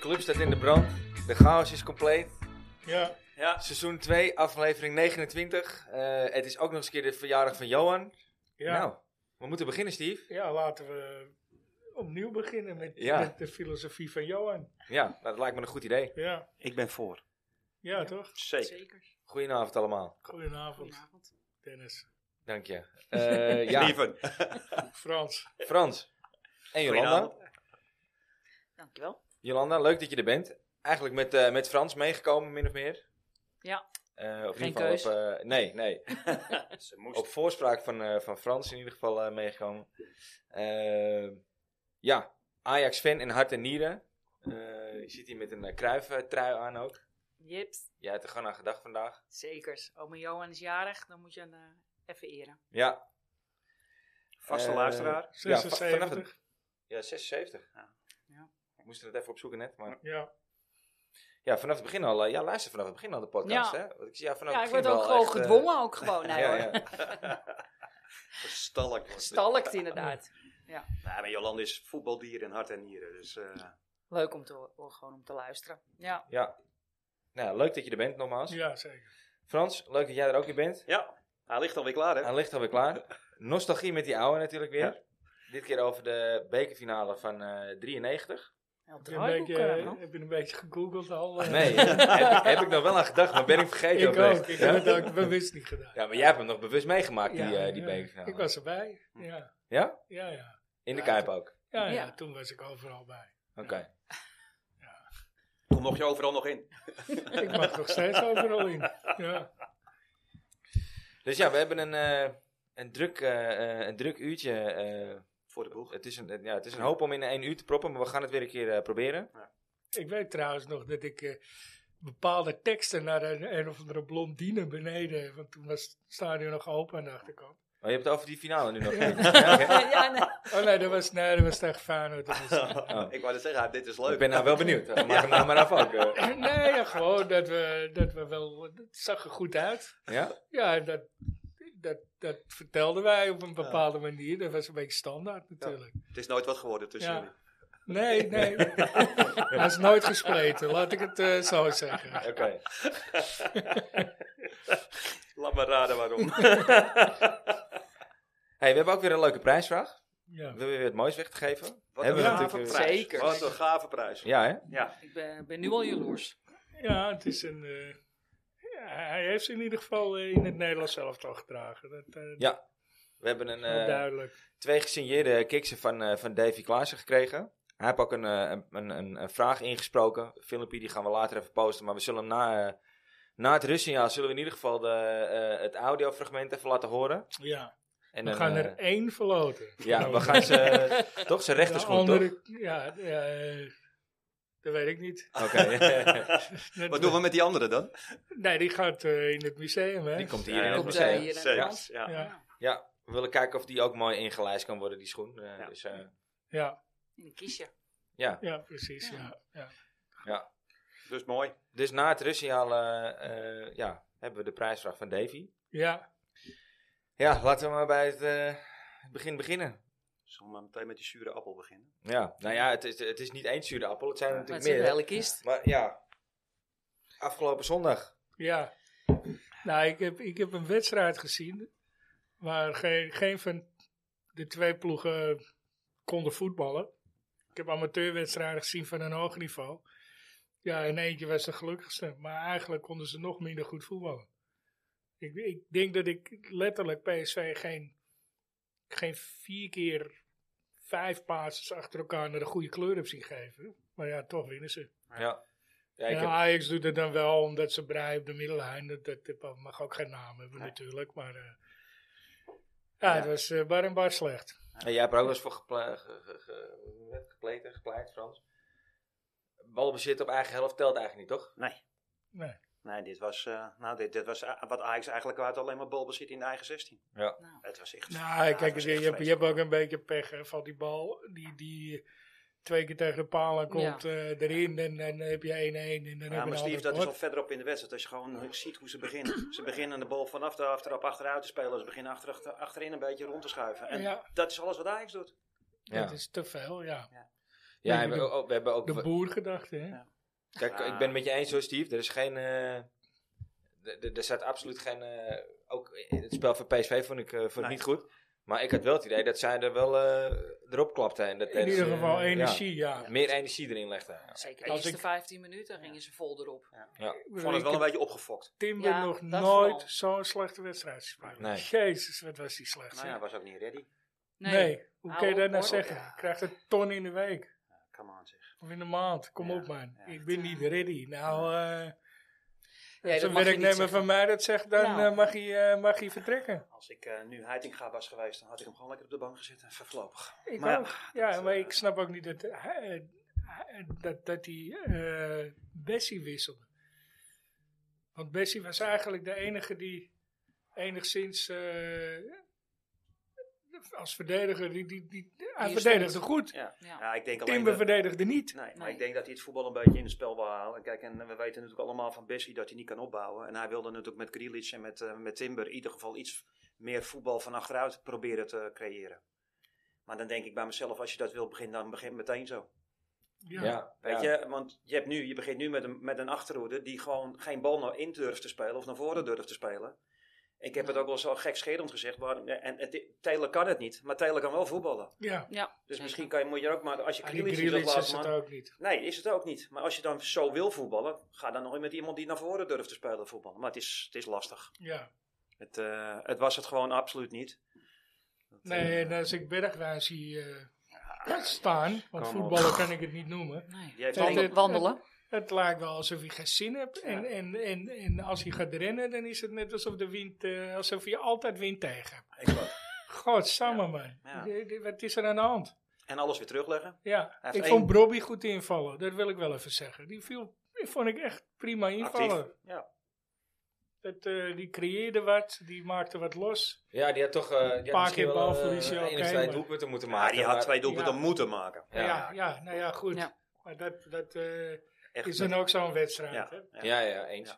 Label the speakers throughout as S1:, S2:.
S1: club staat in de brand. De chaos is compleet.
S2: Ja.
S3: Ja.
S1: Seizoen 2, aflevering 29. Eh, het is ook nog eens een keer de verjaardag van Johan.
S2: Ja.
S1: Nou, we moeten beginnen, Steve.
S2: ja, laten we opnieuw beginnen met,
S1: Ja.
S2: met de filosofie van Johan.
S1: Ja, nou, dat lijkt me een goed idee.
S2: Ja,
S4: Ik ben voor.
S2: ja toch?
S3: Zeker.
S1: Goedenavond allemaal.
S2: Goedenavond,
S5: Goedenavond.
S2: Dennis.
S1: Dank je. Eh, ja,
S4: Lieven.
S2: Frans.
S1: Frans. En Jolanda.
S3: Goedenavond.
S5: Dankjewel.
S1: Jolanda, leuk dat je er bent. Eigenlijk met, eh, met Frans meegekomen, min of meer.
S5: Ja.
S1: Eh, op
S5: Geen
S1: ieder geval Op, eh, nee, nee.
S3: Ze moest.
S1: Op voorspraak van, eh, van Frans in ieder geval eh, meegekomen. Eh, ja, Ajax-fan in hart en nieren. Eh, je zit hier met een uh, kruiftrui aan ook.
S5: Jips,
S1: Jij hebt er gewoon aan gedacht vandaag.
S5: zekers. Oma Johan is jarig, dan moet je hem eh, even eren.
S1: Ja.
S4: Vaste
S1: Eh,
S4: luisteraar.
S1: Ja, va- vanaf
S2: 76.
S1: het- ja, 76.
S5: Ja.
S1: Ik moest het even opzoeken net, maar...
S2: Ja,
S1: Ja, vanaf het begin al. eh, ja, luister vanaf het begin al de podcast,
S5: Ja.
S1: hè? Want Oh, ik zie- Ja, vanaf
S5: ja,
S1: het
S5: ik word
S1: begin
S5: ook
S1: wel echt,
S5: gewoon
S1: eh,
S5: gedwongen, ook gewoon. Nee,
S1: ja,
S5: hoor.
S1: ja.
S4: Verstalk.
S5: Gestalkt inderdaad.
S4: Nou, maar Jolande is voetbaldier in hart en nieren. Dus eh,
S5: Leuk om te, horen, gewoon om te luisteren. Ja,
S1: ja. Nou, leuk dat je er bent, nogmaals.
S2: ja, zeker.
S1: Frans, leuk dat jij er ook weer bent.
S4: ja, hij ligt alweer klaar hè.
S1: Hij ligt alweer klaar. Nostalgie met die oude natuurlijk weer.
S4: Ja.
S1: Dit keer over de bekerfinale van eh 93.
S5: heel
S2: Heb je een
S5: draaiboek.
S2: beetje,
S5: eh, man.
S2: eh, heb je een beetje gegoogeld al? eh?
S1: Nee, heb, heb ik nog wel aan gedacht, maar ben ik vergeten.
S2: Ik
S1: oprecht.
S2: ook. Ik
S1: Ja?
S2: heb het ook bewust niet gedaan.
S1: Ja, maar jij hebt hem nog bewust meegemaakt, die,
S2: Ja,
S1: eh, die
S2: ja.
S1: bekerfinale.
S2: Ik was erbij.
S1: Hm.
S2: Ja,
S1: Ja?
S2: ja, ja.
S1: In de
S2: Ja,
S1: Kuip ook?
S2: Ja, ja,
S5: Ja.
S2: toen was ik overal bij.
S1: Oké.
S4: Toen mocht je overal nog in.
S2: Ik mag nog steeds overal in. Ja,
S1: Dus ja, we hebben een, eh, een, druk, eh, eh, een druk uurtje. eh,
S4: Voor de boeg.
S1: het, is een, ja, het is een hoop om in één uur te proppen, maar we gaan het weer een keer eh, proberen.
S2: Ik weet trouwens nog dat ik eh, bepaalde teksten naar een, een of andere blondine beneden, want toen was het stadion nog open aan de achterkant.
S1: Oh, je hebt het over die finale nu nog.
S2: Ja.
S1: eh, Ja, oké.
S5: ja, nee.
S2: Oh nee, dat was, nee, dat was tegen Feyenoord. Dat was-
S4: Ik wou net zeggen, ah, dit is
S1: Oh. Ik
S4: leuk.
S1: ben nou wel benieuwd. Maak hem nou maar af ook. eh.
S2: nee, ja, gewoon dat we, dat we wel, het zag er goed uit.
S1: Ja?
S2: Ja, en dat, dat, dat vertelden wij op een bepaalde manier. Dat was een beetje standaard natuurlijk.
S4: Het is nooit wat geworden tussen
S2: Ja.
S4: jullie.
S2: Nee, nee. Hij is nooit gespleten, laat ik het eh, zo zeggen.
S1: Oké.
S4: Laat maar raden waarom.
S1: Hey, we hebben ook weer een leuke prijsvraag.
S2: Ja.
S1: Wil je weer het moois weg te geven?
S4: Wat
S1: Hebben
S2: een
S1: we
S2: gave
S1: natuurlijk weer-
S5: prijs. Zeker.
S4: Wat een gave prijs.
S1: Ja, hè?
S4: Ja.
S5: Ik ben, ben nu al jaloers.
S2: Ja, het is een. eh, ja, hij heeft ze in ieder geval eh, in het Nederlands zelf al gedragen. Dat, eh,
S1: Ja. We hebben een,
S2: dat is wel
S1: eh,
S2: duidelijk.
S1: twee gesigneerde kiksen van, eh, van Davy Klaassen gekregen. Hij heeft ook een, eh, een, een, een, een vraag ingesproken. Filmpje die gaan we later even posten. Maar we zullen hem na, eh, na het Russenjaar zullen we in ieder geval de, eh, het audiofragment even laten horen.
S2: Ja.
S1: En
S2: We
S1: dan,
S2: gaan
S1: eh,
S2: er één verloten.
S1: Ja, we gaan ze... eh, toch, zijn
S2: de
S1: rechterschoen, toch?
S2: andere, Ja, ja, eh, dat weet ik niet.
S1: Oké,
S2: Dat-
S4: Wat doen we met die andere dan?
S2: Nee, die gaat eh, in het museum, hè?
S1: die komt hier
S4: Ja,
S1: in het
S4: komt,
S1: museum.
S5: eh, hier.
S4: Zeker. Ja.
S2: Ja.
S1: Ja, we willen kijken of die ook mooi ingelijst kan worden, die schoen. Eh,
S4: Ja.
S1: Dus eh,
S2: Ja,
S5: In een kiesje.
S1: ja,
S2: ja, precies.
S5: Ja.
S2: Ja. Ja.
S1: ja.
S4: Dus mooi.
S1: Dus na het Russiaal eh, eh, ja, hebben we de prijsvraag van Davy.
S2: Ja.
S1: Ja, laten we maar bij het eh, begin beginnen.
S4: Zullen we maar meteen met die zure appel beginnen?
S1: Ja, nou ja, het is, het is niet één zure appel, het zijn er
S5: Maar het
S1: natuurlijk
S5: is een
S1: meer.
S5: hele kist.
S1: Maar ja, afgelopen zondag.
S2: ja. Nou, ik heb, ik heb een wedstrijd gezien waar geen, geen van de twee ploegen konden voetballen. Ik heb amateurwedstrijden gezien van een hoog niveau. Ja, en eentje was de gelukkigste, maar eigenlijk konden ze nog minder goed voetballen. Ik, ik denk dat ik letterlijk PSV geen, geen vier keer vijf passes achter elkaar naar de goede kleur heb zien geven. Maar ja, toch winnen ze.
S1: Ja, ja ik
S2: Ja,
S1: heb,
S2: Ajax doet het dan wel omdat ze brei op de middellijn. Dat, dat, dat mag ook geen naam hebben natuurlijk. Maar eh, ja, het was eh, bar en bar slecht.
S1: en jij hebt er ook wel eens voor gepla- ge- ge- ge- hoe heet het? gepleten, gepleit, Frans. Balbezit op eigen helft telt eigenlijk niet, toch?
S4: Nee.
S2: Nee.
S4: Nee, dit was, eh, nou, dit, dit was eh, wat Ajax eigenlijk had, alleen maar balbezit in de eigen 16.
S1: Ja.
S5: Nou.
S4: Het was echt...
S2: Nou,
S4: dat
S2: kijk,
S4: is
S2: je,
S4: echt
S2: je hebt, je hebt
S4: vreselijk.
S2: ook een beetje pech hè, van die bal die, die twee keer tegen de palen komt eh, erin. En dan heb je 1-1 en
S4: Ja,
S2: dan heb je
S4: maar
S2: een
S4: Steve,
S2: ander
S4: dat is al
S2: bord.
S4: verderop in de wedstrijd. Als je gewoon eh, ziet hoe ze beginnen. Ze beginnen de bal vanaf de aftrap achteruit te spelen. Ze beginnen achter, achter- achterin een beetje rond te schuiven. En
S2: Ja.
S4: dat is alles wat Ajax doet.
S1: Ja.
S2: Dat is te veel, ja.
S1: Ja,
S2: Nee,
S1: we,
S2: de-
S1: oh, we hebben ook...
S2: De boergedachte, hè?
S6: Ja.
S1: Kijk, ik ben het met je eens hoor, Steve. Er is geen... eh, d- d- er staat absoluut geen... eh, ook in het spel van PSV vond ik, eh, vond ik
S6: Nee.
S1: niet goed. Maar ik had wel het idee dat zij er wel eh, erop klapte. En dat
S2: In
S1: dat
S2: ieder
S1: ze,
S2: geval
S1: eh, ja,
S2: energie, ja.
S1: meer energie erin legde.
S5: Zeker de
S2: Als
S5: eerste
S2: ik-
S5: 15 minuten gingen ze vol erop.
S2: Ik
S6: Ik
S2: bedoel,
S6: vond het
S2: ik
S6: wel een
S2: heb
S6: beetje opgefokt.
S2: Timber
S5: Ja,
S2: nog
S5: dat vooral.
S2: nooit zo'n slechte wedstrijd gespeeld.
S1: Nee.
S2: Jezus, wat was die slecht.
S6: Nou
S2: zeg.
S6: ja, was ook niet ready.
S2: nee. hoe
S5: Hou
S2: kan je dat
S5: op,
S2: nou
S5: hoor.
S2: zeggen? Je krijgt een ton in de week.
S6: Come on zeg.
S2: Of in de maand. Kom
S6: Ja,
S2: op man.
S6: ja.
S2: Ik ben niet ready. Nou, eh als een
S5: dat mag je niet
S2: werknemer
S5: zeggen.
S2: van mij dat zegt, dan
S5: Nou.
S2: eh, mag, hij, eh, mag hij vertrekken.
S6: Als ik eh, nu Heitinga was geweest, dan had ik hem gewoon lekker op de bank gezet. En voorlopig.
S2: Ik
S6: Maar ja,
S2: ook. Ja,
S6: dat,
S2: maar
S6: eh,
S2: ik snap ook niet dat hij, eh, dat, dat hij eh, Bessie wisselde. Want Bessie was eigenlijk de enige die enigszins eh, als verdediger, die, die, die, hij
S5: Hier
S2: verdedigde goed.
S6: Ja.
S5: Ja.
S6: Ja, ik denk alleen
S2: Timber
S6: dat-
S2: verdedigde niet.
S6: Nee, maar
S5: Nee.
S6: ik denk dat hij het voetbal een beetje in het spel wil halen. Kijk, en eh, we weten natuurlijk allemaal van Bessie dat hij niet kan opbouwen. En hij wilde natuurlijk met Grealish en met, eh, met Timber in ieder geval iets meer voetbal van achteruit proberen te creëren. Maar dan denk ik bij mezelf, als je dat wil beginnen, dan begin meteen zo.
S1: Ja,
S2: Ja.
S1: ja,
S6: Weet je, want je, hebt nu, je begint nu met een, met een achterhoede die gewoon geen bal naar in durft te spelen of naar voren durft te spelen. Ik heb het ook wel zo gekscherend gezegd, maar, en, en Taylor kan het niet, maar Taylor kan wel voetballen.
S2: Ja.
S5: Ja,
S6: Dus
S5: zeker.
S6: misschien kan je, moet je er ook maar, als je
S2: En die
S6: Grealish niet wil
S2: Grealish is
S6: laten
S2: het
S6: man-
S2: ook niet.
S6: Nee, is het ook niet. Maar als je dan zo wil voetballen, ga dan nog met iemand die naar voren durft te spelen voetballen. Maar het is, het is lastig.
S2: Ja.
S6: Het, eh, het was het gewoon absoluut niet. Dat,
S2: Nee,
S6: eh,
S2: en als ik Bergwijn zie eh, staan, want
S6: op.
S2: voetballer kan ik het niet noemen.
S5: Nee.
S6: die heeft
S2: Nee,
S6: handen-
S2: dit-
S5: Wandelen.
S2: Het lijkt wel alsof hij geen zin hebt. En,
S6: Ja.
S2: en, en, en als hij gaat rennen, dan is het net alsof, de wind, eh, alsof je altijd wind tegen hebt.
S6: Ik wou-
S2: Godsamme
S6: Ja.
S2: man.
S6: Ja.
S2: D- d- Wat is er aan de hand?
S6: en alles weer terugleggen.
S2: Ja,
S6: heeft
S2: ik
S6: één-
S2: vond Brobby goed invallen. Dat wil ik wel even zeggen. Die, viel, die vond ik echt prima
S6: Actief.
S2: invallen.
S6: Ja.
S2: Dat, eh, die creëerde wat, die maakte wat los.
S1: Ja, die had toch eh, die had
S2: Een paar
S1: misschien
S2: keer
S1: wel, eh,
S2: balverlies, ja,
S1: één of
S2: oké,
S1: twee
S2: maar-
S1: doelpunten moeten
S6: Maar
S1: maken.
S6: die had
S1: maar-
S6: twee doelpunten
S2: Ja.
S6: moeten maken.
S2: Ja,
S1: Ja.
S2: ja, nou ja, goed.
S5: Ja.
S2: Maar dat, dat eh,
S6: Echt
S2: is
S6: met-
S2: dan ook zo'n wedstrijd.
S6: ja,
S2: Hè?
S6: ja.
S1: Ja, ja, eens.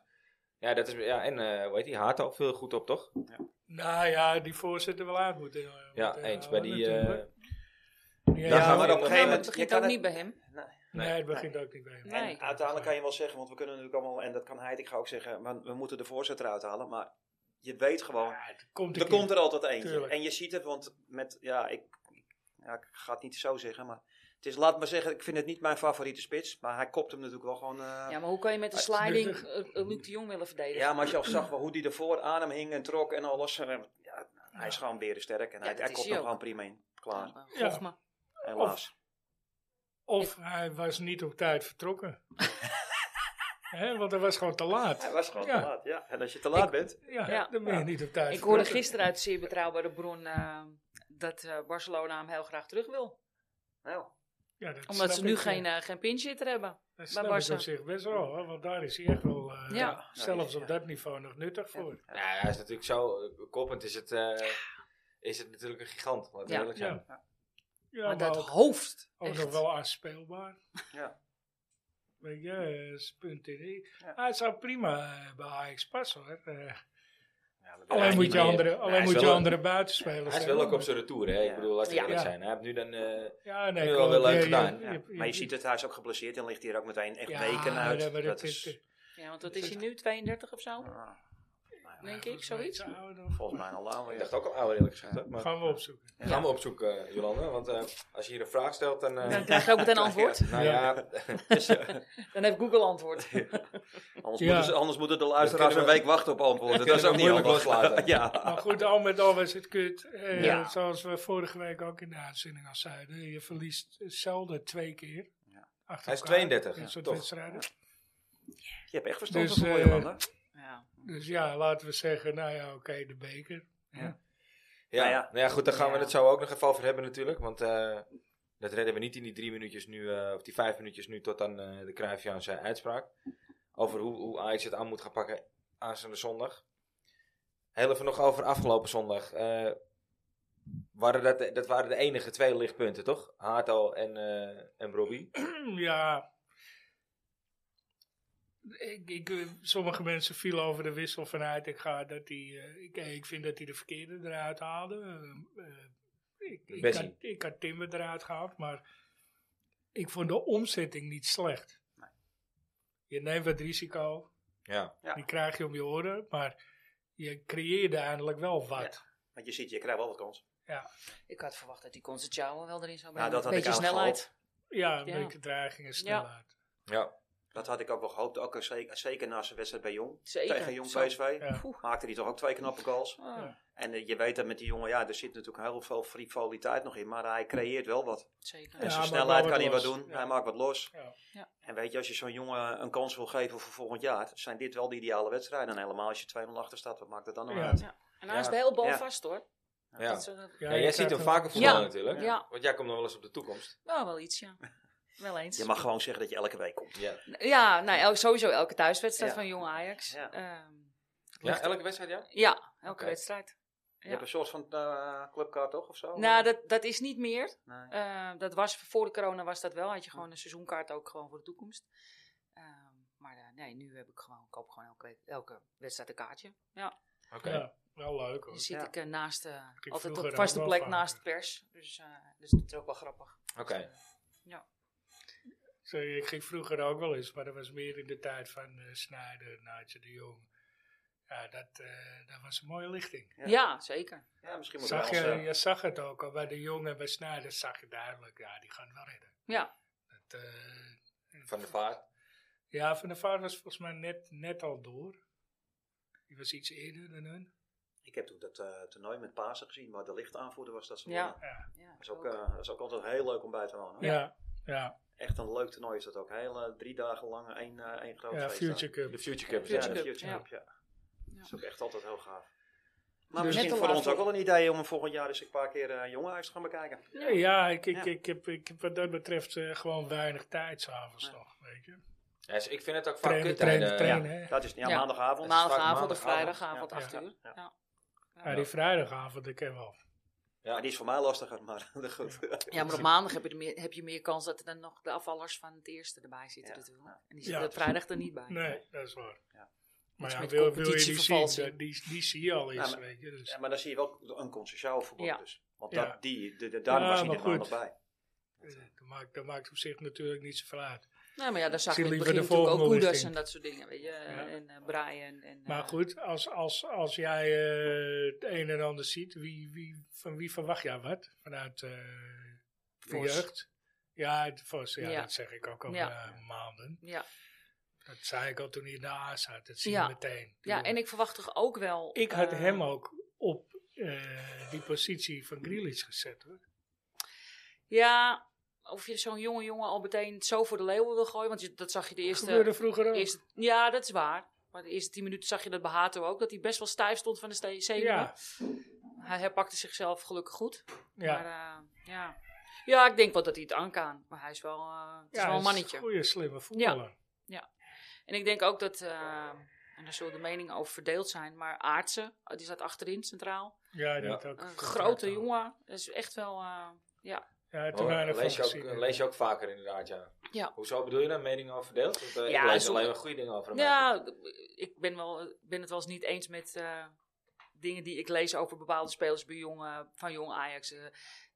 S1: Ja,
S6: Ja.
S1: dat is, ja en eh hoe heet die? Haat ook veel goed op, toch?
S2: Nou ja, die voorzitter wel uit moeten. eh,
S1: Ja,
S2: moeten
S1: eens. Bij
S2: halen
S1: die, eh,
S2: natuurlijk. ja,
S1: daar
S6: Ja,
S1: gaan we
S6: maar
S1: dan-
S6: op een
S5: Nee,
S6: gegeven
S5: maar het
S6: moment... je
S5: begint
S6: kan
S5: ook
S6: het-
S5: niet bij hem.
S2: Nee, het begint ook niet bij hem.
S5: Nee.
S6: En uiteindelijk kan je wel zeggen, want we kunnen natuurlijk allemaal, en dat kan hij, ik ga ook zeggen, maar we moeten de voorzet eruit halen. Maar je weet gewoon,
S2: Komt
S6: Er
S2: een
S6: komt er altijd eentje.
S2: Tuurlijk.
S6: En je ziet het, want met, ja ik, ja, ik ga het niet zo zeggen, maar het is, laat maar zeggen, ik vind het niet mijn favoriete spits, maar hij kopt hem natuurlijk wel gewoon. eh,
S5: Ja, maar hoe kan je met de sliding eh, eh, Luc de Jong willen verdedigen?
S6: ja, maar als je al zag wel hoe die ervoor aan hem hing en trok en alles, eh, ja, hij is gewoon berensterk en
S5: Ja,
S6: hij,
S5: dat
S6: hij
S5: is
S6: kopt hem
S5: hij ook.
S6: gewoon prima in. Klaar,
S5: Ja,
S2: Ja.
S5: volg me.
S6: helaas.
S2: Of hij was niet op tijd vertrokken. Hè, want hij was gewoon te
S6: Hij
S2: laat.
S6: was gewoon
S2: Ja.
S6: te laat, ja. En als je te laat
S5: Ik-
S6: bent,
S2: Ja,
S5: Ja.
S2: dan ben je
S6: Ja.
S2: niet op tijd
S5: Ik hoorde
S2: vertrokken.
S5: gisteren uit zeer betrouwbare bron eh, dat eh, Barcelona hem heel graag terug wil.
S6: nou,
S2: Ja, dat
S5: Omdat
S2: snap
S5: ze nu
S2: ik,
S5: geen,
S2: eh,
S5: eh, geen pinchitter hebben.
S2: Dat snap ik
S5: Barca.
S2: op zich best wel, hoor, want daar is hij echt wel, eh,
S6: Nou,
S5: Ja.
S2: zelfs
S6: Ja.
S2: op dat niveau, nog nuttig voor.
S1: Nou, ja, hij is natuurlijk zo eh, koppend. Is het, eh, is het natuurlijk een gigant. Laten we
S5: Ja.
S1: eerlijk zijn.
S2: Ja, ja
S5: maar
S2: maar,
S5: dat
S2: ook,
S5: hoofd.
S2: ook
S5: echt.
S2: nog wel aanspeelbaar.
S6: ja.
S2: Weet je, eh, is punt in.
S6: Ja.
S2: Hij zou prima eh, bij Ajax passen hoor. Eh,
S6: Ja, dat wil
S2: alleen
S6: ik
S2: moet
S6: niet
S2: je
S6: meer.
S2: andere,
S1: hij is
S2: alleen moet je
S1: wel-
S2: andere buitenspelers
S1: Hij is wel
S2: hebben.
S1: ook op zijn retour, hè? Ik
S6: Ja.
S1: bedoel, laten we
S5: Ja.
S1: eerlijk
S2: Ja.
S1: zijn. Hij heeft nu dan... eh,
S2: Ja, nee,
S1: Nu
S2: klopt.
S1: wel weer leuk
S2: Ja,
S1: gedaan.
S6: Ja, maar je ziet het, hij is ook geblesseerd en ligt hier ook meteen echt
S2: Ja,
S6: weken uit.
S2: nee, maar
S6: dat
S2: dat is-
S6: is,
S5: Ja, want wat is hij nu? 32 of zo?
S6: ah,
S5: Denk ik,
S2: volgens mij
S5: zoiets.
S2: iets ouder of-
S6: volgens mij al aan.
S1: ik dacht ook al ouder, eerlijk gezegd. hoor, Maar
S2: Gaan we opzoeken.
S1: gaan we opzoeken, eh, Jolanda. Want eh, als je hier een vraag stelt, dan... eh,
S5: Dan krijg je ook meteen antwoord.
S1: nou ja,
S5: Dan heeft Google antwoord.
S6: Anders,
S2: Ja.
S6: moeten ze, anders moeten de luisteraars
S1: Dat kunnen
S6: een
S1: we-
S6: week wachten op antwoorden.
S1: kunnen
S6: Dat is
S1: we
S6: ook niet
S1: moeilijk
S6: handig.
S1: loslaten.
S6: ja.
S2: Maar goed, al met al was het kut. Eh,
S6: Ja.
S2: Zoals we vorige week ook in de uitzending al zeiden. Je verliest zelden twee keer.
S6: Ja.
S2: achter
S1: Hij is
S2: elkaar
S1: 32,
S2: in
S1: ja,
S2: soort
S1: toch?
S2: wedstrijden.
S6: Je hebt echt verstand
S2: Dus,
S6: van
S2: eh,
S6: voetbal, Jolanda.
S5: Ja.
S2: Dus ja, laten we zeggen, nou ja, oké, de beker.
S1: Ja,
S6: Nou ja.
S1: nou ja, goed, daar gaan we
S5: Ja.
S1: het zo ook nog even over hebben natuurlijk. Want eh, dat redden we niet in die drie minuutjes nu, eh, of die vijf minuutjes nu, tot aan eh, de Cruijffiaan zijn uitspraak. Over hoe, hoe Ajax het aan moet gaan pakken aanstaande zondag. Heel even nog over afgelopen zondag. eh, waren dat, de- dat waren de enige twee lichtpunten, toch? Hato en, eh en Robbie.
S2: Hmm, Ja. Ik, ik, eh, sommige mensen vielen over de wissel vanuit. Ik, ga dat die, eh, ik, eh, ik vind dat hij de verkeerde eruit haalde. Eh, eh, ik, ik,
S1: Bessie.
S2: had, ik had Timber eruit gehaald, maar ik vond de omzetting niet slecht. Je neemt wat risico,
S1: Ja,
S6: Ja.
S2: die krijg je om je oren, maar je creëerde eindelijk wel wat.
S6: Want je ziet, je krijgt wel wat kans.
S5: Ik had verwacht dat die Concertjouwen wel erin
S6: Nou,
S5: zou brengen.
S6: dat had
S5: Beetje
S6: ik eigenlijk
S5: snelheid.
S6: gehoopt.
S2: Ja, een
S5: Ja.
S2: beetje dreiging en snelheid.
S1: ja.
S6: Dat had ik ook wel gehoopt. Ook zeker, zeker na zijn wedstrijd bij Jong.
S5: Zeker.
S6: Tegen Jong
S5: Zo.
S6: PSV.
S2: Ja.
S5: Poeh.
S6: Maakte hij toch ook twee knappe goals.
S5: Ah,
S2: Ja.
S6: En eh, je weet dat met die jongen, ja, er zit natuurlijk heel veel frivoliteit nog in. Maar hij creëert wel wat.
S5: Zeker.
S6: En
S2: Ja,
S6: zijn
S2: maakt wel
S6: snelheid
S2: wat
S6: kan hij wat
S2: los.
S6: doen.
S2: Ja.
S6: Hij maakt wat los.
S2: Ja.
S5: Ja.
S6: En weet je, als je zo'n jongen een kans wil geven voor volgend jaar, zijn dit wel de ideale wedstrijden. En helemaal als je 2-0 achter staat, wat maakt het dan nog
S2: Ja.
S6: uit?
S5: En hij
S1: Ja.
S5: is bij heel balvast hoor.
S1: Ja.
S5: Dat is, eh,
S1: Ja, jij ziet
S2: krijgt
S1: hem
S2: een-
S1: vaker voetballen
S5: Ja.
S1: natuurlijk.
S5: Ja.
S1: Want jij komt nog wel eens op de toekomst.
S5: nou, wel iets, ja. Wel eens.
S6: Je mag gewoon zeggen dat je elke week komt.
S1: Ja,
S5: Ja, nou, el- sowieso elke thuiswedstrijd
S6: Ja.
S5: van Jong Ajax.
S6: Ja.
S5: Ehm,
S1: ja elke wedstrijd ja?
S5: ja, elke
S1: Oké.
S5: wedstrijd.
S6: Je hebt een soort van eh, clubkaart toch of zo?
S5: Nou, dat, dat is niet meer.
S6: Nee.
S5: Eh, dat was, voor de corona was dat wel. Had je gewoon een seizoenkaart ook gewoon voor de toekomst. Ehm, maar eh, nee, nu heb ik gewoon, koop gewoon elke, elke wedstrijd een kaartje. Ja,
S1: Oké.
S2: Ja, wel leuk hoor.
S5: dan zit
S6: ja.
S5: ik eh, naast, eh,
S2: ik
S5: altijd
S2: vroeger
S5: op
S2: ook
S5: vaste
S2: wel
S5: plek
S2: vaak.
S5: naast de pers. Dus, eh, dus dat is ook wel grappig. Dus,
S1: Oké.
S2: Zo, ik ging vroeger ook wel eens, maar dat was meer in de tijd van eh Snijder, Naatje de Jong. Ja, dat, eh, dat was een mooie lichting.
S6: Ja.
S5: eh, Ja, zeker.
S6: Ja, misschien moeten we
S2: Zag
S6: ons,
S2: je,
S6: eh,
S2: je zag het ook al bij de Jong en bij Snijder, zag je duidelijk, ja, die gaan het wel redden.
S5: Ja.
S2: Dat, eh,
S1: Van de vaart.
S2: Ja, Van der Vaart was volgens mij net, net al door. Die was iets eerder dan hun.
S6: Ik heb toen dat eh, toernooi met Pasen gezien, maar de lichtaanvoerder was dat ze
S5: Ja.
S6: wonnen.
S2: Ja,
S5: Ja,
S6: Dat is, ook, eh, dat is ook altijd heel leuk om bij te wonen.
S2: ja, ja. ja,
S6: Echt een leuk toernooi is dat ook. Heel, eh, drie dagen lang één, eh, één groot feest.
S2: Future Cup.
S1: De Future Cup. is
S6: Ja,
S5: Future
S1: dat.
S6: de
S5: Cup,
S6: Future
S5: ja.
S6: Cup, ja.
S5: Ja.
S6: Dat is ook echt altijd heel gaaf. Maar
S2: Dus-
S6: misschien
S5: Net te
S6: voor
S5: laat
S6: ons ook
S5: voor-
S6: wel een idee om hem volgend jaar eens een paar keer eh Jong Ajax te gaan bekijken.
S2: Ja, ja, ik, ik,
S6: Ja.
S2: Ik, heb, ik heb wat dat betreft eh, gewoon weinig tijd s'avonds
S6: Ja.
S2: nog, weet je.
S1: Ja, dus ik vind het ook vaak
S2: Trainen,
S1: kut.
S2: trainen,
S6: Ja,
S2: trainen. hè.
S6: dat is ja,
S5: Ja.
S6: maandagavond.
S5: Maandagavond of
S1: maandagavond.
S5: vrijdagavond,
S6: Ja.
S5: 8
S6: Ja.
S5: uur.
S6: Ja.
S5: Ja.
S2: Ja, die vrijdagavond, ik ken wel.
S6: Maar die is voor mij lastiger, maar goed.
S5: Ja, maar op maandag heb je, er meer, heb je meer kans dat er dan nog de afvallers van het eerste erbij zitten
S6: Ja.
S5: natuurlijk. En die zitten
S2: Ja.
S5: er vrijdag er niet bij.
S2: Nee, dat is waar.
S6: Ja.
S2: Maar
S5: Iets
S2: ja,
S5: met
S2: wil, wil je die zien,
S5: competitievervalsing.
S2: dan- die, die zie je al eens,
S6: maar-
S2: weet je. Dus.
S6: Ja, maar dan zie je wel een consensuaal verbod
S5: Ja.
S6: dus. Want
S2: Ja.
S6: dat, die, de, de- daarom
S2: Ja,
S6: was hij
S2: maar
S6: er maandag
S2: goed.
S6: bij.
S2: eh, dat, maakt, dat maakt op zich natuurlijk niet zoveel uit.
S5: Nou, maar ja, daar zag
S2: Zie
S5: je in het
S2: liever
S5: begin
S2: de
S5: natuurlijk ook
S2: volgende
S5: Koeders
S2: richting.
S5: en dat soort dingen, weet je. En eh Brian en...
S2: Maar
S5: eh,
S2: goed, als, als, als jij eh, het een en ander ziet, wie, wie, van wie verwacht jij wat? Vanuit eh de
S5: Vos.
S2: jeugd? Ja, het Vos, ja,
S5: Ja.
S2: dat zeg ik ook al
S5: Ja.
S2: eh, maanden.
S5: Ja.
S2: Dat zei ik al toen hij in de A zat, dat zie
S5: Ja.
S2: je meteen.
S5: ja, en ik verwacht toch ook wel...
S2: ik had
S5: eh,
S2: hem ook op eh, die positie van Grealish gezet. Hoor.
S5: Ja, of je zo'n jonge jongen al meteen zo voor de leeuwen wil gooien, want je, dat zag je de
S2: Dat
S5: eerste...
S2: gebeurde vroeger ook.
S5: eerste ja, dat is waar. Maar de eerste tien minuten zag je dat bij Hato ook, dat hij best wel stijf stond van de ste- zenuwen.
S2: ja,
S5: Hij herpakte zichzelf gelukkig goed. Maar
S2: ja.
S5: eh, ja. ja, ik denk wel dat hij het aan kan. Maar hij is wel, eh, het is
S2: Ja,
S5: wel
S2: hij
S5: een mannetje.
S2: goeie, slimme voetballer.
S5: En ik denk ook dat, eh, en daar zullen de meningen over verdeeld zijn, maar Aartsen, eh, die staat achterin centraal.
S2: Ja,
S1: Ja.
S2: dat ook.
S5: Een
S2: contract
S5: grote
S2: al.
S5: jongen. Dat is echt wel, eh,
S2: Ja, hij had er
S1: Hoor,
S2: weinig
S1: Oh, lees, je
S2: van
S1: ook, eh,
S2: gezien.
S1: lees je ook vaker inderdaad, ja.
S5: Ja.
S1: Hoezo bedoel je dan meningen over verdeeld? Want, eh,
S5: Ja,
S1: ik lees
S5: sommige-
S1: alleen maar goede dingen over hem.
S5: ja, ik ben, wel, ben het wel eens niet eens met eh, dingen die ik lees over bepaalde spelers bij jong, eh, van jong Ajax. Eh,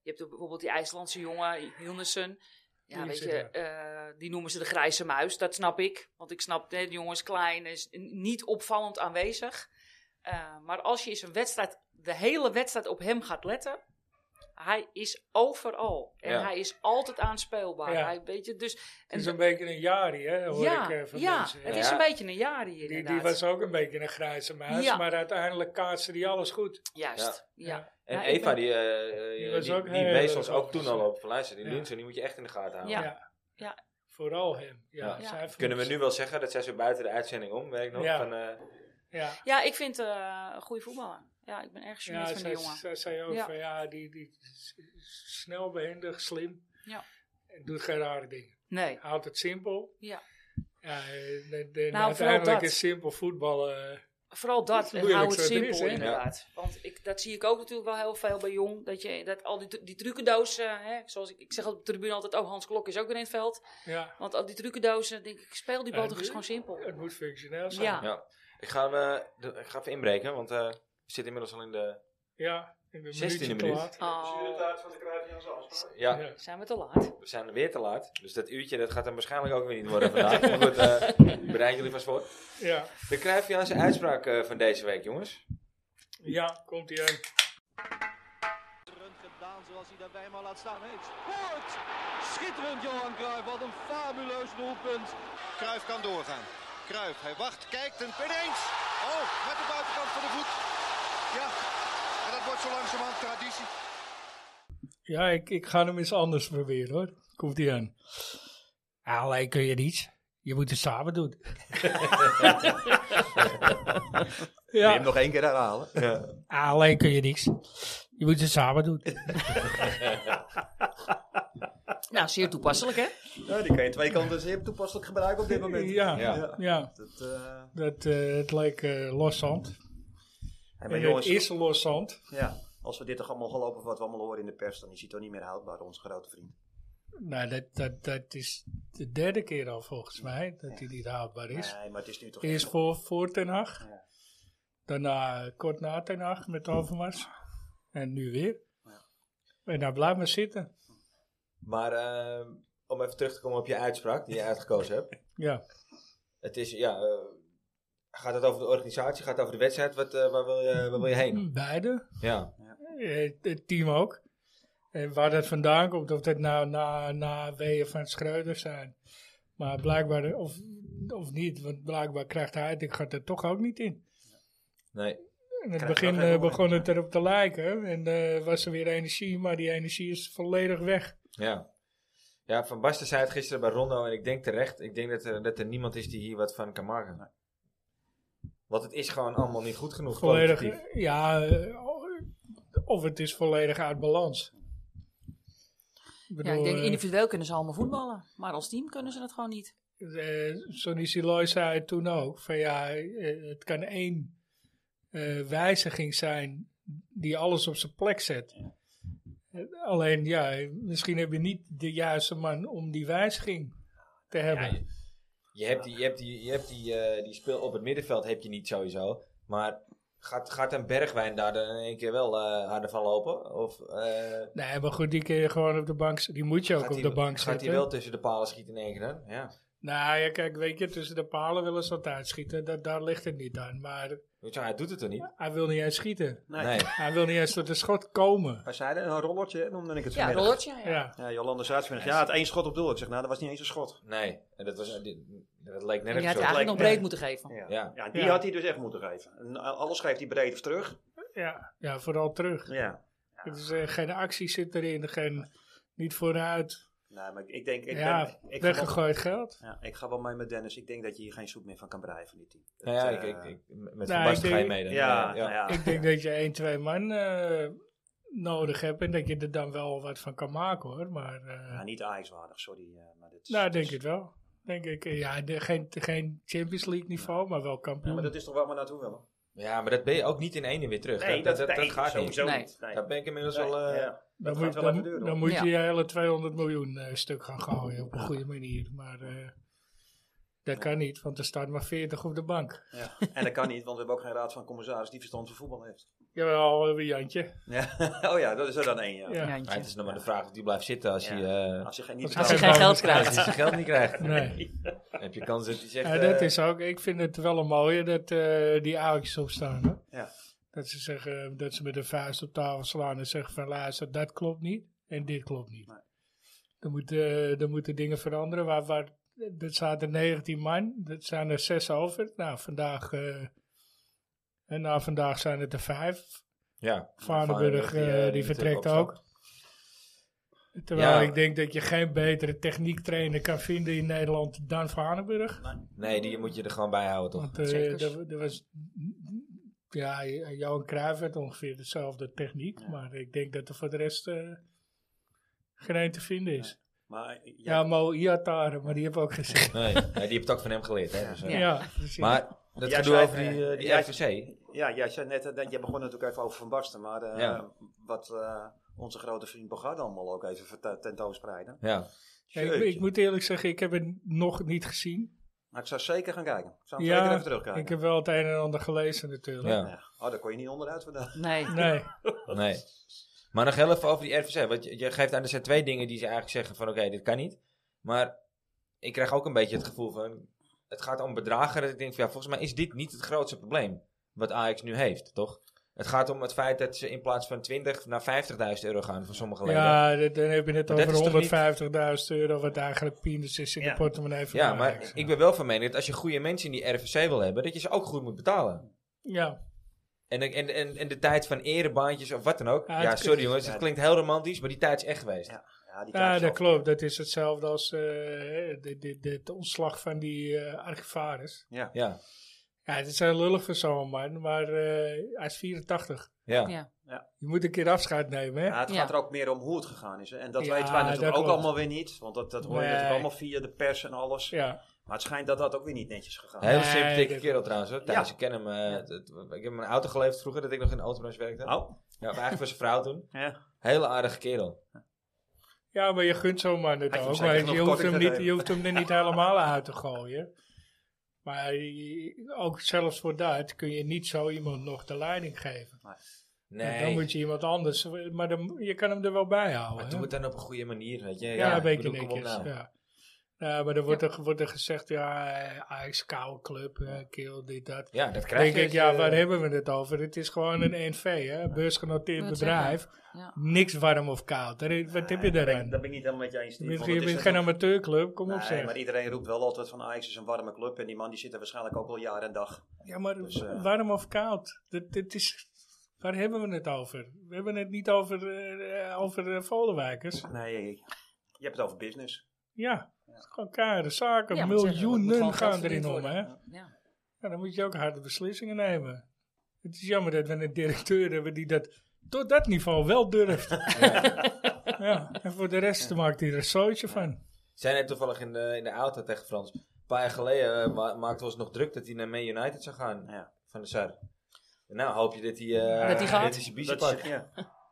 S5: je hebt bijvoorbeeld die IJslandse jongen, Hilnesen. Ja,
S2: Die
S5: weet
S2: zit
S5: je, eh, die noemen ze de grijze muis. Dat snap ik. Want ik snap, hè, de jongen is klein, is n- niet opvallend aanwezig. Eh, maar als je eens een wedstrijd, de hele wedstrijd op hem gaat letten. Hij is overal. En
S1: Ja.
S5: hij is altijd aanspeelbaar.
S2: Ja.
S5: Hij, weet je, dus,
S2: Het is
S5: en-
S2: een beetje een jari, hè, hoor
S5: ja,
S2: ik eh, van
S5: ja
S2: mensen.
S5: het
S1: Ja.
S5: is een beetje een jaar hier
S2: Die,
S5: inderdaad.
S2: die was ook een beetje een grijze muis,
S5: Ja.
S2: maar uiteindelijk kaatste die alles goed.
S5: Juist, ja.
S1: En
S5: Ja, ik
S1: Eva,
S5: ben-
S1: die, eh, eh,
S2: Die
S1: die,
S2: was
S1: die,
S2: ook heel
S1: wees
S2: erg
S1: ons ook
S2: goed
S1: toen
S2: gezien.
S1: al op. Van, luister, die
S2: Ja.
S1: Linsen, die moet je echt in de gaten houden.
S5: Ja. Ja.
S2: ja. Vooral hem. Ja,
S1: Ja.
S2: zij
S5: Ja.
S2: vond-
S1: Kunnen we nu wel zeggen, dat zijn ze buiten de uitzending om, weet ik nog.
S2: Ja.
S1: Van, eh,
S2: Ja,
S5: Ja, ik vind eh, een goede voetballer. Ja, ik ben erg
S2: ja
S5: gêneerd van die
S2: zij,
S5: jongen.
S2: zij zei ook
S5: Ja.
S2: van ja, die, die is snel behendig, slim.
S5: Ja.
S2: En doet geen rare dingen.
S5: Nee.
S2: Houdt het simpel.
S5: Ja.
S2: Ja, eh, de- de-
S5: Nou, vooral
S2: uiteindelijk
S5: dat.
S2: is simpel voetballen. eh,
S5: Vooral
S2: is
S5: dat, en
S2: moeilijk
S5: hou het
S2: zo, er
S5: simpel
S2: is, hè?
S5: inderdaad. Want ik, dat zie ik ook natuurlijk wel heel veel bij Jong. Dat, je, dat al die, tru- die trucendozen, hè, zoals ik, ik zeg op de tribune altijd, oh Hans Klok is ook weer in het veld.
S2: ja,
S5: Want al die trucendozen, denk ik, speel die bal
S2: Ja,
S5: toch
S2: die-
S5: eens gewoon simpel.
S2: het moet functioneel zijn.
S5: Ja.
S1: ja. Ik, ga, eh, de- ik ga even inbreken, want eh, we zitten inmiddels al in de
S2: Ja, Ik ben een
S1: 16e
S2: minuutje te
S1: minuut.
S2: laat.
S5: Oh,
S4: van de kruif Jans
S1: Ja,
S2: Ja.
S5: zijn we te laat.
S1: we zijn weer te laat. Dus dat uurtje dat gaat hem waarschijnlijk ook weer niet worden vandaag. Maar goed, eh bereid jullie vast voor.
S2: Ja.
S1: De Cruijffiaanse uitspraak eh, van deze week, jongens.
S2: ja, komt hij aan.
S3: schitterend gedaan zoals hij daarbij maar laat staan. Hij scoort! Schitterend Johan Cruijff, wat een fabuleus doelpunt. Cruijff kan doorgaan. Cruijff, hij wacht, kijkt en ineens! Oh, met de buitenkant van de voet. Ja, en dat wordt zo langzamerhand traditie.
S2: Ja, ik, ik ga hem eens anders proberen hoor. Komt hij aan. Ah, Alleen kun je niets. Je moet het samen doen.
S6: je hem
S2: ja, Ah,
S6: nog één keer herhalen?
S2: alleen kun je niks. Je moet het samen doen.
S5: Nou, zeer toepasselijk, hè?
S6: Ja, die kan je twee kanten zeer toepasselijk gebruiken op dit moment.
S2: Ja,
S6: Ja.
S2: ja.
S6: Dat, eh,
S2: Dat, eh, het leek eh loszand.
S4: En
S2: En
S4: maar
S2: het
S4: jongens,
S2: eerste loszand,
S4: ja, als we dit toch allemaal gelopen wat we allemaal horen in de pers, dan is hij toch niet meer houdbaar, onze grote vriend.
S2: nou, dat, dat, dat is de derde keer al volgens mij dat hij niet houdbaar is.
S4: Nee, maar het is nu toch
S2: Eerst
S4: echt-
S2: voor, voor Ten Hag.
S4: Ja.
S2: Daarna eh, kort na Ten Hag met Overmars. En nu weer. En nou blijf maar zitten.
S1: Maar eh, om even terug te komen op je uitspraak die je uitgekozen hebt.
S2: Ja.
S1: Het is, ja, eh, gaat het over de organisatie, gaat het over de wedstrijd? Wat, eh, waar, wil je, waar wil je
S2: Hmm.
S1: heen?
S2: Beide.
S1: Ja,
S2: Eh, Het team ook. En waar dat vandaan komt, of dat nou na, na weeën van Schreuder zijn. Maar blijkbaar, of, of niet, want blijkbaar krijgt hij het, ik ga er toch ook niet in.
S1: nee.
S2: In het
S4: Krijgt
S2: begin
S4: wel geen
S2: eh, begon
S4: horen.
S2: het erop te lijken en eh, was er weer energie, maar die energie is volledig weg.
S1: Ja. Ja, Van Basten zei het gisteren bij Rondo en ik denk terecht. Ik denk dat er, dat er niemand is die hier wat van kan maken. Want het is gewoon allemaal niet goed genoeg.
S2: Volledig,
S1: kwalitatief.
S2: eh, ja, eh, of het is volledig uit balans. Ik
S5: Ja, ik
S2: bedoel,
S5: denk
S2: eh,
S5: individueel kunnen ze allemaal voetballen. Maar als team kunnen ze het gewoon niet.
S2: eh Sonny Siloy zei het toen ook, van ja, eh, het kan één eh, wijziging zijn die alles op zijn plek zet. Eh, Alleen ja, misschien heb je niet de juiste man om die wijziging te hebben.
S1: Ja, je, je hebt, die, je hebt, die, je hebt die, eh, die speel op het middenveld heb je niet sowieso. Maar gaat, gaat een Bergwijn daar dan in één keer wel eh, harder van lopen? Of eh,
S2: Nee, maar goed, die kun je gewoon op de bank z- Die moet je ook
S1: gaat
S2: op
S1: hij-
S2: de bank
S1: Gaat
S2: zetten.
S1: hij wel tussen de palen schieten in één keer dan? Ja.
S2: Nou ja, kijk, weet je, tussen de palen willen ze altijd schieten. Dat, daar ligt het niet aan. Maar
S1: Weet je, Hij doet het toch niet?
S2: hij wil niet eens schieten.
S4: Nee.
S1: nee.
S2: Hij wil niet eens tot de schot komen.
S4: Wij zeiden een rollertje, noemde ik het
S5: Ja,
S4: vanmiddag.
S5: rollertje. Ja.
S2: Ja,
S4: Ja, Jolanda Zuidsvinding. Ja, het één schot op doel. Ik zeg, nou, dat was niet eens een schot.
S1: Nee, en dat, was, die- dat leek
S5: Je had
S1: nergens
S5: het
S1: op.
S5: eigenlijk nog
S4: lijkt-
S5: breed moeten geven.
S4: Ja,
S1: Ja.
S4: ja. die
S2: Ja.
S4: had hij dus echt moeten geven. En alles geeft hij breed of terug.
S2: ja, ja vooral terug.
S4: Ja.
S2: Het is, eh, geen actie zit erin, geen, niet vooruit.
S4: Nee, maar ik- ik denk... Ik
S2: ja,
S4: ben, ik ga wel,
S2: weggegooid geld.
S4: ja, ik ga wel mee met Dennis. Ik denk dat je hier geen soep meer van kan breien van dit team.
S1: Nou ja,
S4: Dat,
S1: ik, ik,
S4: eh,
S1: ik- met
S2: nou,
S1: Van Basten
S2: ik
S1: ga je
S2: denk-
S1: mee dan.
S4: ja,
S1: eh, ja.
S4: nou ja.
S2: Ik denk dat je één, twee man eh, nodig hebt en dat je er dan wel wat van kan maken hoor. Maar eh,
S4: Ja, niet Ajax-waardig, sorry. eh, maar dit is-
S2: nou,
S4: dit
S2: denk
S4: is-
S2: ik wel. Denk ik, eh, ja, de- geen, geen Champions League niveau, maar wel
S4: Ja,
S2: kampioen.
S4: maar dat is toch waar we naartoe willen?
S1: Ja, maar dat ben je ook niet in één weer terug. gaat niet.
S5: Nee.
S4: Nee.
S1: Daar ben ik inmiddels
S4: Nee,
S1: al... eh,
S4: ja.
S2: Dan
S4: Dat
S2: moet,
S4: gaat wel even
S2: dan,
S4: duren.
S2: dan moet
S5: Ja.
S2: je je hele 200 miljoen eh, stuk gaan gooien op een goede manier. Maar eh, dat kan niet, want er staat maar 40 op de bank.
S4: Ja. En dat kan niet, want we hebben ook geen raad van commissaris die verstand van voetbal heeft.
S2: Jawel, we hebben Jantje.
S4: Ja. Oh ja, dat is er dan één, ja.
S2: Ja.
S1: maar het
S5: Jantje.
S1: is nog maar de vraag of die blijft zitten als
S4: Ja.
S1: hij eh,
S4: Als je geen niet
S2: Als
S5: Als
S2: je
S5: je
S4: betaalt-
S5: geen geld
S2: bonus
S1: als hij
S5: krijgt.
S1: zijn geld niet krijgt.
S2: Nee.
S1: Dan heb je kans dat hij zegt...
S2: Ja, dat
S1: eh,
S2: is ook. Ik vind het wel een mooie dat eh, die oudjes opstaan. Hè?
S4: Ja.
S2: Dat ze zeggen dat ze met een vuist op tafel slaan en zeggen van luister, dat klopt niet en dit klopt niet.
S4: Nee.
S2: Dan, moet, eh, dan moeten dingen veranderen. Waar, waar, dat zaten 19 man, dat zijn er 6 over. Nou, vandaag, eh, en na vandaag zijn het er 5.
S1: ja,
S2: Vaneburg
S1: eh,
S2: die,
S1: natuurlijk
S2: vertrekt
S1: opstapt.
S2: ook. Terwijl
S1: Ja.
S2: ik denk dat je geen betere techniektrainer kan vinden in Nederland dan Vaneburg.
S1: Nee, die moet je er gewoon bij houden, toch?
S2: Want eh
S5: Zeker.
S2: er, er was, ja, Johan Cruijff had ongeveer dezelfde techniek, maar ik denk dat er voor de rest eh, geen een te vinden is.
S4: Maar eh,
S2: Ja,
S4: jij-
S2: Mo Iatare, maar die heb ook gezegd.
S1: Nee, nee, die heeft het ook van hem geleerd. Hè, dus, eh.
S2: ja,
S5: Ja.
S2: precies.
S1: Maar dat
S4: Jij
S1: gedoe
S4: zei-
S1: over die, eh, die
S4: jij-
S1: RVC.
S4: ja, jij zei net, eh, dat, jij begon natuurlijk even over Van Basten, maar eh,
S1: Ja.
S4: wat eh, onze grote vriend Bogard allemaal ook even verte- tentoonspreiden.
S1: Ja.
S2: Ja, ik, ik
S4: Jeetje.
S2: moet eerlijk zeggen, ik heb het nog niet gezien.
S6: Maar ik zou zeker gaan kijken. Ik zou hem zeker
S2: Ja,
S6: even terugkijken.
S2: ik heb wel het een en ander gelezen natuurlijk.
S1: Ja.
S6: Ja. Oh, daar kon je niet onderuit vandaag.
S5: Nee.
S2: Nee,
S1: Nee. Maar nog heel even over die RVC. Want je, je geeft aan, er zijn twee dingen die ze eigenlijk zeggen van oké, dit kan niet. Maar ik krijg ook een beetje het gevoel van, het gaat om bedragen. Dat ik denk van ja, volgens mij is dit niet het grootste probleem wat Ajax nu heeft, toch? Het gaat om het feit dat ze in plaats van 20 naar 50.000 euro gaan voor sommige leden. Ja,
S2: ja, dat- dan heb je het
S1: Maar dat is toch
S2: over
S1: niet-
S2: 150.000 euro, wat eigenlijk peanuts is in
S4: Ja.
S2: de portemonnee van de
S1: maar
S2: Ajax.
S1: ik ben wel van mening dat als je goede mensen in die RVC wil hebben, dat je ze ook goed moet betalen.
S2: Ja,
S1: En, en, en, en de tijd van erebaantjes of wat dan ook.
S2: Ja, het
S1: Ja,
S2: is-
S1: sorry jongens,
S6: ja.
S1: het klinkt heel romantisch, maar die tijd is echt geweest.
S6: Ja. Ja, die
S2: ja
S6: tijd is
S2: dat
S6: af.
S2: klopt. Dat is hetzelfde als eh, de- de- de- het ontslag van die eh, archivaris.
S1: Ja,
S2: Ja, het is heel lullig voor zo'n man, maar eh, hij is 84.
S1: ja.
S5: Ja.
S2: Je moet een keer afscheid nemen, hè?
S6: Ja, het
S5: Ja.
S6: gaat er ook meer om hoe het gegaan is. hè. En dat
S2: Ja,
S6: weten wij natuurlijk
S2: dat
S6: ook
S2: klopt.
S6: allemaal weer niet. Want dat, dat hoor je natuurlijk
S2: Nee.
S6: allemaal via de pers en alles.
S2: Ja,
S6: Maar het schijnt dat dat ook weer niet netjes gegaan is.
S1: Heel
S2: Nee,
S1: sympathieke
S2: dat-
S1: kerel trouwens hoor. Thijs, ik ken hem. eh,
S6: Ja.
S1: dat- ik heb hem een auto geleefd vroeger, dat ik nog in de autobranche werkte.
S6: Oh,
S1: Ja, maar eigenlijk was zijn vrouw toen.
S6: ja.
S1: Hele aardige kerel.
S2: ja maar je gunt zo'n man het
S6: Hij heeft
S2: ook.
S6: hem
S2: maar
S6: zeker
S2: je,
S6: nog
S2: hoeft hem
S6: korting
S2: niet, je
S6: gegeven.
S2: hoeft hem er niet helemaal uit te gooien. Maar je- ook zelfs voor dat kun je niet zo iemand nog de leiding geven.
S1: Nee.
S2: Dan moet je iemand anders, maar dan, je kan hem er wel bij houden.
S1: maar
S2: hè?
S1: doe het dan op een goede manier, weet je.
S2: ja, een
S1: ik
S2: beetje
S1: bedoel, kom op
S2: netjes.
S1: nou.
S2: ja. Ja, maar dan wordt, er, wordt er gezegd, ja, eh, Ajax koude club, eh, kill, dit, dat.
S1: Ja, dat krijg
S2: denk
S1: je. eh?
S2: ik,
S1: als
S2: ja,
S1: je-
S2: waar hebben we het over? Het is gewoon een NV, hè? beursgenoteerd
S5: Dat
S2: bedrijf.
S5: Ja.
S2: Niks warm of koud. Daar- Wat heb je
S6: Nee, dat ben ik-
S2: daaraan?
S6: Ah, Dat ben ik niet helemaal met je eens.
S2: Je
S6: Steve,
S2: bent,
S6: want
S2: je
S6: het is
S2: bent geen
S6: natuurlijk-
S2: amateurclub, kom op
S6: Nee,
S2: zeg.
S6: maar iedereen roept wel altijd van Ajax is een warme club. En die man die zit er waarschijnlijk ook al jaar en dag.
S2: ja, maar
S6: dus, eh,
S2: warm of koud? Dat, dit is, waar hebben we het over? We hebben het niet over, eh, eh, over eh, Vollenwijkers.
S6: Nee, je hebt het over business.
S2: Ja, het is gewoon kare zaken.
S5: Ja, moet zeggen, moet
S2: Miljoenen
S5: gewoon geld
S2: gaan erin
S5: verdiend
S2: om, hè?
S5: worden.
S2: Ja,
S5: Ja.
S2: dan moet je ook harde beslissingen nemen. Het is jammer dat we een directeur hebben die dat tot dat niveau wel durft. ja. en voor de rest maakt hij er een zootje van.
S1: Zij net toevallig in de, in de auto tegen Frans. Een paar jaar geleden eh, ma- maakten we ons nog druk dat hij naar Man United zou gaan.
S6: Ja.
S1: Van de Sar. En nou hoop je dat hij... eh
S5: Dat hij gaat.
S1: is zijn biezen
S6: Dat is,
S1: pakt.
S6: ja.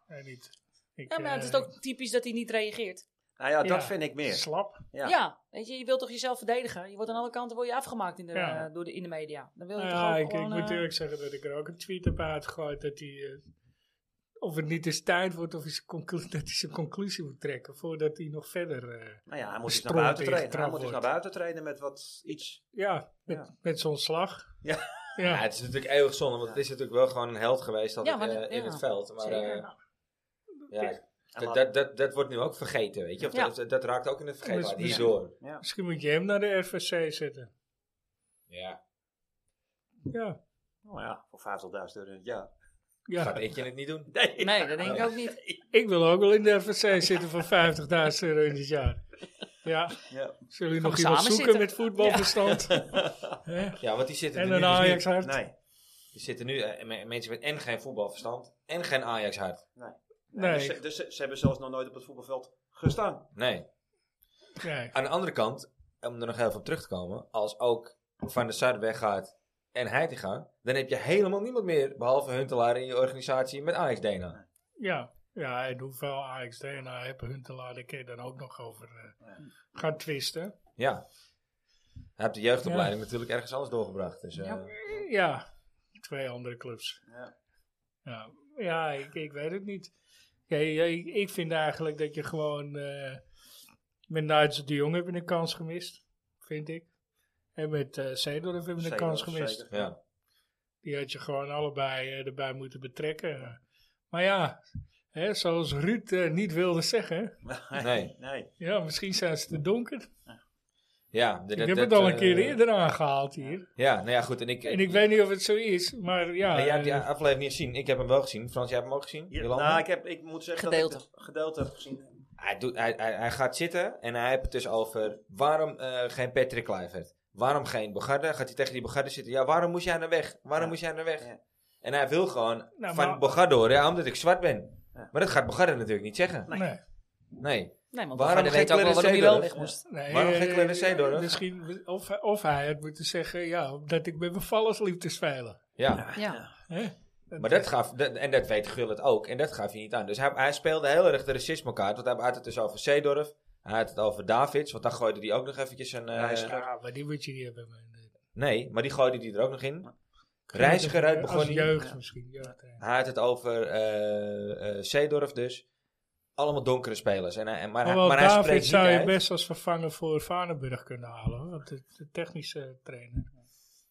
S2: Nee, niet. Ik,
S5: Ja, maar het is
S2: eh,
S5: ook typisch dat hij niet reageert.
S6: Nou ja, dat
S2: Ja.
S6: vind ik meer.
S2: Slap.
S5: Ja.
S6: Ja.
S5: weet je, je wilt toch jezelf verdedigen? Je wordt aan alle kanten word je afgemaakt in de,
S2: Ja.
S5: eh, door de, in de media. Dan wil je
S2: Nou
S5: toch
S2: Ja,
S5: ook
S2: ik, ik
S5: gewoon...
S2: moet
S5: eh,
S2: eerlijk zeggen dat ik er ook een tweet heb uitgegooid dat hij. eh, of het niet eens tijd wordt of hij zijn conclu- dat hij zijn conclusie moet trekken voordat hij nog verder. eh,
S6: Nou ja, hij moet eens naar
S2: Stront
S6: buiten
S2: tegen
S6: treden. Hij moet eens
S2: wordt.
S6: naar buiten treden met wat iets.
S2: ja, met,
S6: Ja.
S2: met zo'n slag.
S6: Ja.
S1: Ja,
S2: ja.
S1: het is natuurlijk eeuwig zonde, want het is natuurlijk wel gewoon een held geweest
S5: Ja,
S1: altijd,
S5: maar
S1: eh,
S5: dat-
S1: in
S5: ja.
S1: het veld. Maar,
S5: Zeker.
S1: eh, ja,
S6: En
S1: Dat, dat,
S6: laat-
S1: dat, dat wordt nu ook vergeten, weet je. Of
S5: Ja.
S1: dat, dat raakt ook in het vergeten.
S2: Dus-
S1: Die is
S2: ja.
S1: door.
S2: Misschien moet je hem naar de RVC zetten.
S1: Ja.
S2: Ja,
S6: Nou ja, voor 50.000 euro in het jaar.
S1: Gaat
S2: ja.
S1: Etje het niet doen?
S6: Nee.
S5: Nee, dat denk ik ook niet.
S2: ik wil ook wel in de RVC zitten voor 50.000 euro in het jaar. Ja,
S6: Ja.
S2: zullen jullie
S5: Gaan
S2: nog iemand
S5: we samen
S2: zoeken
S5: zitten?
S2: met voetbalverstand? Hè?
S1: Ja, want die zitten er
S2: En
S1: nu dus
S2: een Ajax
S1: niet.
S2: hart.
S6: Nee.
S1: Die zitten nu eh, me- mensen met en geen voetbalverstand en geen Ajax hart.
S2: Nee.
S6: Dus, ze- dus ze, ze hebben zelfs nog nooit op het voetbalveld gestaan.
S1: Nee.
S2: Nee.
S1: Aan de andere kant, om er nog even op terug te komen, als ook Van der Sar weggaat en Heitinga, dan heb je helemaal niemand meer, behalve Huntelaar in je organisatie met Ajax DNA.
S2: Ja, ja en hoeveel Ajax DNA hebben hun te laten kun je dan ook nog over eh, gaan twisten.
S1: Ja. Hij heeft de jeugdopleiding natuurlijk ergens anders doorgebracht. Dus, eh,
S2: Ja, twee andere clubs.
S6: Ja.
S2: Ja, ja ik, ik weet het niet. Ja, ja, ik, ik vind eigenlijk dat je gewoon eh, met Nigel de Jong hebben een kans gemist, vind ik. En met eh Seedorf hebben we een
S6: Zeker,
S2: kans gemist.
S6: zeker.
S1: ja.
S2: Die had je gewoon allebei eh, erbij moeten betrekken. Maar ja, hè, zoals Ruud eh, niet wilde zeggen,
S1: Nee.
S6: Nee.
S2: ja, misschien zijn ze te donker.
S1: Ja, d- dat-
S2: Ik heb
S1: dat,
S2: het al een
S1: eh,
S2: keer eerder aangehaald hier.
S1: Ja, nou ja, goed. En ik,
S2: En ik weet niet of het zo is, maar ja.
S1: Ja, jij hebt die
S2: eh,
S1: aflevering niet gezien. Ik heb hem wel gezien. Frans, jij hebt hem ook gezien?
S6: Ja,
S1: Jolanda?
S6: nou, ik, heb, ik moet zeggen dat
S5: Gedeelte.
S6: ik het gedeelte heb gezien.
S1: hij, doet, hij, hij, hij gaat zitten en hij heeft het dus over waarom eh, geen Patrick Kluivert? Waarom geen Bogarde? Gaat hij tegen die Bogarde zitten? Ja, waarom moest jij naar weg? Waarom
S6: Ja.
S1: moest jij naar weg?
S6: Ja.
S1: En hij wil gewoon
S2: Nou,
S1: van
S2: maar-
S1: Bogarde horen, ja, omdat ik zwart ben.
S6: Ja. Nou.
S1: Maar dat gaat Bogarde natuurlijk niet zeggen.
S2: eh, nee.
S1: Nee.
S5: Nee, want
S1: Waarom
S5: Waarom
S1: geen
S5: weet ook wel
S1: Clarence
S5: waarom hij wel
S1: Seedorf?
S5: weg moest.
S2: nee,
S1: Waarom
S2: eh,
S1: geen kleine Seedorf?
S2: Misschien, of, hij- of hij had moeten zeggen, ja, omdat ik met mijn vallers liep te spelen.
S1: Ja.
S5: Ja.
S2: Hè?
S1: Maar dat gaf, dat- en dat weet Gullit ook, en dat gaf hij niet aan. Dus hij, hij speelde heel erg de racisme kaart, want hij had het dus over Zeedorf, Hij had het over Davids, want daar gooide hij ook nog eventjes een... eh,
S4: hij is scherp.
S2: Ja, maar die moet je niet hebben. man.
S1: nee, maar die gooide hij er ook nog in. Reiziger uit begon
S2: Als
S1: hij.
S2: jeugd misschien. jeugd, eh.
S1: Hij had het over eh eh, Seedorf dus. Allemaal donkere spelers. En, hij- en, maar hij-
S2: Alhoewel,
S1: maar hij spreekt
S2: David
S1: niet
S2: zou je
S1: uit.
S2: best als vervanger voor Vaneburg kunnen halen. hoor, Want de, de technische trainer.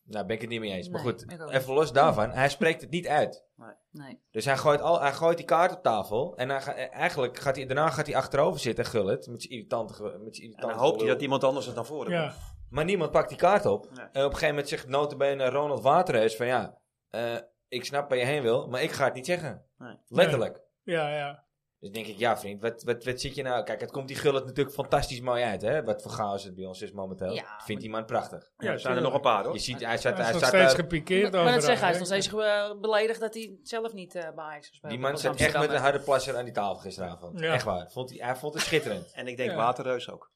S1: Nou, ben ik het niet mee eens. Maar
S5: Nee,
S1: goed,
S5: ik ook
S1: even los daarvan. Hij spreekt het niet uit.
S5: Nee.
S1: Dus hij gooit, al, hij gooit die kaart op tafel. En hij ga- eh, eigenlijk gaat hij, daarna gaat hij achterover zitten en gullet. Met zijn irritante... ge- Met zijn
S6: En
S1: irritante
S6: dan hoopt hij
S1: gelul.
S6: dat iemand anders het dan voor hem
S2: Ja,
S1: Maar niemand pakt die kaart op.
S6: Nee.
S1: En op een gegeven moment zegt notabene Ronald Waterhuis van ja... eh, ik snap waar je heen wil, maar ik ga het niet zeggen.
S6: Nee.
S1: Letterlijk.
S2: ja, ja.
S1: Dus denk ik, ja vriend, wat, wat, wat zit je nou... Kijk, het komt die gullet natuurlijk fantastisch mooi uit, hè? Wat voor chaos het bij ons is momenteel.
S5: Ja.
S1: Vindt die man prachtig.
S6: Ja, er zijn er
S2: tuurlijk.
S6: nog een paar hoor.
S1: Je ziet, hij staat...
S2: Hij
S1: Hij
S2: is nog
S1: staat
S2: steeds
S1: daar-
S2: gepikeerd
S5: Maar dat
S2: overal,
S5: zeggen, hij is
S2: hè.
S5: nog steeds eh, beledigd dat hij zelf niet eh bij Ajax gespeeld
S1: die
S5: heeft
S1: man
S5: als
S1: zat echt met een
S5: Amsterdammer.
S1: harde plasser aan die tafel gisteravond.
S2: Ja.
S1: Echt waar. Vond hij, hij vond het schitterend.
S6: En ik denk
S2: Ja.
S6: Waterreus ook.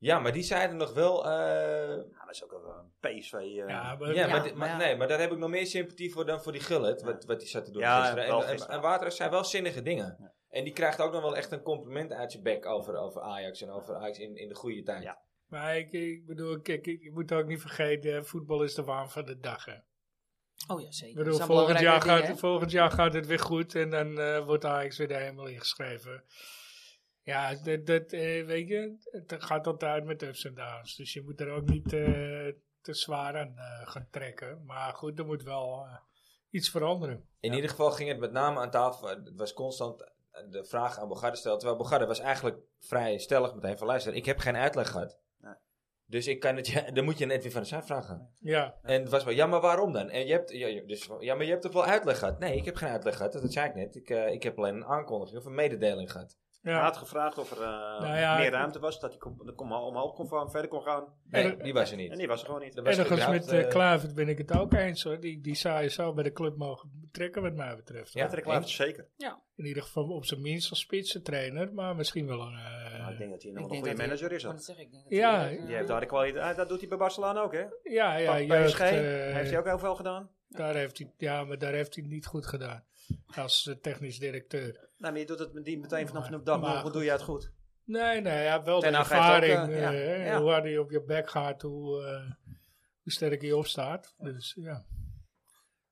S1: ja, maar die zeiden nog wel... eh,
S6: Ja, Nou, dat is ook wel een PSV. eh,
S2: Ja,
S6: ja,
S2: maar,
S1: ja, maar,
S5: Ja,
S1: dit- maar,
S5: maar ja.
S1: nee, maar daar heb ik nog meer sympathie voor dan voor die gullet. Wat, wat die zat te doen
S6: Ja,
S1: gisteren. En,
S6: wel
S1: en,
S6: gisteren.
S1: en Waterhuis zei wel zinnige dingen. En die krijgt ook nog wel echt een compliment uit zijn bek over, over Ajax en over Ajax in, in de goede tijd.
S6: Ja.
S2: maar ik, ik bedoel, kijk, ik- je moet ook niet vergeten, eh, voetbal is de waan van de dag. Hè.
S5: Oh ja,
S2: Ik
S5: zeker.
S2: bedoel, volgend jaar, gaat, volgend jaar gaat het weer goed en dan eh, wordt Ajax weer helemaal ingeschreven. Ja, dat, dat, eh, weet je, het gaat altijd met ups en downs. Dus je moet er ook niet eh, te zwaar aan eh, gaan trekken. Maar goed, er moet wel eh, iets veranderen.
S1: In ieder geval ging het met name aan tafel. Het was constant de vraag aan Bogarde stelde. Terwijl Bogarde was eigenlijk vrij stellig meteen van luister, ik heb geen uitleg gehad.
S6: Nee.
S1: Dus ik kan het, ja, dan moet je net weer van de zaak vragen.
S2: Ja,
S1: En het was wel, ja, maar waarom dan? En je hebt, ja, je- dus, ja, maar je hebt toch wel uitleg gehad? Nee, ik heb geen uitleg gehad, dat, dat zei ik net. Ik, eh, ik heb alleen een aankondiging of een mededeling gehad.
S6: Hij
S2: ja.
S6: had gevraagd of er eh,
S2: Nou ja,
S6: meer
S2: ik-
S6: ruimte was. Dat hij kom, dat kom, omhoog kon gaan, verder kon gaan.
S1: Nee,
S2: En-
S1: die was er niet.
S6: En die was er gewoon niet.
S1: Er was
S2: Ergens
S1: überhaupt,
S2: met eh
S1: eh,
S2: Klavert ben ik het ook eens hoor. Die, die zou je zo bij de club mogen betrekken wat mij betreft. hoor.
S1: Ja.
S6: Patrick Kluivert, zeker.
S2: In ieder geval op zijn minst als spitsentrainer, maar misschien wel een... eh,
S6: Maar ik denk dat hij nog een goede manager is. hoor.
S5: Dat zeg ik. ik denk dat
S2: Ja,
S5: hij, eh,
S6: Die heeft daar de kwaliteit. ah, Dat doet hij bij Barcelona ook, hè?
S2: ja, ja,
S6: Bij
S2: jeugd,
S6: PSG
S2: eh,
S6: heeft hij ook heel veel gedaan.
S2: Daar heeft hij, ja, maar daar heeft hij het niet goed gedaan. Als eh, technisch directeur.
S6: Nou, maar je doet het met die meteen vanaf de dag
S2: Maar-
S6: nul. Hoe doe je het goed?
S2: Nee, nee, hij had wel
S6: Ten
S2: de
S6: Hag heeft ook,
S2: ervaring.
S6: eh, ja,
S2: eh,
S6: ja.
S2: Hoe harder je op je bek gaat, hoe, eh, hoe sterker je opstaat. Dus ja.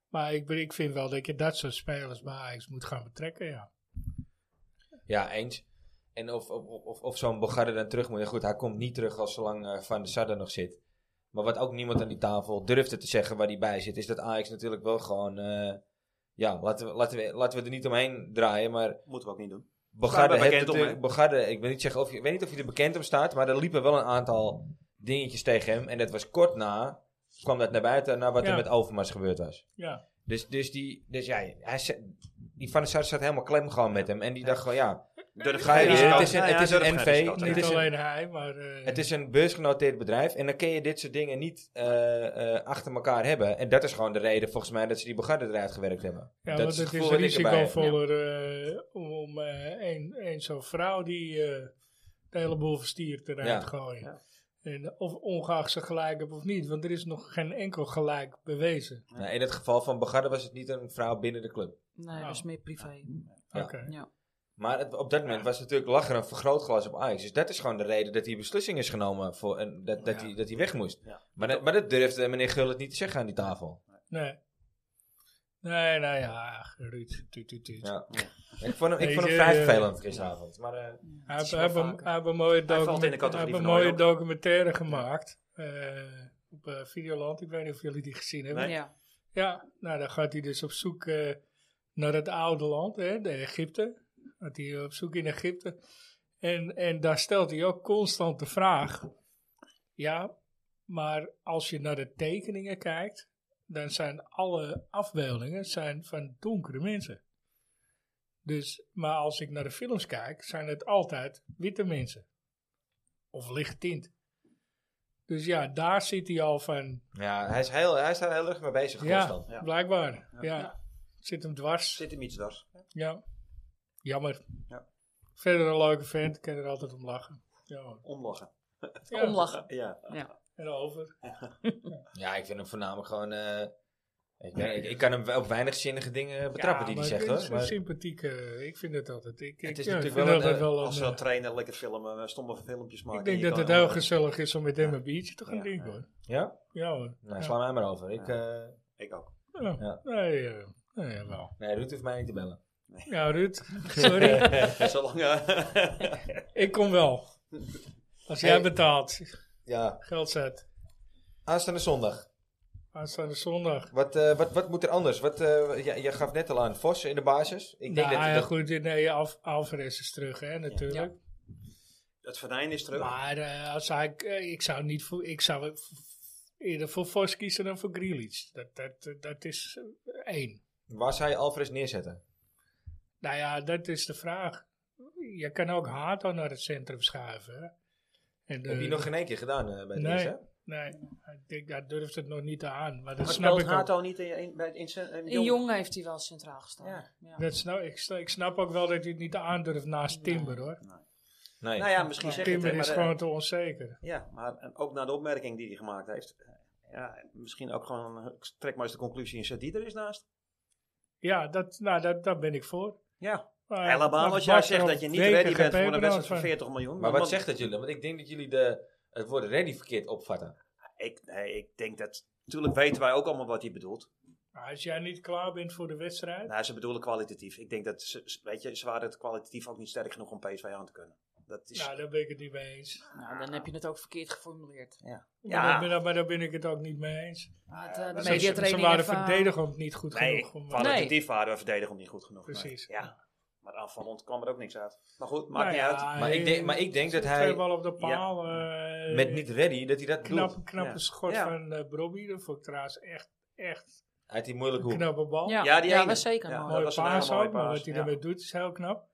S2: Maar ik, ben- ik vind wel dat je dat soort spelers bij Ajax moet gaan betrekken, ja.
S1: Ja, eens. En of, of, of, of zo'n Bogarde dan terug moet. Ja, Goed, hij komt niet terug als zolang eh, Van der Sar er nog zit. Maar wat ook niemand aan die tafel durfde te zeggen waar hij bij zit, is dat Ajax natuurlijk wel gewoon... eh, ja, laten we, laten, we, laten we er niet omheen draaien, maar
S6: Moeten we ook niet doen. Staan
S1: Bogarde,
S6: we
S1: heeft
S6: bekend om,
S1: natuurlijk-
S6: hè?
S1: Bogarde ik, wil niet zeggen of, je- ik weet niet of je er bekend om staat, maar er liepen wel een aantal dingetjes tegen hem. En dat was kort na, kwam dat naar buiten, naar wat
S2: Ja.
S1: er met Overmars gebeurd was.
S2: Ja,
S1: Dus, dus, die, dus ja, hij, ze- die Van der Sar zat helemaal klem gewoon met hem. En die dacht gewoon, ja,
S6: Durf
S1: Ga je weer?
S6: geen risico. Nou
S1: Het is een-
S6: Ja, ja,
S1: het is
S6: durf
S1: een
S6: geen
S1: NV.
S6: risico te
S1: Het
S2: niet
S6: nemen.
S1: is een-
S2: alleen hij, maar... eh,
S1: het is een beursgenoteerd bedrijf. En dan kun je dit soort dingen niet eh, eh, achter elkaar hebben. En dat is gewoon de reden volgens mij dat ze die Bogarde eruit gewerkt hebben.
S2: Ja,
S1: dat
S2: want het is
S1: gevoel dat ik erbij heb.
S2: risicovoller eh, om, om eh, een, een zo'n vrouw die eh, de hele boel verstiert eruit
S1: Ja.
S2: te gooien.
S6: Ja.
S2: En of ongeacht ze gelijk hebben of niet, want er is nog geen enkel gelijk bewezen.
S1: Nou, in het geval van Bogarde was het niet een vrouw binnen de club.
S5: eh,
S2: nou.
S5: Nee, dat is meer privé.
S1: Ja.
S2: Oké.
S5: Ja.
S1: Maar het- op dat moment was natuurlijk lachen een vergrootglas op Ajax. Dus dat is gewoon de reden dat die beslissing is genomen voor, en dat, dat,
S2: Ja.
S1: hij, dat hij weg moest.
S6: Ja.
S1: Maar, dat, maar dat durfde meneer Gullit niet te zeggen aan die tafel.
S2: Nee. Nee, nou ja, Ruud. Tuut, tuut, tuut.
S1: Ja. Ik vond hem, ik
S2: Nee,
S1: vond hem
S2: eh,
S1: vrij
S2: eh,
S1: vervelend gisteravond. Maar, eh,
S2: Hij
S5: Dat
S2: heeft-
S5: is wel
S2: hij heeft een-
S5: vaker.
S2: hij heeft een mooie,
S6: Hij valt in de
S2: document- hij
S6: categorie
S2: heeft een
S6: van
S2: mooie
S6: Arjan.
S2: documentaire gemaakt eh, op eh, Videoland. Ik weet niet of jullie die gezien hebben.
S6: Nee.
S5: Ja.
S2: Ja, nou dan gaat hij dus op zoek eh, naar het oude land, hè, de Egypte. Gaat hij op zoek in Egypte. En, en daar stelt hij ook constant de vraag. Ja, maar als je naar de tekeningen kijkt, dan zijn alle afbeeldingen zijn van donkere mensen. Dus, maar als ik naar de films kijk, zijn het altijd witte mensen. Of licht tint. Dus ja, daar zit hij al van,
S1: ja, hij, is heel, hij is daar heel erg mee bezig.
S2: ja,
S1: constant.
S6: Ja.
S2: blijkbaar. Ja.
S6: Ja.
S2: Zit hem dwars.
S6: Zit hem iets daar.
S2: Ja. Jammer.
S6: Ja.
S2: Verder een leuke vent, kan er altijd om lachen. Ja. hoor.
S6: Omlachen.
S2: Ja,
S5: Omlachen.
S6: Ja.
S2: En over.
S1: Ja, ik vind hem voornamelijk gewoon. eh, Ik, ben- ik, ik kan hem wel op weinig zinnige dingen betrappen die hij zegt. Hoor.
S2: Het is
S1: Maar,
S2: sympathiek. eh, ik vind het altijd. Ik, ik,
S1: Het is
S2: ja,
S1: natuurlijk
S2: ik vind
S1: wel
S2: altijd
S1: een,
S2: wel
S6: Als
S2: een,
S6: we
S2: eh,
S6: trainen, lekker filmen, eh, stomme filmpjes maken.
S2: ik denk
S6: Je
S2: dat het
S6: kan- eh,
S2: heel gezellig is om met hem een biertje te gaan
S6: Ja,
S2: drinken hoor.
S1: ja?
S2: Ja hoor.
S1: Nou,
S2: Ja.
S1: sla mij maar over. Ik, eh,
S6: Ik ook.
S2: Ja.
S1: Ja.
S2: Nee, eh, nee, wel.
S1: nee, Ruud hoeft mij niet te bellen.
S2: Ja, Ruud, sorry.
S6: Zolang... eh,
S2: ik kom wel. Als jij
S1: Hey.
S2: betaalt,
S1: Ja,
S2: geld zet.
S1: aanstaande zondag.
S2: Aanstaande zondag.
S1: Wat, eh, wat, wat moet er anders? Wat, eh, jij, jij gaf net al aan Vos in de basis. Ik denk
S2: nou,
S1: dat,
S2: ja,
S1: dat-
S2: goed, nee, Alf- Alvarez is terug, hè, natuurlijk.
S6: Het venijn is terug.
S2: Maar eh, als hij, eh, ik zou niet voor, ik zou eerder voor Vos kiezen dan voor Grealish. Dat, dat, dat is eh, één.
S1: waar zou je Alvarez neerzetten?
S2: Nou ja, dat is de vraag. Je kan ook Hato naar het centrum schuiven. hè. En,
S1: Heb je
S2: eh,
S1: nog geen één keer gedaan eh, bij de
S2: Nee.
S1: eerste? hè?
S2: Nee, ik denk, hij durft het nog niet aan. Maar dat
S6: Maar
S2: snap
S6: speelt
S2: ik ook.
S6: Hato niet in, in, bij het in, in,
S5: In Jong heeft hij wel centraal gestaan.
S6: Ja.
S5: Ja.
S2: Dat snap, ik, snap- ik snap ook wel dat hij het niet aandurft naast Timber hoor.
S1: Nee.
S6: Nou ja, misschien zeg je het,
S2: Timber
S6: hè,
S2: is
S6: maar, eh,
S2: gewoon te onzeker.
S6: Ja, maar eh, ook naar de opmerking die hij gemaakt heeft. eh, Ja, misschien ook gewoon, eh, ik trek maar eens de conclusie en zet die er eens naast.
S2: Ja, dat, nou, dat, daar ben ik voor.
S6: Ja,
S2: Maar-
S6: helemaal
S2: maar
S6: Eh, als jij
S2: Bas
S6: zegt
S2: er
S6: dat
S2: al
S6: je niet
S2: weken
S6: ready
S2: geen
S6: bent voor een
S2: pepernoot
S6: wedstrijd van
S2: van.
S6: 40 miljoen.
S1: Maar wat
S6: want-
S1: zegt dat jullie? Want ik denk dat jullie de, het woord ready verkeerd opvatten.
S6: Ik, nee, ik denk dat, natuurlijk weten wij ook allemaal wat hij bedoelt.
S2: Maar Als jij niet klaar bent voor de wedstrijd.
S6: Nou, ze bedoelen kwalitatief. Ik denk dat, ze, ze- weet je, ze waren het kwalitatief ook niet sterk genoeg om PSV aan te kunnen. Dat is,
S2: Nou, daar ben ik het niet mee eens.
S5: Nou, dan heb je het ook verkeerd geformuleerd.
S6: Ja.
S2: Maar, daar ben, maar daar ben ik het ook niet mee eens.
S5: Met, eh,
S6: dat
S5: de
S6: is-
S2: Ze, ze- ze
S5: mediatraining eh,
S2: waren
S5: ervan-
S2: verdedigend niet goed
S6: nee,
S2: genoeg. om- eh,
S6: kwalitatief waren we verdedigend niet goed genoeg. nee.
S2: Precies.
S6: ja, maar aanvallend kwam er ook niks uit. Maar goed, maakt
S2: Nou
S6: niet uit.
S2: ja,
S1: Maar ik denk- maar ik denk dat hij-
S2: Twee bal op de paal. eh,
S1: Met niet ready, dat hij dat doet.
S2: Knap, knappe
S6: Ja.
S2: schot
S6: Ja.
S2: van eh Brobby. Dat vond ik trouwens echt, echt
S1: Uit die moeilijke
S2: een
S1: hoek.
S2: knappe bal.
S5: Ja,
S6: Ja, die
S5: ja
S6: ene.
S5: was zeker.
S6: Ja.
S5: mooi.
S2: Mooie
S6: dat was een hele
S2: paas
S6: mooie
S2: ook. Maar
S6: paas,
S2: wat hij
S6: ja.
S2: daarmee doet is heel knap.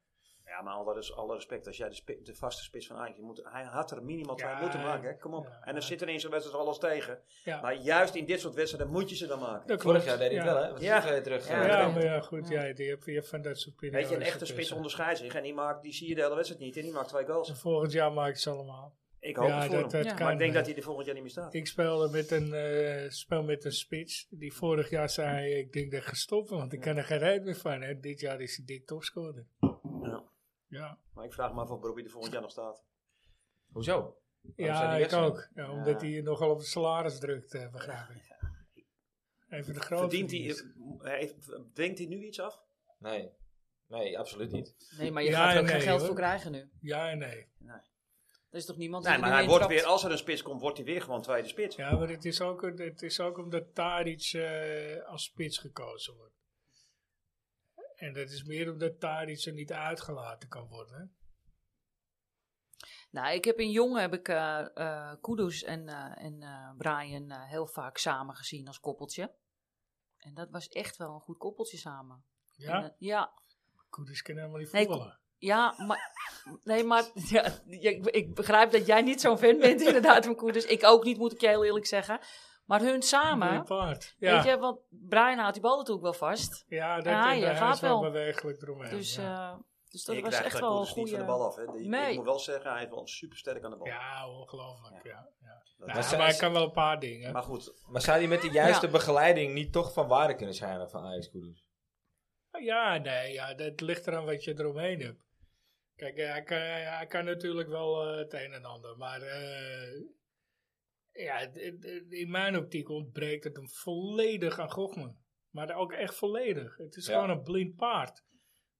S6: Ja, maar al dat is alle respect. Als jij de, spi- de vaste spits van Ajax je moet, hij had er minimaal twee
S2: Ja,
S6: moeten maken. hè. Kom op.
S2: ja.
S6: en dan zit er in zo'n wedstrijd alles tegen.
S2: Ja.
S6: Maar juist in dit soort wedstrijden moet je ze dan maken.
S2: Dat
S1: Vorig
S2: klopt,
S1: jaar deed hij het
S2: ja.
S1: wel, hè? Wat
S6: Ja.
S1: is er terug?
S6: Ja,
S1: eh,
S2: Ja,
S1: gedaan?
S2: maar ja, goed. Ja, die heb je hebt van dat soort periodes. dus,
S6: Weet je, een echte spits
S2: ertussen.
S6: onderscheidt zich. En die, maakt, die zie je de hele wedstrijd niet. En die maakt twee goals.
S2: Dus Volgend jaar maak ik ze allemaal.
S6: Ik hoop
S2: ja,
S6: het voor
S2: dat-
S6: hem.
S2: dat
S5: Ja.
S2: kan,
S6: Maar ik denk
S2: eh.
S6: dat hij er volgend jaar niet meer staat.
S2: Ik speelde met een, eh, spel met een spits. Die vorig jaar zei, ik denk dat ik ga stoppen, want ik kan er geen rijd meer van. En dit jaar is hij dik topscorer.
S6: Ja.
S2: Ja,
S6: Maar ik vraag me af of Bobby er volgend jaar nog staat.
S1: Hoezo? zou
S2: ja
S1: die
S2: ik
S1: weg zijn?
S2: ook. Ja, omdat hij nogal op de salaris drukt, eh, begrijp ik. Even de grote.
S6: Verdient hij,
S2: verdienst.
S6: eh, heeft- denkt hij nu iets af?
S1: Nee. Nee, absoluut niet.
S5: Nee, maar je
S2: Ja
S5: gaat er
S2: en
S5: ook geen
S2: nee,
S5: geld
S2: hoor.
S5: voor krijgen nu.
S2: Ja en nee.
S5: Er is toch niemand die
S6: Nee,
S5: er
S6: maar
S5: nu
S6: hij
S5: in
S6: wordt
S5: trapt?
S6: weer, als er een spits komt, wordt hij weer gewoon tweede spits.
S2: Ja, maar het is ook, het is ook omdat Taric eh, als spits gekozen wordt. En dat is meer omdat Taric er niet uitgelaten kan worden. hè.
S5: Nou, ik heb in Jong heb ik eh eh, Kudus en, eh, en eh, Brian eh, heel vaak samen gezien als koppeltje. En dat was echt wel een goed koppeltje samen. En,
S2: Ja,
S5: eh, ja,
S2: Koeders kan helemaal niet
S5: Nee,
S2: voetballen.
S5: ja, maar... Nee, maar ja, ja, ik, ik begrijp dat jij niet zo'n fan bent inderdaad van Kudus. Ik ook niet, moet ik je heel eerlijk zeggen. Maar hun
S2: Een
S5: samen,
S2: paard.
S5: weet
S2: Ja,
S5: je, want Brian houdt die bal natuurlijk wel vast.
S2: ja dat
S5: Ja,
S2: en
S5: je
S2: daar
S5: gaat
S2: is wel
S5: wel.
S2: bewegelijk eromheen.
S5: Dus,
S2: ja.
S5: eh, dus dat
S6: Ik
S5: was
S6: krijg
S5: echt
S6: daar
S5: wel een
S6: Koeders niet van de
S5: goede...
S6: bal af. Hè. Die-
S5: Nee.
S6: Ik moet wel zeggen, hij is wel supersterk aan de bal.
S5: eh,
S2: ja, ongelooflijk. Ja. Ja.
S6: Dat-
S2: Nou,
S1: Maar ze-
S2: maar hij kan wel een paar dingen.
S6: Maar goed,
S1: Maar zou die met de juiste begeleiding niet toch van waarde kunnen zijn van Ajax Kudus?
S2: Nou Ja, nee, ja, dat ligt eraan wat je eromheen hebt. Kijk, eh, hij kan, hij kan natuurlijk wel eh, het een en ander, maar eh, ja, het- het- het- in mijn optiek ontbreekt het hem volledig aan Gochman. Maar ook echt volledig. Het is
S1: Ja.
S2: gewoon een blind paard.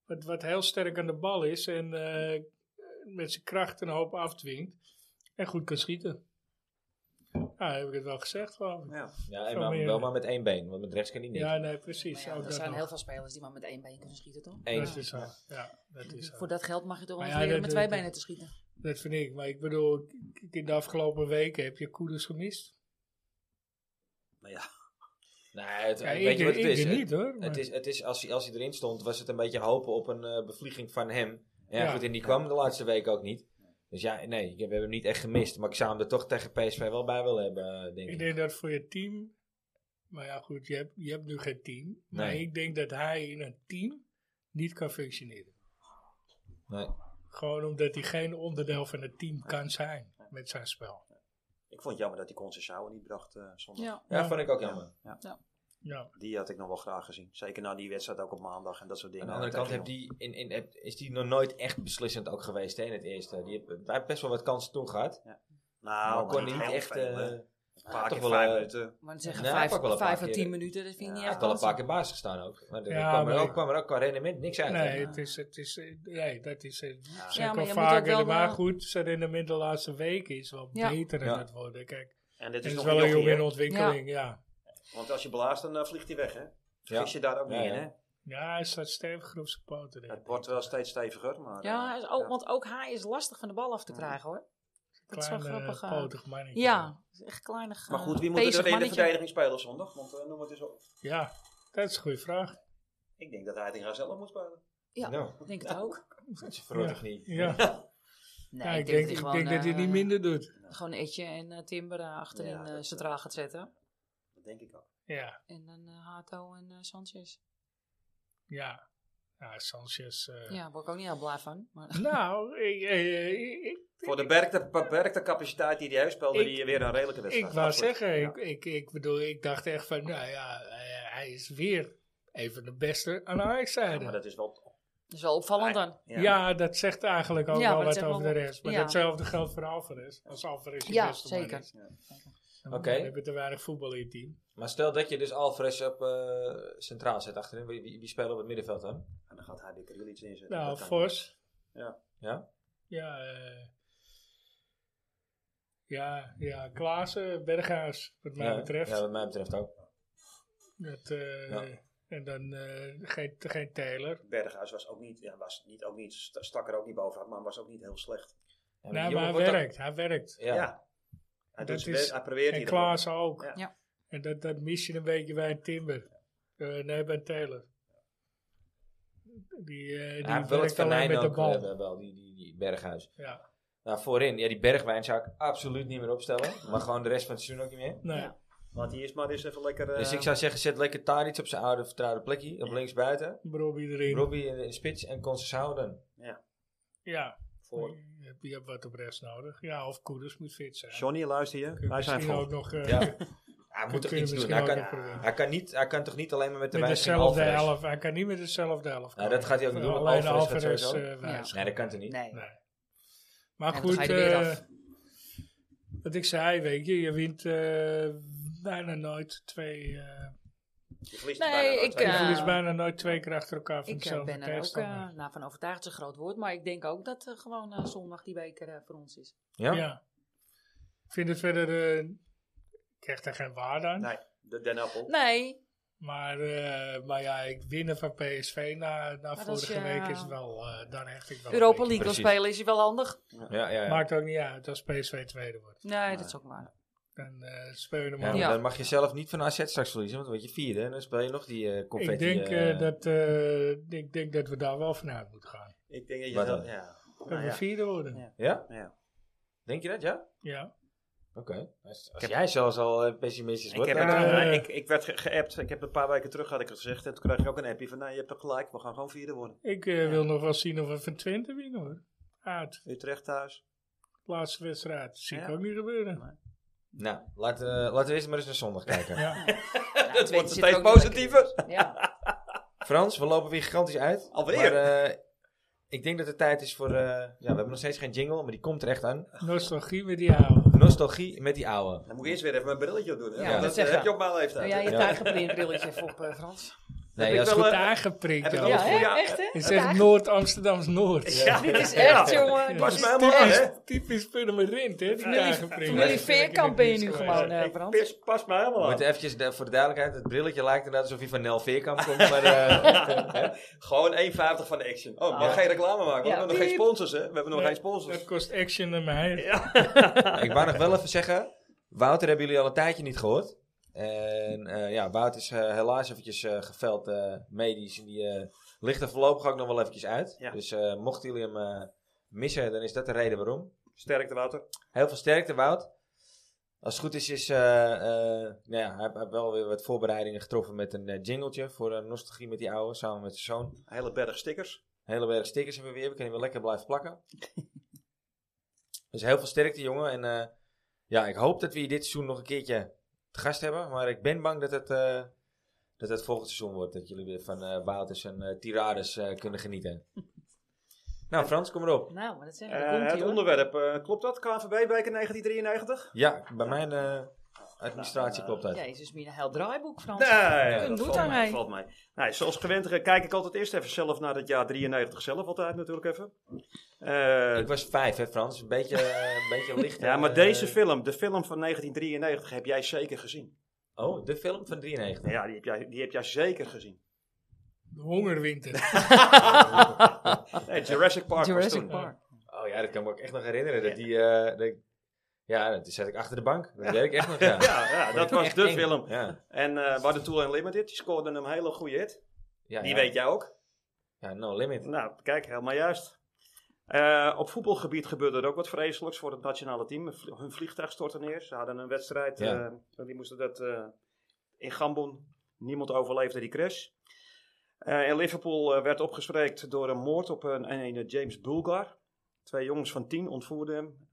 S2: Wat, wat heel sterk aan de bal is en eh, met zijn kracht een hoop afdwingt en goed kan schieten. Nou, heb ik het wel gezegd. geloof ik.
S6: ja.
S1: Ja, en
S2: Zo
S1: maar,
S2: meer-
S1: wel maar met één been, want met rechts kan hij niet.
S2: Ja, nee, precies.
S5: Maar Nou ja,
S2: ook
S5: er
S2: dat
S5: zijn
S2: nog.
S5: heel veel spelers die maar met één been kunnen schieten, toch? Dus
S1: Eén.
S2: Dat is zo. Ja, dat is zo.
S5: Voor dat geld mag je toch wel
S2: Maar
S5: eens
S2: ja,
S5: leren
S2: dat- dat-
S5: met twee
S2: dat-
S5: benen te schieten.
S2: Dat vind ik. Maar ik bedoel, k- in de afgelopen weken heb je Koeders gemist.
S6: Maar ja,
S1: Nee, het,
S2: Ja,
S1: weet
S2: ik,
S1: je wat het
S2: ik
S1: is?
S2: denk
S1: Het-
S2: niet hoor.
S1: Het
S2: maar-
S1: is, het is als, hij, als hij erin stond, was het een beetje hopen op een eh, bevlieging van hem. Ja,
S2: Ja.
S1: goed, en die kwam de laatste week ook niet. Dus ja, nee, ik- we hebben hem niet echt gemist. Maar ik zou hem er toch tegen PSV wel bij willen hebben, eh, denk
S2: ik
S1: ik.
S2: denk dat voor je team. Maar ja, goed, je hebt, je hebt nu geen team. Maar
S1: Nee.
S2: ik denk dat hij in een team niet kan functioneren.
S1: Nee.
S2: Gewoon omdat hij geen onderdeel van het team kan zijn met zijn spel.
S6: ik vond het jammer dat hij Conceição niet bracht eh zondag.
S5: Ja.
S1: Ja, vond ik ook jammer.
S6: Ja.
S5: Ja.
S2: Ja.
S6: Die had ik nog wel graag gezien. Zeker na die wedstrijd ook op maandag en dat soort
S1: Aan
S6: dingen.
S1: de andere kant heeft die, in, in, heb- is die nog nooit echt beslissend ook geweest hè, in het eerste. Die heeft, hij heeft best wel wat kansen toen gehad.
S6: Nou,
S1: maar
S6: maar
S1: kon
S6: niet
S1: niet
S6: heel
S1: echt...
S6: veel, hè.
S1: eh,
S6: Een
S1: ja,
S6: paar
S1: toch
S6: keer
S1: wel,
S6: vijf
S1: eh,
S6: minuten.
S5: Want zeggen
S1: Nee,
S5: vijf,
S1: pak wel een paar
S5: vijf à
S1: keer.
S5: tien minuten, dat vind ik
S6: Ja,
S1: Hij
S5: niet
S1: heeft
S5: echt
S1: wel een paar
S5: kansen.
S1: keer basis staan ook. Maar er
S2: Ja,
S1: kwam, er
S2: maar-
S1: ook, kwam er ook qua rendement niks uit. hè.
S2: Nee, het is, het is, eh, nee, dat is eh,
S5: Ja,
S2: zeker
S5: maar je moet ook
S2: vaker.
S5: wel
S2: Maar
S5: de-
S2: goed, zijn rendement de laatste weken is wel
S5: Ja.
S2: beter aan
S1: Ja.
S2: het worden. Kijk,
S6: En dit
S2: het
S6: is
S2: is,
S6: nog
S2: wel een jongen in
S6: jong,
S2: ontwikkeling, ja.
S6: Want als je blaast, dan eh, vliegt hij weg, hè? Vergis
S1: Ja.
S6: je daar ook
S1: Ja,
S6: niet in,
S1: ja.
S6: hè?
S2: Ja, hij staat stevig op zijn poten. denk
S6: Het
S2: ik.
S6: wordt wel steeds steviger, maar...
S5: Ja,
S6: eh,
S5: is- ook- want ook hij is lastig van de bal af te krijgen hoor. Dat is wel
S2: Klein, eh,
S5: grappig. eh.
S2: potig mannetje.
S5: ja, het is echt kleinig.
S6: Maar
S5: eh,
S6: goed, wie moet er
S5: pezig
S6: in de
S5: mannetje.
S6: verdediging spelen zondag? Want eh, noem het eens op.
S2: Ja, dat is een goede vraag.
S6: Ik denk dat Heitinga zelf moet spelen.
S5: Ja.
S1: Nou,
S5: Ik denk het ook.
S1: dat is een verrotte knie.
S2: Ja,
S5: Nee,
S2: Ja, ik denk,
S5: dat
S2: ik
S5: hij
S2: denk dat hij
S5: eh,
S2: niet minder doet.
S5: Gewoon Etje en eh, Timber eh, achterin
S6: Ja,
S5: eh,
S6: dat,
S5: centraal gaat zetten.
S6: Dat denk ik ook.
S2: Ja,
S5: En dan eh, Hato en eh, Sanchez.
S2: ja. Ja, Sanchez. eh,
S5: Ja, daar word ik ook niet heel blij van. Maar,
S2: Nou, ik, eh, ik, ik,
S6: Voor de beperkte, beperkte capaciteit die hij heeft, speelde
S2: Ik-
S6: hij weer een redelijke
S2: ik
S6: wedstrijd.
S2: wou
S6: Absoluut.
S2: zeggen,
S6: Ja.
S2: ik, ik, ik bedoel, ik dacht echt van, nou ja, eh, hij is weer een van de beste aan de
S6: Ja,
S2: Ajax-zijde.
S6: maar dat is wel...
S5: dat is wel opvallend dan.
S2: Ja.
S6: Ja.
S2: dat zegt eigenlijk ook
S5: Ja, maar
S2: wel wat
S5: dat zegt
S2: over de
S5: wel-
S2: rest. Maar
S5: ja.
S2: datzelfde geldt voor Alvarez. Als Alvarez je
S5: Ja,
S2: beste man
S5: zeker.
S2: is,
S6: Ja.
S2: dan
S1: Oké.
S2: heb je te weinig voetbal in je team.
S1: Maar stel dat je dus Alvarez op eh, centraal zet achterin. Wie, wie, wie spelen op het middenveld dan?
S6: En dan gaat hij de Krilic inzetten.
S2: Nou,
S6: Dat kan niet.
S2: Fors.
S1: Ja?
S2: Ja, eh, ja, ja, Klaassen, Berghuis, wat mij
S1: ja,
S2: betreft.
S1: Ja, wat mij betreft ook.
S2: Dat, eh,
S1: Ja.
S2: En dan eh, geen, geen Taylor.
S6: Berghuis was ook niet, ja, was niet, ook niet, st- stak er ook niet bovenuit, maar was ook niet heel slecht.
S1: Ja, die
S2: Nou,
S1: jongen
S2: maar hij
S1: wordt ook-
S2: werkt, hij werkt.
S1: ja.
S6: Ja. Hij,
S2: Dat
S6: doet zijn
S2: is-
S6: best, hij probeert
S2: En
S6: hier nog
S2: Klaassen ook.
S6: Ja.
S5: Ja.
S2: En dat, dat mis je een beetje bij een Timber. Eh, nee, bij een Taylor. Die, eh, die
S1: hij heeft wel het
S2: werkt alleen
S1: venijn
S2: met de
S1: ook
S2: bal.
S1: eh, wel, die, die, die Berghuis.
S2: ja.
S1: Nou, voorin, ja, die Bergwijn zou ik absoluut niet meer opstellen. Maar gewoon de rest van het seizoen ook niet meer.
S2: Nee.
S5: Ja.
S6: Want die is maar eens even lekker... eh,
S1: Dus ik zou zeggen, zet lekker Tadic op zijn oude vertrouwde plekje. Op linksbuiten.
S2: Robbie erin.
S1: Robbie in de spits en Concessao dan.
S2: Ja.
S6: voor.
S2: Je hebt, je hebt wat op rest nodig. Ja, of Koeders moet fit zijn.
S6: Johnny, luister je?
S2: Kun je
S6: Wij zijn
S2: misschien
S6: vol.
S2: ook nog, eh,
S1: Ja.
S2: kun
S1: Hij
S2: je
S1: moet toch iets doen.
S2: misschien
S1: Hij
S2: ook
S1: kan,
S2: nog proberen.
S1: hij, kan niet, hij kan toch niet alleen maar met de
S2: met
S1: wijze
S2: dezelfde
S1: Alvarez.
S2: elf. Hij kan niet met dezelfde elf.
S1: Nou, dat gaat hij ook niet doen, want
S2: Alleen
S1: Alvarez gaat
S2: Alvarez
S1: sowieso.
S2: eh, wijs.
S1: Nee, dat kan toch niet.
S5: Nee.
S2: Nee. Maar
S5: En dan
S2: goed,
S5: ga je er weer
S2: eh,
S5: af.
S2: wat ik zei, weet je, je wint eh, bijna nooit twee. eh
S6: Je verliest
S5: Nee,
S6: bijna nooit.
S2: je
S5: ik, eh,
S6: Hij-
S2: verliest bijna nooit twee keer achter elkaar van
S5: Ik eh,
S2: dezelfde
S5: ben er ook eh,
S2: tegenstander.
S5: nou, van overtuigd, is een groot woord. Maar ik denk ook dat eh, gewoon eh, zondag die beker eh, voor ons is.
S1: Ja?
S2: ja. Ik vind het verder. eh, ik krijg daar geen waarde aan.
S6: Nee, de Den Appel.
S5: Nee,
S2: Maar, eh, maar ja, ik winnen van PSV na, na
S5: dat is,
S2: vorige
S5: ja.
S2: week is wel. eh, daar hecht ik wel. een
S5: Europa
S2: beetje
S5: League wil
S1: Precies.
S5: spelen is wel handig.
S1: Ja, ja,
S2: aan.
S1: ja.
S2: Maakt ook niet uit als PSV tweede wordt.
S5: Nee, dat is ook waar.
S2: Dan eh speel je hem
S1: Ja,
S2: al.
S1: maar
S5: Ja.
S1: Dan mag je zelf niet van AZ straks verliezen, want dan word je vierde en dan speel je nog die eh confetti.
S2: Ik denk,
S1: eh,
S2: eh, dat, eh, ik denk dat we daar wel vanuit moeten gaan.
S6: Ik denk dat je...
S1: Wat
S6: zelf-
S1: dan?
S6: ja.
S2: Dat
S6: Nou
S2: we
S6: ja.
S2: vierde worden.
S6: Ja.
S1: Ja?
S6: Ja.
S1: Denk je dat, ja?
S2: Ja.
S1: Oké. Als, als jij zelfs al eh, pessimistisch
S6: Ik,
S1: wordt.
S6: heb
S1: dan-
S6: het,
S2: Ja,
S6: eh,
S2: eh,
S6: ik, ik werd ge- geappt. Ik heb een paar weken terug had ik het gezegd. En toen kreeg ik ook een appje van, nou, je hebt toch gelijk. We gaan gewoon vierde worden.
S2: Ik eh, wil nog wel zien of we van Twente winnen hoor. Uit.
S6: Utrecht thuis.
S2: Laatste wedstrijd. Zie ik
S6: Ja.
S2: ook niet gebeuren.
S1: Nou, laten, eh, laten we eerst maar eens naar zondag kijken.
S2: Ja.
S5: Nou,
S6: Het
S5: Twente
S6: wordt
S5: zit
S6: steeds
S5: er ook niet lekker in.
S6: positiever.
S5: Ja,
S1: Frans, we lopen weer gigantisch uit.
S6: Alweer?
S1: Maar, eh, ik denk dat het tijd is voor... eh, ja, we hebben nog steeds geen jingle, maar die komt er echt aan.
S2: Nostalgie met die oude.
S1: Nostalgie met die oude.
S6: Dan moet ik eerst weer even mijn brilletje op doen. hè?
S5: Ja,
S6: Want
S5: dat
S6: dat
S5: zeg
S6: eh,
S5: ik.
S6: heb je op mijn leeftijd.
S5: doe jij je
S1: Ja.
S5: tijgerprint brilletje even op, eh, Frans?
S1: Nee,
S6: ik
S1: dat is
S6: wel,
S1: goed.
S2: Goed aangeprikt.
S6: eh, heb ik
S2: ook.
S6: wel
S5: Ja,
S6: goed,
S5: hè?
S6: ja.
S5: echt hè?
S2: Het is echt Noord-Amsterdams-Noord.
S6: Ja,
S5: Dit is echt, jongen.
S6: was
S5: dit
S6: mij
S5: is
S6: helemaal aan,
S5: echt.
S6: hè?
S2: Typisch Purmerend, hè? Die tijgerprint.
S5: Familie Veerkamp ben je nu gewoon, eh,
S6: Ik
S5: Frans.
S6: pis- Pas mij
S1: We
S6: helemaal aan.
S1: moeten eventjes de- voor de duidelijkheid, het brilletje lijkt inderdaad alsof je van Nel Veerkamp komt, maar... eh, hè?
S6: Gewoon 1,50 van de Action. Oh, mag
S5: Ja.
S6: geen reclame maken. want
S5: Ah. Ja.
S6: We hebben nog geen sponsors, hè? We hebben nog
S2: Nee.
S6: geen sponsors.
S2: Dat kost action aan mij.
S1: Ik wou nog wel even zeggen, Wouter hebben jullie al een tijdje niet gehoord. En eh, ja, Wouter is eh, helaas eventjes eh, geveld eh, medisch. En die eh, ligt er voorlopig ook nog wel eventjes uit.
S6: Ja.
S1: Dus eh, mochten jullie hem eh, missen, dan is dat de reden waarom.
S6: Sterkte, Wouter.
S1: Heel veel sterkte, Wout. Als het goed is, is eh, eh, nou ja, hij heeft- hij heeft wel weer wat voorbereidingen getroffen met een eh, jingletje voor eh, nostalgie met die oude, samen met zijn zoon.
S6: Hele berg stickers.
S1: Hele berg stickers hebben we weer. We kunnen weer lekker blijven plakken. dus heel veel sterkte, jongen. En eh, ja, ik hoop dat we je dit seizoen nog een keertje te gast hebben. Maar ik ben bang dat het eh, dat het volgend seizoen wordt. Dat jullie weer van eh Wouters en eh, tirades eh, kunnen genieten. nou, Frans, kom erop.
S5: Nou, maar dat zeg ik.
S6: Eh,
S5: daar komt
S6: het
S5: hij hoor.
S6: onderwerp, eh, klopt dat? KNVB-beker 1993?
S1: Ja, bij mijn eh, administratie klopt dat.
S5: Jezus, Mina, heel draaiboek, Frans.
S6: Nee,
S5: Een
S6: dat
S5: doet
S6: valt
S5: aan
S6: mij,
S5: mij.
S6: valt mij. Nee, zoals gewend eh, kijk ik altijd eerst even zelf naar het jaar 93 zelf, altijd natuurlijk even. Eh,
S1: Ik was vijf, hè Frans? Een beetje, een beetje licht.
S6: ja, maar
S1: eh,
S6: deze film, de film van 1993, heb jij zeker gezien.
S1: Oh, de film van 93.
S6: Ja, die heb jij, die heb jij zeker gezien.
S2: De hongerwinter.
S6: Nee, Jurassic Park was
S5: Jurassic
S6: toen.
S5: Park.
S1: Oh ja, dat kan ik me ook echt nog herinneren. Dat die, eh, dat ik- ja, toen zat ik achter de bank. Dat weet ik echt nog, ja.
S6: Ja, ja, dat
S1: Vond ik
S6: was
S1: echt
S6: de
S1: eng.
S6: film.
S1: Ja.
S6: En eh waar de Tool Unlimited, die scoorde een hele goede hit.
S1: Ja,
S6: Die
S1: ja.
S6: weet jij ook.
S1: Ja, No Limit.
S6: Nou, kijk, helemaal juist. Eh, op voetbalgebied gebeurde er ook wat vreselijks voor het nationale team. Hun vlie- Hun vliegtuig stortte neer. Ze hadden een wedstrijd.
S1: Ja.
S6: eh, en die moesten dat eh, in Gambon. Niemand overleefde die crash. Eh, in Liverpool eh, werd opgespreekt door een moord op een, een, een James Bulgar. Twee jongens van tien ontvoerden hem.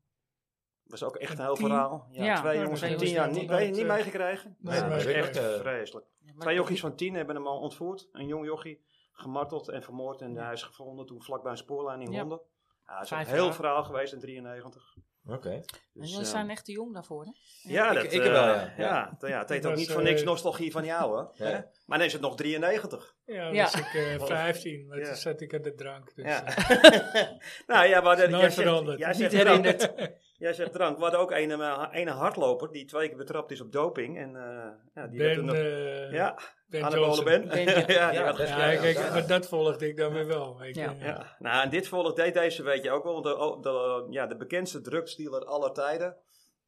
S6: Was ook echt een heel
S2: tien?
S6: verhaal. Ja,
S5: Ja,
S6: twee
S2: ja,
S6: jongens
S5: twee
S6: van tien
S5: jongens
S6: jaar
S5: die
S6: niet,
S2: nooit,
S6: mee- niet
S2: eh,
S6: meegekregen.
S2: Nee,
S1: Ja,
S6: dat
S2: maar
S6: is
S1: dat
S2: ik-
S6: echt
S1: weet ik, eh,
S6: vreselijk.
S5: Ja, maar
S6: Twee
S5: dat-
S6: jochies van tien hebben hem al ontvoerd. Een jong jochie gemarteld en vermoord. En hij is gevonden toen vlakbij een spoorlijn in
S5: Ja.
S6: Londen. Ja, het is
S5: Vijf
S6: een heel
S5: jaar.
S6: verhaal geweest in 93.
S1: Oké.
S5: Maar
S6: Dus,
S5: Jullie
S6: eh,
S5: zijn echt te jong daarvoor, hè?
S6: ja,
S1: Ik-
S6: dat,
S1: ik
S6: eh,
S1: wel, ja.
S6: ja. Ja, t- ja, het heet
S2: Dat
S6: ook
S2: is,
S6: niet voor
S2: eh,
S6: niks nostalgie van jou, hè?
S1: Ja.
S6: Hè? Maar dan is het nog 93.
S2: Ja,
S5: Ja.
S2: was ik eh 15. Maar
S6: Ja.
S2: toen zat ik aan de drank. Dus,
S6: Ja.
S2: eh,
S6: nou ja, maar dat-
S2: Nooit
S6: jij zegt,
S2: veranderd.
S6: jij
S5: Niet
S6: zegt drank.
S5: herinnerd.
S6: Jij zegt drank. We hadden ook een, eh, een hardloper die twee keer betrapt is op doping. En eh, ja, die werd toen
S2: ben,
S6: nog...
S2: eh
S6: ja,
S2: ben
S6: aan de
S2: Johnson.
S6: ben.
S5: Ben,
S6: ja,
S5: ja.
S6: die
S1: Ja,
S6: werd
S1: dat-
S2: Ja,
S1: Ja,
S2: kijk,
S1: ja.
S2: maar dat volgde ik dan weer wel. Weet je.
S5: Ja.
S6: Ja, nou en dit volgt deed deze weet je ook wel, want de, oh, de, ja, de bekendste drugsdealer aller tijden,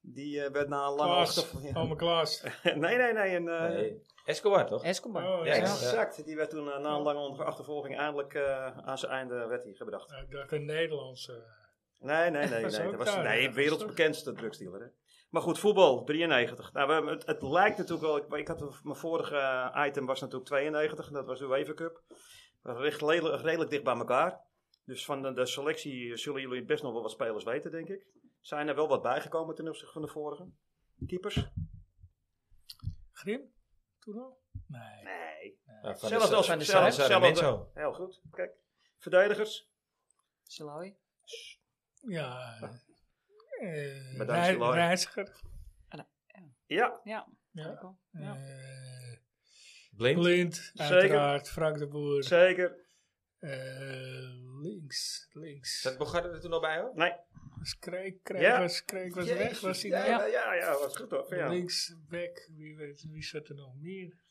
S6: die eh, werd na een lange
S2: Klaas,
S6: achtervolging-
S2: oma Klaas.
S6: nee, nee, nee, een, eh,
S1: Nee. Escobar, toch?
S5: Escobar.
S2: Oh,
S1: Ja,
S2: ja.
S6: exact, die werd toen eh, na een lange onder- achtervolging eindelijk eh, aan zijn einde werd hij gebracht.
S2: Nou, ik dacht een Nederlandse.
S6: Nee, nee, nee,
S2: Was
S6: nee,
S2: ook
S6: dat was
S2: daar, ja,
S6: nee,
S2: dat
S6: wereldbekendste drugsdealer. Hè. Maar goed, voetbal, 93. Nou, we, hebben- het, het lijkt natuurlijk wel, ik, ik had, een- mijn vorige eh, item was natuurlijk 92, en dat was de UEFA Cup. Recht, redelijk, redelijk dicht bij elkaar. Dus van de, de selectie eh, zullen jullie best nog wel wat spelers weten, denk ik. Zijn er wel wat bijgekomen ten opzichte van de vorige? Keepers?
S2: Grim? Toen al? Nee.
S6: Nee.
S1: Ja, van
S6: Zelfs
S1: de-
S6: als
S1: van de
S6: zelfs-
S1: Sar-
S6: zelfs-
S1: Sarmiento.
S6: Heel goed, kijk. Verdedigers?
S5: Siloy.
S2: Ja. eh,
S6: Bedankt,
S2: Rei-
S6: Siloy.
S2: Reiziger.
S6: Ja,
S5: Ja.
S2: Ja.
S5: kijk al. Ja.
S2: eh,
S1: Blind.
S2: Blind,
S6: Zeker.
S2: uiteraard. Frank de Boer.
S6: zeker.
S2: eh, links, links.
S1: Zat Bogarde er toen al bij, hoor?
S6: Nee.
S2: Was Kreek, Kreek
S6: Ja.
S2: was, Kreek was weg, was hij
S6: ja,
S2: daar?
S6: ja, ja, ja, was goed toch? Ja.
S2: Links, back, wie, weet, wie zat er nog meer?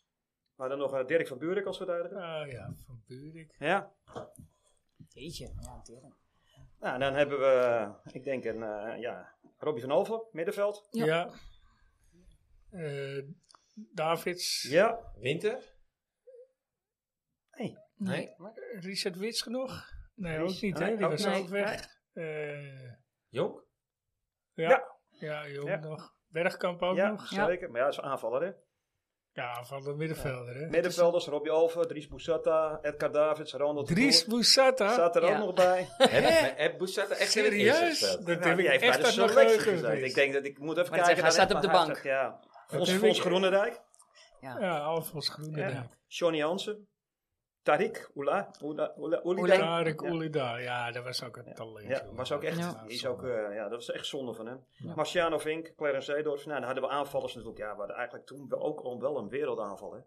S6: Maar dan nog eh, Dirk van Buurik als verdediger.
S2: Ah ja, Van Buurik.
S6: Ja.
S5: Jeetje. Ja, tering.
S6: Nou, dan hebben we, ik denk, een, eh, ja, Robbie van Alphen, middenveld.
S5: Ja.
S2: Ja. Eh, Davids.
S6: Ja.
S1: Winter?
S5: Nee.
S2: Richard Wits genoeg? Nee,
S6: Ries-
S2: ook niet, hè?
S6: nee,
S2: Die
S6: ook
S2: was
S5: niet.
S2: ook weg. Eh,
S1: Jong?
S2: ja.
S6: Ja.
S2: ja. jong
S6: Ja.
S2: nog. Bergkamp ook
S6: ja,
S2: nog.
S6: zeker. Maar ja, dat is een aanvaller, hè.
S2: Ja, van de middenvelder, hè?
S6: Middenvelders, Robbie Alphen, Dries Boussata, Edgar Davids, Ronald de
S2: Dries
S6: Boer.
S2: Boussata?
S6: Staat er ook
S5: Ja.
S6: nog bij.
S1: Heb, heb Boussata echt in het eerste
S2: Serieus?
S1: gespeeld?
S2: Dat
S6: Nou,
S2: heb ik
S6: die heeft
S2: echt
S6: bij de
S2: uit mijn
S6: selectie
S2: geheugen
S6: gezeten. Ik
S2: gezien.
S6: denk dat ik moet even
S5: Maar
S6: kijken.
S5: zeggen, hij
S6: naar Edgar.
S5: staat op de
S6: Hij
S5: bank.
S6: staat- Ja. Fons,
S2: heb
S6: Fons
S2: ik-
S6: Groenendijk,
S2: Ja, Alfons Groenendijk.
S6: Johnny Hansen, Tariq Oela, Oela, Oela, Oela.
S5: Oela.
S2: Tarek
S6: Ja.
S2: Oulida. Ja, dat was ook een talent.
S6: Ja,
S2: jongen.
S6: was ook echt,
S5: Ja.
S6: die is ook, eh, ja, dat was echt zonde van hem.
S5: Ja.
S6: Marciano Vink, Clarence Seedorf, nou, dan hadden we aanvallers natuurlijk. Ja, we hadden eigenlijk toen wel ook al wel een wereldaanval, hè.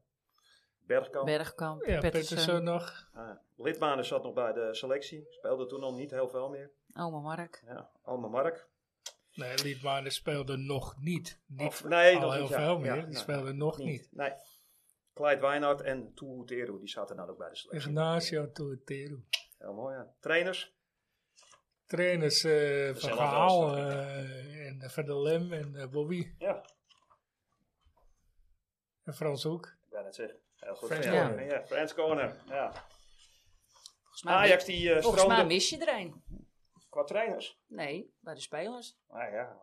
S6: Bergkamp,
S5: Bergkamp.
S2: Ja,
S5: Pettersen.
S2: Pettersen nog.
S6: Ah, Lidmanen zat nog bij de selectie, speelde toen al niet heel veel meer.
S5: Oma Mark.
S6: Ja, Alma Mark.
S2: Nee, Liedmanen speelde nog niet. Niet
S6: Of- nee,
S2: al
S6: nog
S2: heel
S6: niet, ja.
S2: veel
S6: Ja,
S2: meer.
S6: ja,
S2: die
S6: ja.
S2: speelde nog niet.
S6: Nee. Clyde Weinhardt en Toeteru, die zaten dan ook bij de selectie.
S2: Ignacio Toetero.
S6: Heel mooi, ja. Trainers.
S2: Trainers eh, van
S6: zijn wel
S2: Gaal
S6: wel
S2: eh, en eh, Van der Lem en eh, Bobby
S6: Ja,
S2: en Frans Hoek.
S6: ik ben het zeggen. Heel goed.
S2: Frans
S6: ja.
S2: Corner.
S6: ja, Frans Corner. Ja.
S5: Volgens mij,
S6: Ajax die eh,
S5: volgens mij
S6: stroomde
S5: mis je er een.
S6: qua trainers.
S5: Nee, bij de spelers.
S6: Nou ja.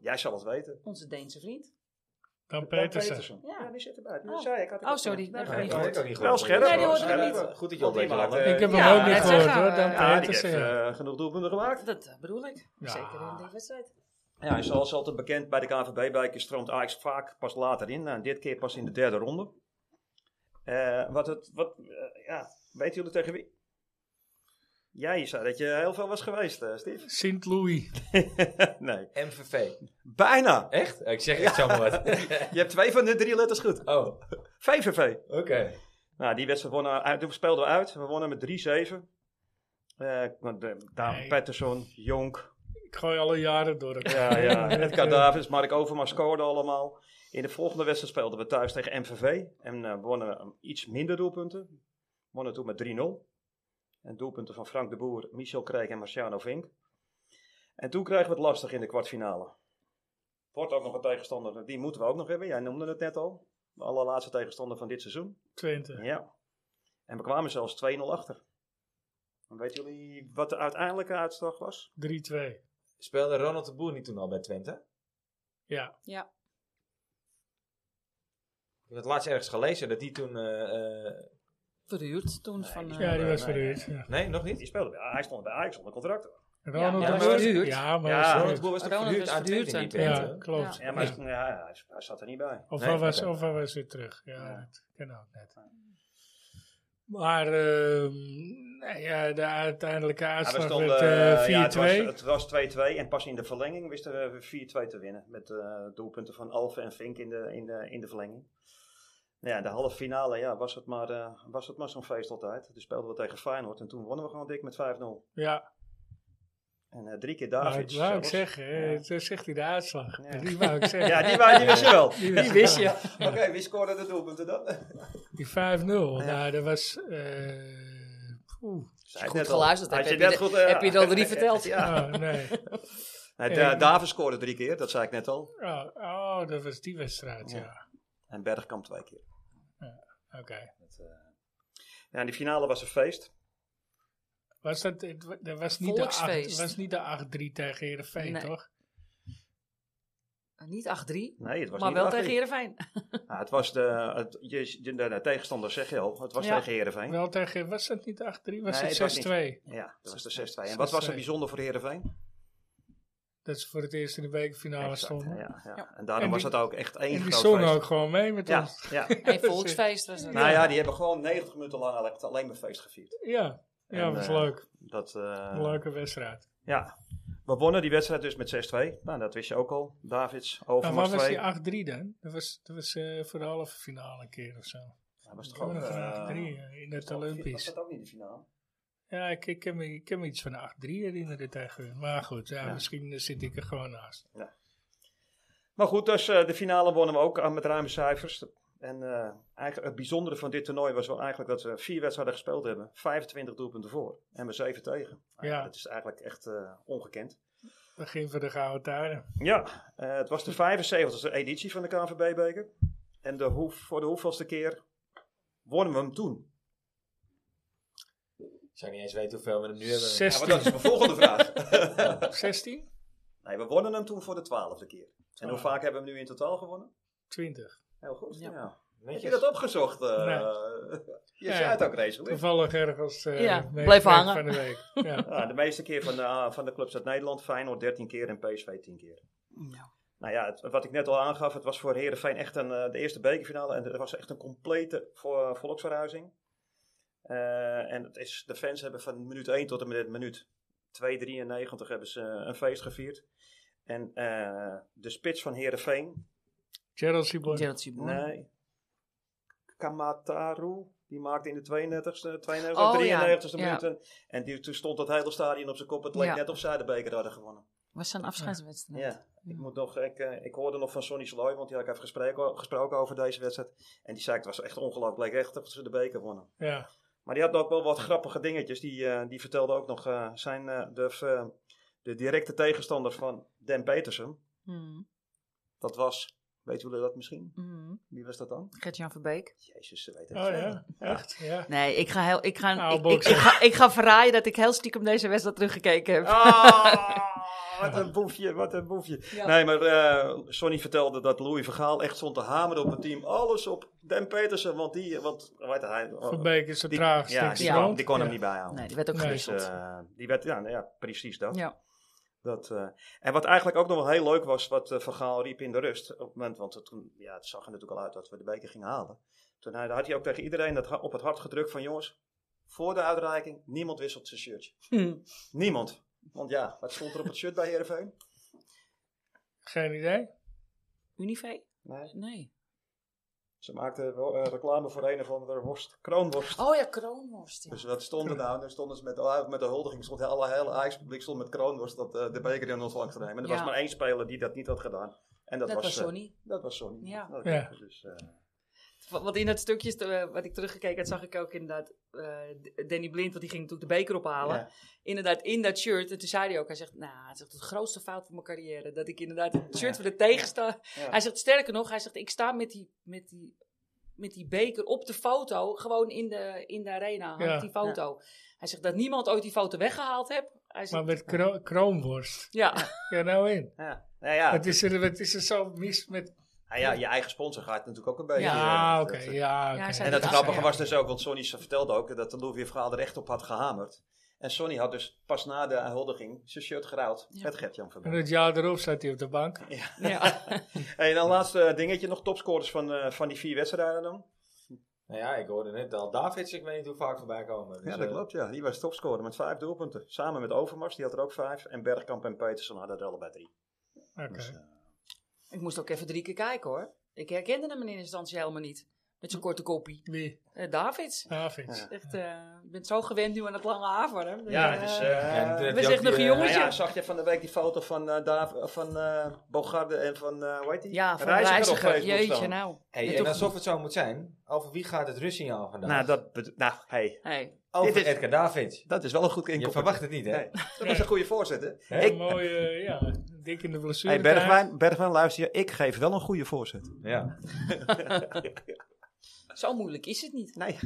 S6: Jij zal het weten.
S5: Onze Deense vriend.
S2: Dan
S6: Dan
S2: Petersen.
S6: Petersen. Ja.
S5: Ja.
S6: die zit erbij. Dat
S5: Oh.
S6: zei ik. Had ik
S5: Oh,
S6: ook
S5: sorry.
S6: niet. Nee,
S5: Dat
S6: dat
S5: heb
S6: niet.
S5: ik
S1: ik ook niet
S6: Wel scherp.
S5: Nee, die hoorde ik
S6: Scherp.
S5: niet.
S1: Goed dat je op
S6: Want
S1: deze
S6: die
S1: laat.
S6: had, eh,
S1: eh,
S2: Ik heb
S5: Ja,
S2: hem ook niet
S5: dat
S2: gehoord
S5: zeggen
S2: hoor,
S5: we.
S2: Dan
S6: Ja, die heeft
S2: Petersen.
S6: eh, genoeg doelpunten gemaakt.
S5: Dat eh, bedoel ik.
S2: Ja.
S5: Zeker in die wedstrijd.
S6: Ja, en zoals altijd bekend bij de KNVB-bijken stroomt Ajax vaak pas later in. Nou, dit keer pas in de derde ronde. Eh, wat het, wat, eh, ja, weten jullie tegen wie? Jij zei dat je heel veel was geweest, eh, Steve.
S2: Sint-Louis.
S6: nee.
S1: MVV.
S6: Bijna.
S1: Echt? Oh, Ik zeg echt zomaar wat.
S6: Je hebt twee van de drie letters goed.
S1: oh, oké.
S6: VVV. Nou, die wedstrijd wonnen, uit- toen speelden we uit. We wonnen met 3-7. Eh want, eh, Daan
S2: Nee.
S6: Patterson, Jonk.
S2: Ik gooi alle jaren door het.
S6: Ja, ja. Edgar Davids, Mark Overmars scoorden allemaal. In de volgende wedstrijd speelden we thuis tegen MVV. En eh, wonnen we iets minder doelpunten. Wonnen toen met 3-0. En doelpunten van Frank de Boer, Michel Kreek en Marciano Vink. En toen kregen we het lastig in de kwartfinale. Wordt ook nog een tegenstander, die moeten we ook nog hebben. Jij noemde het net al. De allerlaatste tegenstander van dit seizoen.
S2: Twente.
S6: Ja. En we kwamen zelfs 2-0 achter. En weten jullie wat de uiteindelijke uitslag was?
S2: 3-2.
S1: Speelde Ronald de Boer niet toen al bij Twente?
S2: Ja.
S1: Ik heb het laatst ergens gelezen dat die toen... eh, eh,
S5: Verhuurd toen
S6: Nee,
S5: van...
S6: die
S5: eh,
S2: Ja, die was
S6: nee.
S2: verhuurd. Ja.
S1: nee, nog niet?
S6: Die speelde bij, hij stond bij Ajax onder contract.
S2: Ronald
S5: Ja,
S2: de
S1: maar
S2: Boer-
S5: verhuurd.
S2: Ja, maar
S6: Ja,
S2: was
S1: Ronald de
S2: verhuurd.
S1: Boer was toch
S5: Ronald
S1: verhuurd
S5: was
S1: aan Twente in
S5: verhuurd
S1: die
S5: aan
S1: Twente?
S2: Ja, klopt.
S6: Ja, maar hij- ja, hij, hij zat er niet bij.
S2: Of,
S1: Nee,
S2: hij was,
S1: oké.
S2: of hij was weer terug. Ja,
S6: Ja.
S2: dat kan ook net. Maar ehm, nou ja, de uiteindelijke
S6: Ja, we
S2: uitslag
S6: stonden,
S2: werd
S6: eh,
S2: eh, 4-2.
S6: ja, het was- het was 2-2 en pas in de verlenging wisten we 4-2 te winnen. Met eh, doelpunten van Alve en Vink in de, in de, in de verlenging. Nou Ja, de halve finale ja, was het maar, eh, was het maar zo'n feest altijd. Dus speelden we tegen Feyenoord en toen wonnen we gewoon dik met 5-0.
S2: ja,
S6: En eh, drie keer
S2: maar
S6: Davids.
S2: ik wou ik
S6: zelfs.
S2: zeggen.
S6: Ja.
S2: eh, Toen zegt hij de uitslag.
S6: Ja.
S2: Die wou ik zeggen.
S6: Ja, die, wa- die wist je wel.
S2: Die wist Die wist je.
S6: Oké, wie scoorde de doelpunten dan?
S2: Die 5-0. Nou, dat was... eh, poeh.
S5: Goed geluisterd hebt, heb je de- heb je het al drie verteld?
S6: Ja.
S2: Oh, nee.
S6: eh, Nee,
S2: Ja.
S6: Da- Davis scoorde drie keer, dat zei ik net al.
S2: Oh, oh, dat was die wedstrijd, ja.
S6: En Bergkamp twee keer.
S2: Oké.
S6: Ja, en die finale was een feest.
S2: Was dat, het wa- dat was niet de acht-
S5: Volksfeest.
S2: was niet de 8-3 tegen Heerenveen,
S5: Nee.
S2: toch?
S5: Eh, Niet 8-3,
S6: Nee, het was
S5: maar
S6: niet
S5: wel
S6: achter-
S5: tegen Heerenveen.
S6: Ja, het was de, het- je, je- de, de tegenstander, zeg je al. Het was
S5: Ja.
S6: tegen Heerenveen.
S2: Wel tegen, was dat niet 8-3? Was
S6: Nee, het was
S2: het 6-2?
S6: Ja, dat was de 6-2. En wat was er bijzonder voor Heerenveen?
S2: Dat ze voor het eerst in de bekerfinale
S6: Exact,
S2: stonden.
S6: ja, ja. En
S2: En
S6: daarom was
S2: die-
S6: dat ook echt één
S2: En die
S6: groot
S2: zongen
S6: feest.
S2: ook gewoon mee met
S6: Ja,
S2: ons.
S6: ja.
S5: En volksfeest was het.
S6: Nou ja, die hebben gewoon 90 minuten lang echt alleen maar feest gevierd.
S2: Ja, ja
S6: En,
S2: was
S6: eh,
S2: leuk.
S6: Dat, eh,
S2: Leuke wedstrijd.
S6: Ja, we wonnen die wedstrijd dus met 6-2. Nou, dat wist je ook al. Davids,
S2: Maar Nou, waar
S6: Overmars
S2: was
S6: 2.
S2: die 8-3 dan? Dat was, dat was eh, voor de halve finale een keer of zo.
S6: Hij was toch
S2: Toen
S6: ook...
S2: nog
S6: eh,
S2: een 8-3 eh, in het
S6: Oh, Was
S2: Olympisch.
S6: dat ook niet de finale?
S2: Ja, ik, ik, kan me, ik kan me iets van 8-3 herinneren tegen hun. Maar goed, ja,
S6: Ja.
S2: misschien eh, zit ik er gewoon naast.
S6: Maar goed, dus eh, de finale wonnen we ook aan met ruime cijfers. En eh, eigenlijk, het bijzondere van dit toernooi was wel eigenlijk dat we vier wedstrijden gespeeld hebben. 25 doelpunten voor en we zeven tegen. Nou,
S2: Ja.
S6: Dat is eigenlijk echt eh, ongekend.
S2: Begin van de gouden tijden.
S6: Ja, eh, het was de 75e editie van de KNVB-beker. En de hoe, voor de hoeveelste keer wonnen we hem toen?
S1: Ik zou niet eens weten hoeveel we hem nu hebben.
S6: Ja, maar
S2: 16.
S6: dat is mijn volgende vraag.
S2: 16?
S6: Nee, we wonnen hem toen voor de twaalfde keer. En hoe
S2: Twaalf.
S6: vaak hebben we hem nu in totaal gewonnen?
S2: 20.
S6: Heel goed. Ja.
S5: Ja.
S6: Heb
S1: Netjes.
S6: je dat opgezocht? eh,
S2: Nee.
S6: Je
S2: Nee.
S6: zei het ook, Rachel.
S2: Toevallig ergens. eh,
S5: Ja,
S2: week-
S5: blijf
S2: week
S5: hangen.
S2: Van de week. Ja.
S6: Ja, Ah, de meeste keer van de, ah, van de clubs uit Nederland. Feyenoord 13 keer en PSV 10 keer. Nou ja, het- wat ik net al aangaf, het was voor Herenveen echt een, eh, de eerste bekerfinale. En het was echt een complete vo- volksverhuizing. Eh, en het is, de fans hebben van minuut 1 tot en met minuut 2,93 hebben ze eh, een feest gevierd. En eh, de spits van Herenveen,
S2: Gerald Sibon.
S5: Gerald Simon.
S6: nee, Kamataru, die maakte in de 32e, 92e,
S5: Oh, ja.
S6: 93e
S5: Ja.
S6: minuut. een- En die, toen stond dat hele stadion op zijn kop. Het leek
S5: Ja.
S6: net of zij de beker hadden gewonnen.
S5: Was zijn afscheidswedstrijd. Hm.
S6: Ja, ik, moet nog, ik, eh, ik hoorde nog van Sonny Sloy, want die had ik even gespreken, gesproken over deze wedstrijd. En die zei, het was echt ongelooflijk, Het leek echt dat ze de beker wonnen.
S2: Ja.
S6: Maar die had ook wel wat grappige dingetjes, die, eh, die vertelde ook nog, eh, zijn eh, de, eh, de directe tegenstander van Dan Petersen.
S5: Mm,
S6: Dat was, weten jullie dat misschien?
S5: mm.
S6: Wie was dat dan?
S5: Gert-Jan Verbeek.
S6: Jezus, ze weten het
S2: Oh
S6: veel.
S2: ja, echt. Ja.
S5: Nee, ik ga, heel, ik, ga,
S2: Nou,
S5: ik, ik,
S2: boksen.
S5: ik ga, ik ga verraaien dat ik heel stiekem deze wedstrijd teruggekeken heb.
S6: Ah, wat een boefje, wat een boefje.
S5: Ja.
S6: Nee, maar eh Sonny vertelde dat Louis Vergaal echt stond te hameren op het team. Alles op Dan Petersen, want die... Want, weet hij,
S2: Verbeek is de
S6: Oh, die-
S2: traagste.
S6: Ja,
S2: in
S6: die,
S5: ja.
S2: Nederland.
S6: Kon, die kon hem
S2: Ja.
S6: niet bijhouden.
S5: Nee, die werd ook
S2: Nee,
S5: gewisseld.
S6: Dus, eh, die werd, ja, nou ja, precies dat.
S5: ja.
S6: Dat, eh, en wat eigenlijk ook nog wel heel leuk was, wat eh, Van Gaal riep in de rust. Op het moment, want het- toen, ja, het zag er natuurlijk al uit dat we de beker gingen halen. Toen hij- had hij ook tegen iedereen dat, ha- op het hart gedrukt van jongens, voor de uitreiking, niemand wisselt zijn shirtje.
S5: Hm.
S6: Niemand. Want ja, wat stond er op het shirt bij Heerenveen?
S2: Geen idee.
S5: Unive?
S6: Nee.
S5: Nee.
S6: Ze maakten wel, eh, reclame voor een of andere worst, kroonworst.
S5: Oh ja, kroonworst. Ja.
S6: Dus wat stond er nou? Dan stonden ze met, ah, met de huldiging, stond alle hele Ajax-publiek stond met kroonworst dat eh, de beker in ons langs te nemen. En er
S5: Ja.
S6: was maar één speler die dat niet had gedaan. En dat,
S5: Dat was
S6: eh,
S5: Sonny.
S6: dat was Sonny.
S5: Ja.
S6: Dat-
S2: Ja.
S6: Dus, eh,
S5: Wa- Want in dat stukje eh, wat ik teruggekeken had, zag ik ook inderdaad eh, D- Danny Blind, want die ging natuurlijk de beker ophalen.
S6: Ja.
S5: Inderdaad, in dat shirt. En toen zei hij ook, hij zegt, nou, het is echt de grootste fout van mijn carrière. Dat ik inderdaad het shirt van de tegenstander...
S6: Ja.
S5: Hij zegt, sterker nog, hij zegt, ik sta met die, met die, met die beker op de foto, gewoon in de, in de arena, hangt
S2: Ja.
S5: die foto. Hij zegt, dat niemand ooit die foto weggehaald heeft. Hij zegt,
S2: Maar met kro kroonworst.
S5: ja.
S2: Ja, nou in.
S6: ja. Nou ja,
S2: Wat is, er, wat is er zo mis met...
S6: nou ja, je eigen sponsor gaat natuurlijk ook een beetje.
S2: Ja,
S6: eh,
S2: oké.
S6: dat-
S2: ja,
S5: Ja,
S2: oké.
S5: zij-
S6: En dat
S5: Ja.
S6: grappige
S5: Ja.
S6: was dus ook, want Sonny ze vertelde ook dat de Louvier verhaal er echt op had gehamerd. En Sonny had dus pas na de huldiging zijn shirt geruild
S5: Ja.
S6: met Gert-Jan van
S2: En het jaar erop zat hij op de bank.
S5: ja.
S6: Hey, en dan laatste dingetje, nog topscorers van, eh, van die vier wedstrijden dan.
S1: Nou ja, ik hoorde net al Davids, ik weet niet hoe vaak voorbij komen. Dus,
S6: ja, dat
S1: eh,
S6: klopt. Ja. Die was topscorer met vijf doelpunten. Samen met Overmars, die had er ook vijf. En Bergkamp en Petersen hadden er allebei drie.
S2: Oké.
S6: Dus, eh,
S5: Ik moest ook even drie keer kijken hoor. Ik herkende hem in eerste instantie helemaal niet. Met zijn korte kopie.
S2: Wie?
S5: Eh, Davids.
S2: Davids.
S6: Ja.
S5: Echt, eh, je bent zo gewend nu aan het lange haar van hem. Dus,
S6: ja,
S5: eh,
S1: en
S6: dus,
S1: toen
S6: eh,
S1: heb
S5: we
S1: je
S5: zeggen
S1: ook
S5: nog
S1: die,
S5: een
S1: eh,
S5: jongetje.
S6: ja, zag je van de week die foto van, eh Dav- van eh, Bogarde en van, eh hoe heet die?
S5: ja, van
S6: Reiziger op
S5: reiziger.
S6: Facebook
S5: Jeetje
S6: staan.
S5: nou.
S1: Hey,
S5: Ja,
S1: en
S5: toch-
S1: alsof het zo moet zijn, over wie gaat het rustsignaal vandaag?
S6: Nou, dat, bet- nou hey,
S5: Hey.
S1: over
S6: dit is-
S1: Edgar Davids.
S6: dat is wel een goed
S1: Je
S6: inkomen.
S1: verwacht het niet, hè?
S6: Nee, dat was een goede voorzet, hè?
S1: Hè?
S2: Een
S6: Ik,
S2: mooie, ja, dik in de blessure.
S6: hey, Bergwijn, Bergwijn, luister je, ik geef wel een goede voorzet.
S1: Ja.
S5: Zo moeilijk is het niet.
S6: Nee,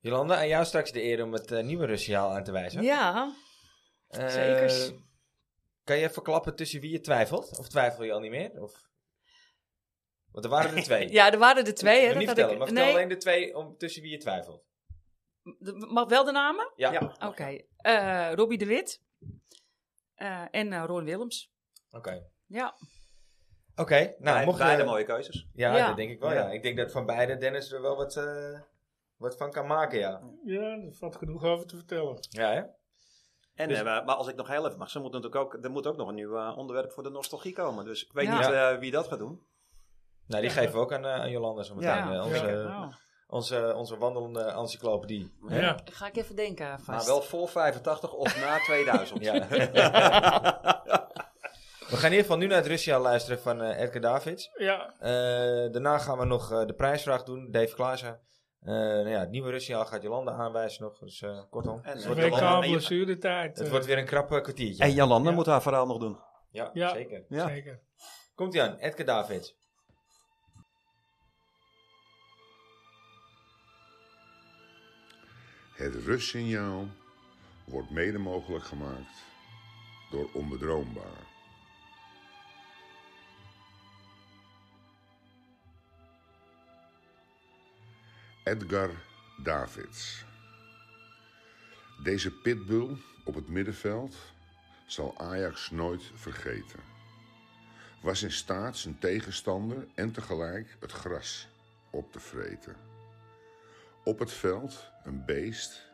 S1: Jolanda, aan jou straks de eer om het eh, nieuwe rustsignaal aan te wijzen.
S5: Ja,
S1: Eh,
S5: zekers.
S1: Kan je verklappen tussen wie je twijfelt? Of twijfel je al niet meer? Of... Want er waren er twee.
S5: ja, er waren er twee. Hè,
S1: Maar niet
S5: dat
S1: vertellen, maar
S5: had ik,
S1: vertel
S5: nee,
S1: alleen de twee om, tussen wie je twijfelt.
S5: de- mag wel de namen?
S1: Ja.
S6: Ja. Nou,
S1: Oké.
S5: Oké. Eh, Robbie de Wit. Eh, en eh, Ron Willems.
S1: Oké,
S5: Ja.
S1: nou, mocht je...
S6: beide mooie keuzes.
S1: Ja,
S5: Ja.
S1: dat denk ik wel, ja.
S6: Ja.
S1: Ik denk dat van beide Dennis er wel wat, eh, wat van kan maken, ja.
S2: Ja, er valt genoeg over te vertellen.
S1: Ja, hè?
S6: En,
S1: Dus-
S6: eh, maar maar als ik nog heel even mag, ze moet natuurlijk ook, er moet ook nog een nieuw eh, onderwerp voor de nostalgie komen. Dus ik weet
S5: Ja.
S6: niet eh, wie dat gaat doen.
S1: Nou, die geven we ook aan, eh, aan Jolanda zo meteen.
S6: Ja,
S1: eh, onze,
S2: zeker.
S5: Nou,
S1: onze, onze wandelende encyclopedie. hè?
S2: Ja.
S5: Ga ik even denken eh,
S6: Maar
S5: vast.
S6: wel voor 85 of na 2000.
S1: Ja. we gaan in ieder geval nu naar het Russia luisteren van eh Edgar Davids.
S2: Ja,
S1: Eh, daarna gaan we nog eh, de prijsvraag doen. Dave Klaassen. Eh, nou ja, het nieuwe Russia gaat Jolanda aanwijzen nog. Dus eh, kortom,
S6: En,
S1: het
S6: eh,
S1: wordt,
S6: Jolanda-
S2: WK
S6: en-
S2: blessuretijd.
S1: het
S2: eh,
S1: wordt weer een krap eh, kwartiertje.
S6: En Jolanda
S2: Ja.
S6: moet haar verhaal nog doen.
S1: Ja,
S2: Ja.
S1: zeker.
S6: Ja.
S2: Zeker.
S1: Komt-ie aan, Edgar Davids.
S7: Het rustsignaal wordt mede mogelijk gemaakt door onbedroombaar. Edgar Davids. Deze pitbull op het middenveld zal Ajax nooit vergeten. Was in staat zijn tegenstander en tegelijk het gras op te vreten. Op het veld een beest,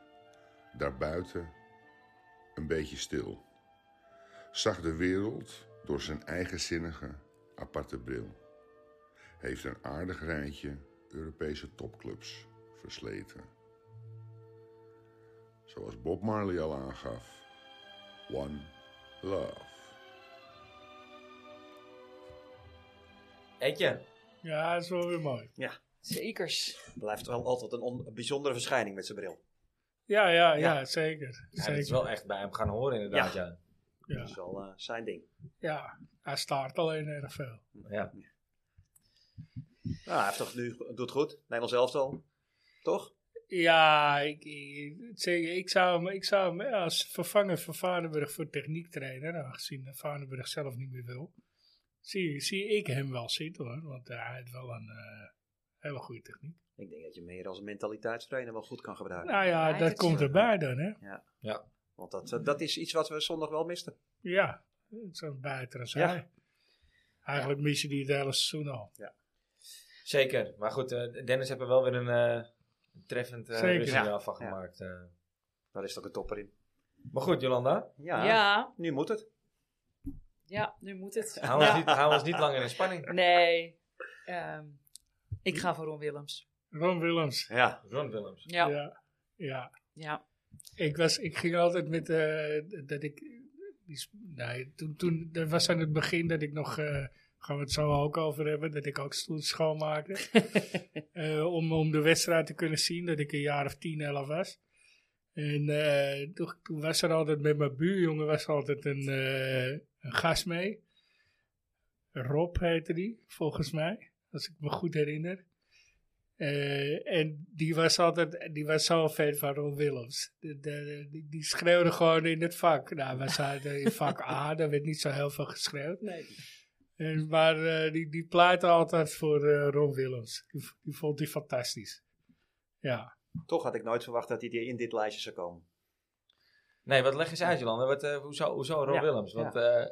S7: daarbuiten een beetje stil. Zag de wereld door zijn eigenzinnige, aparte bril. Heeft een aardig rijtje Europese topclubs versleten. Zoals Bob Marley al aangaf, One Love.
S1: Edje.
S2: Ja, dat is wel weer mooi.
S5: Zekers.
S6: Blijft wel altijd een, on- een bijzondere verschijning met zijn bril.
S2: Ja, ja, ja, zeker.
S1: Ja, dat
S2: zeker.
S1: is wel echt bij hem gaan horen inderdaad, ja.
S2: Ja.
S6: Dat is wel eh, zijn ding.
S2: Ja, hij staart alleen erg veel.
S1: ja.
S6: Nou, hij heeft toch nu, doet het goed. Nederlands elftal. Toch?
S2: Ja, ik, ik, zeker, ik zou hem, ik zou hem ja, als vervanger van Vaardenburg voor techniek trainen, aangezien Vaardenburg zelf niet meer wil, zie, zie ik hem wel zitten hoor. Want hij heeft wel een eh, hele goede techniek.
S6: Ik denk dat je meer als mentaliteitstrainer wel goed kan gebruiken.
S2: Nou ja,
S5: Ja,
S2: dat
S5: dat
S2: komt
S6: is-
S2: erbij dan hè.
S6: Want dat, eh, dat is iets wat we zondag wel misten.
S2: Ja, Het is een buiten als hij. Eigenlijk mis je die het hele seizoen al.
S1: Zeker. Maar goed, eh, Dennis heeft er wel weer een eh, treffend uh,
S2: Zeker.
S1: Russenjaar van
S4: Ja.
S1: gemaakt. eh.
S4: Daar is toch een topper in.
S1: Maar goed, Jolanda.
S5: Ja.
S4: Ja,
S5: Ja,
S4: nu moet het.
S5: nu moet het.
S1: Hou, ons niet, hou ons niet langer in spanning.
S5: Nee. Ehm, ik ga voor Ron Willems.
S2: Ron Willems.
S4: Ja.
S1: Ron Willems.
S5: Ja, ja.
S2: Ja. ja. Ik, was, ik ging altijd met eh, dat ik. Die, sp- nee, toen, toen dat was aan het begin dat ik nog. eh, gaan we het zo ook over hebben. Dat ik ook stoel schoonmaakte. Eh, om, om de wedstrijd te kunnen zien. Dat ik een jaar of 10, 11 was. En eh, toen, toen was er altijd met mijn buurjongen was er altijd een, eh, een gast mee. Rob heette die, volgens mij. Als ik me goed herinner. Eh, en die was altijd, die was zo'n fan van Ron Willems. De- de- die, die schreeuwde gewoon in het vak. Nou, we zaten in vak A, daar werd niet zo heel veel geschreeuwd. En, maar eh, die, die pleitte altijd voor eh, Ron Willems. Die, v- die vond hij fantastisch. Ja.
S4: Toch had ik nooit verwacht dat hij die in dit lijstje zou komen.
S1: Nee, wat leg eens uit, Jolanda. Wat, eh, hoezo, hoezo Ron
S4: Ja.
S1: Willems? Want eh,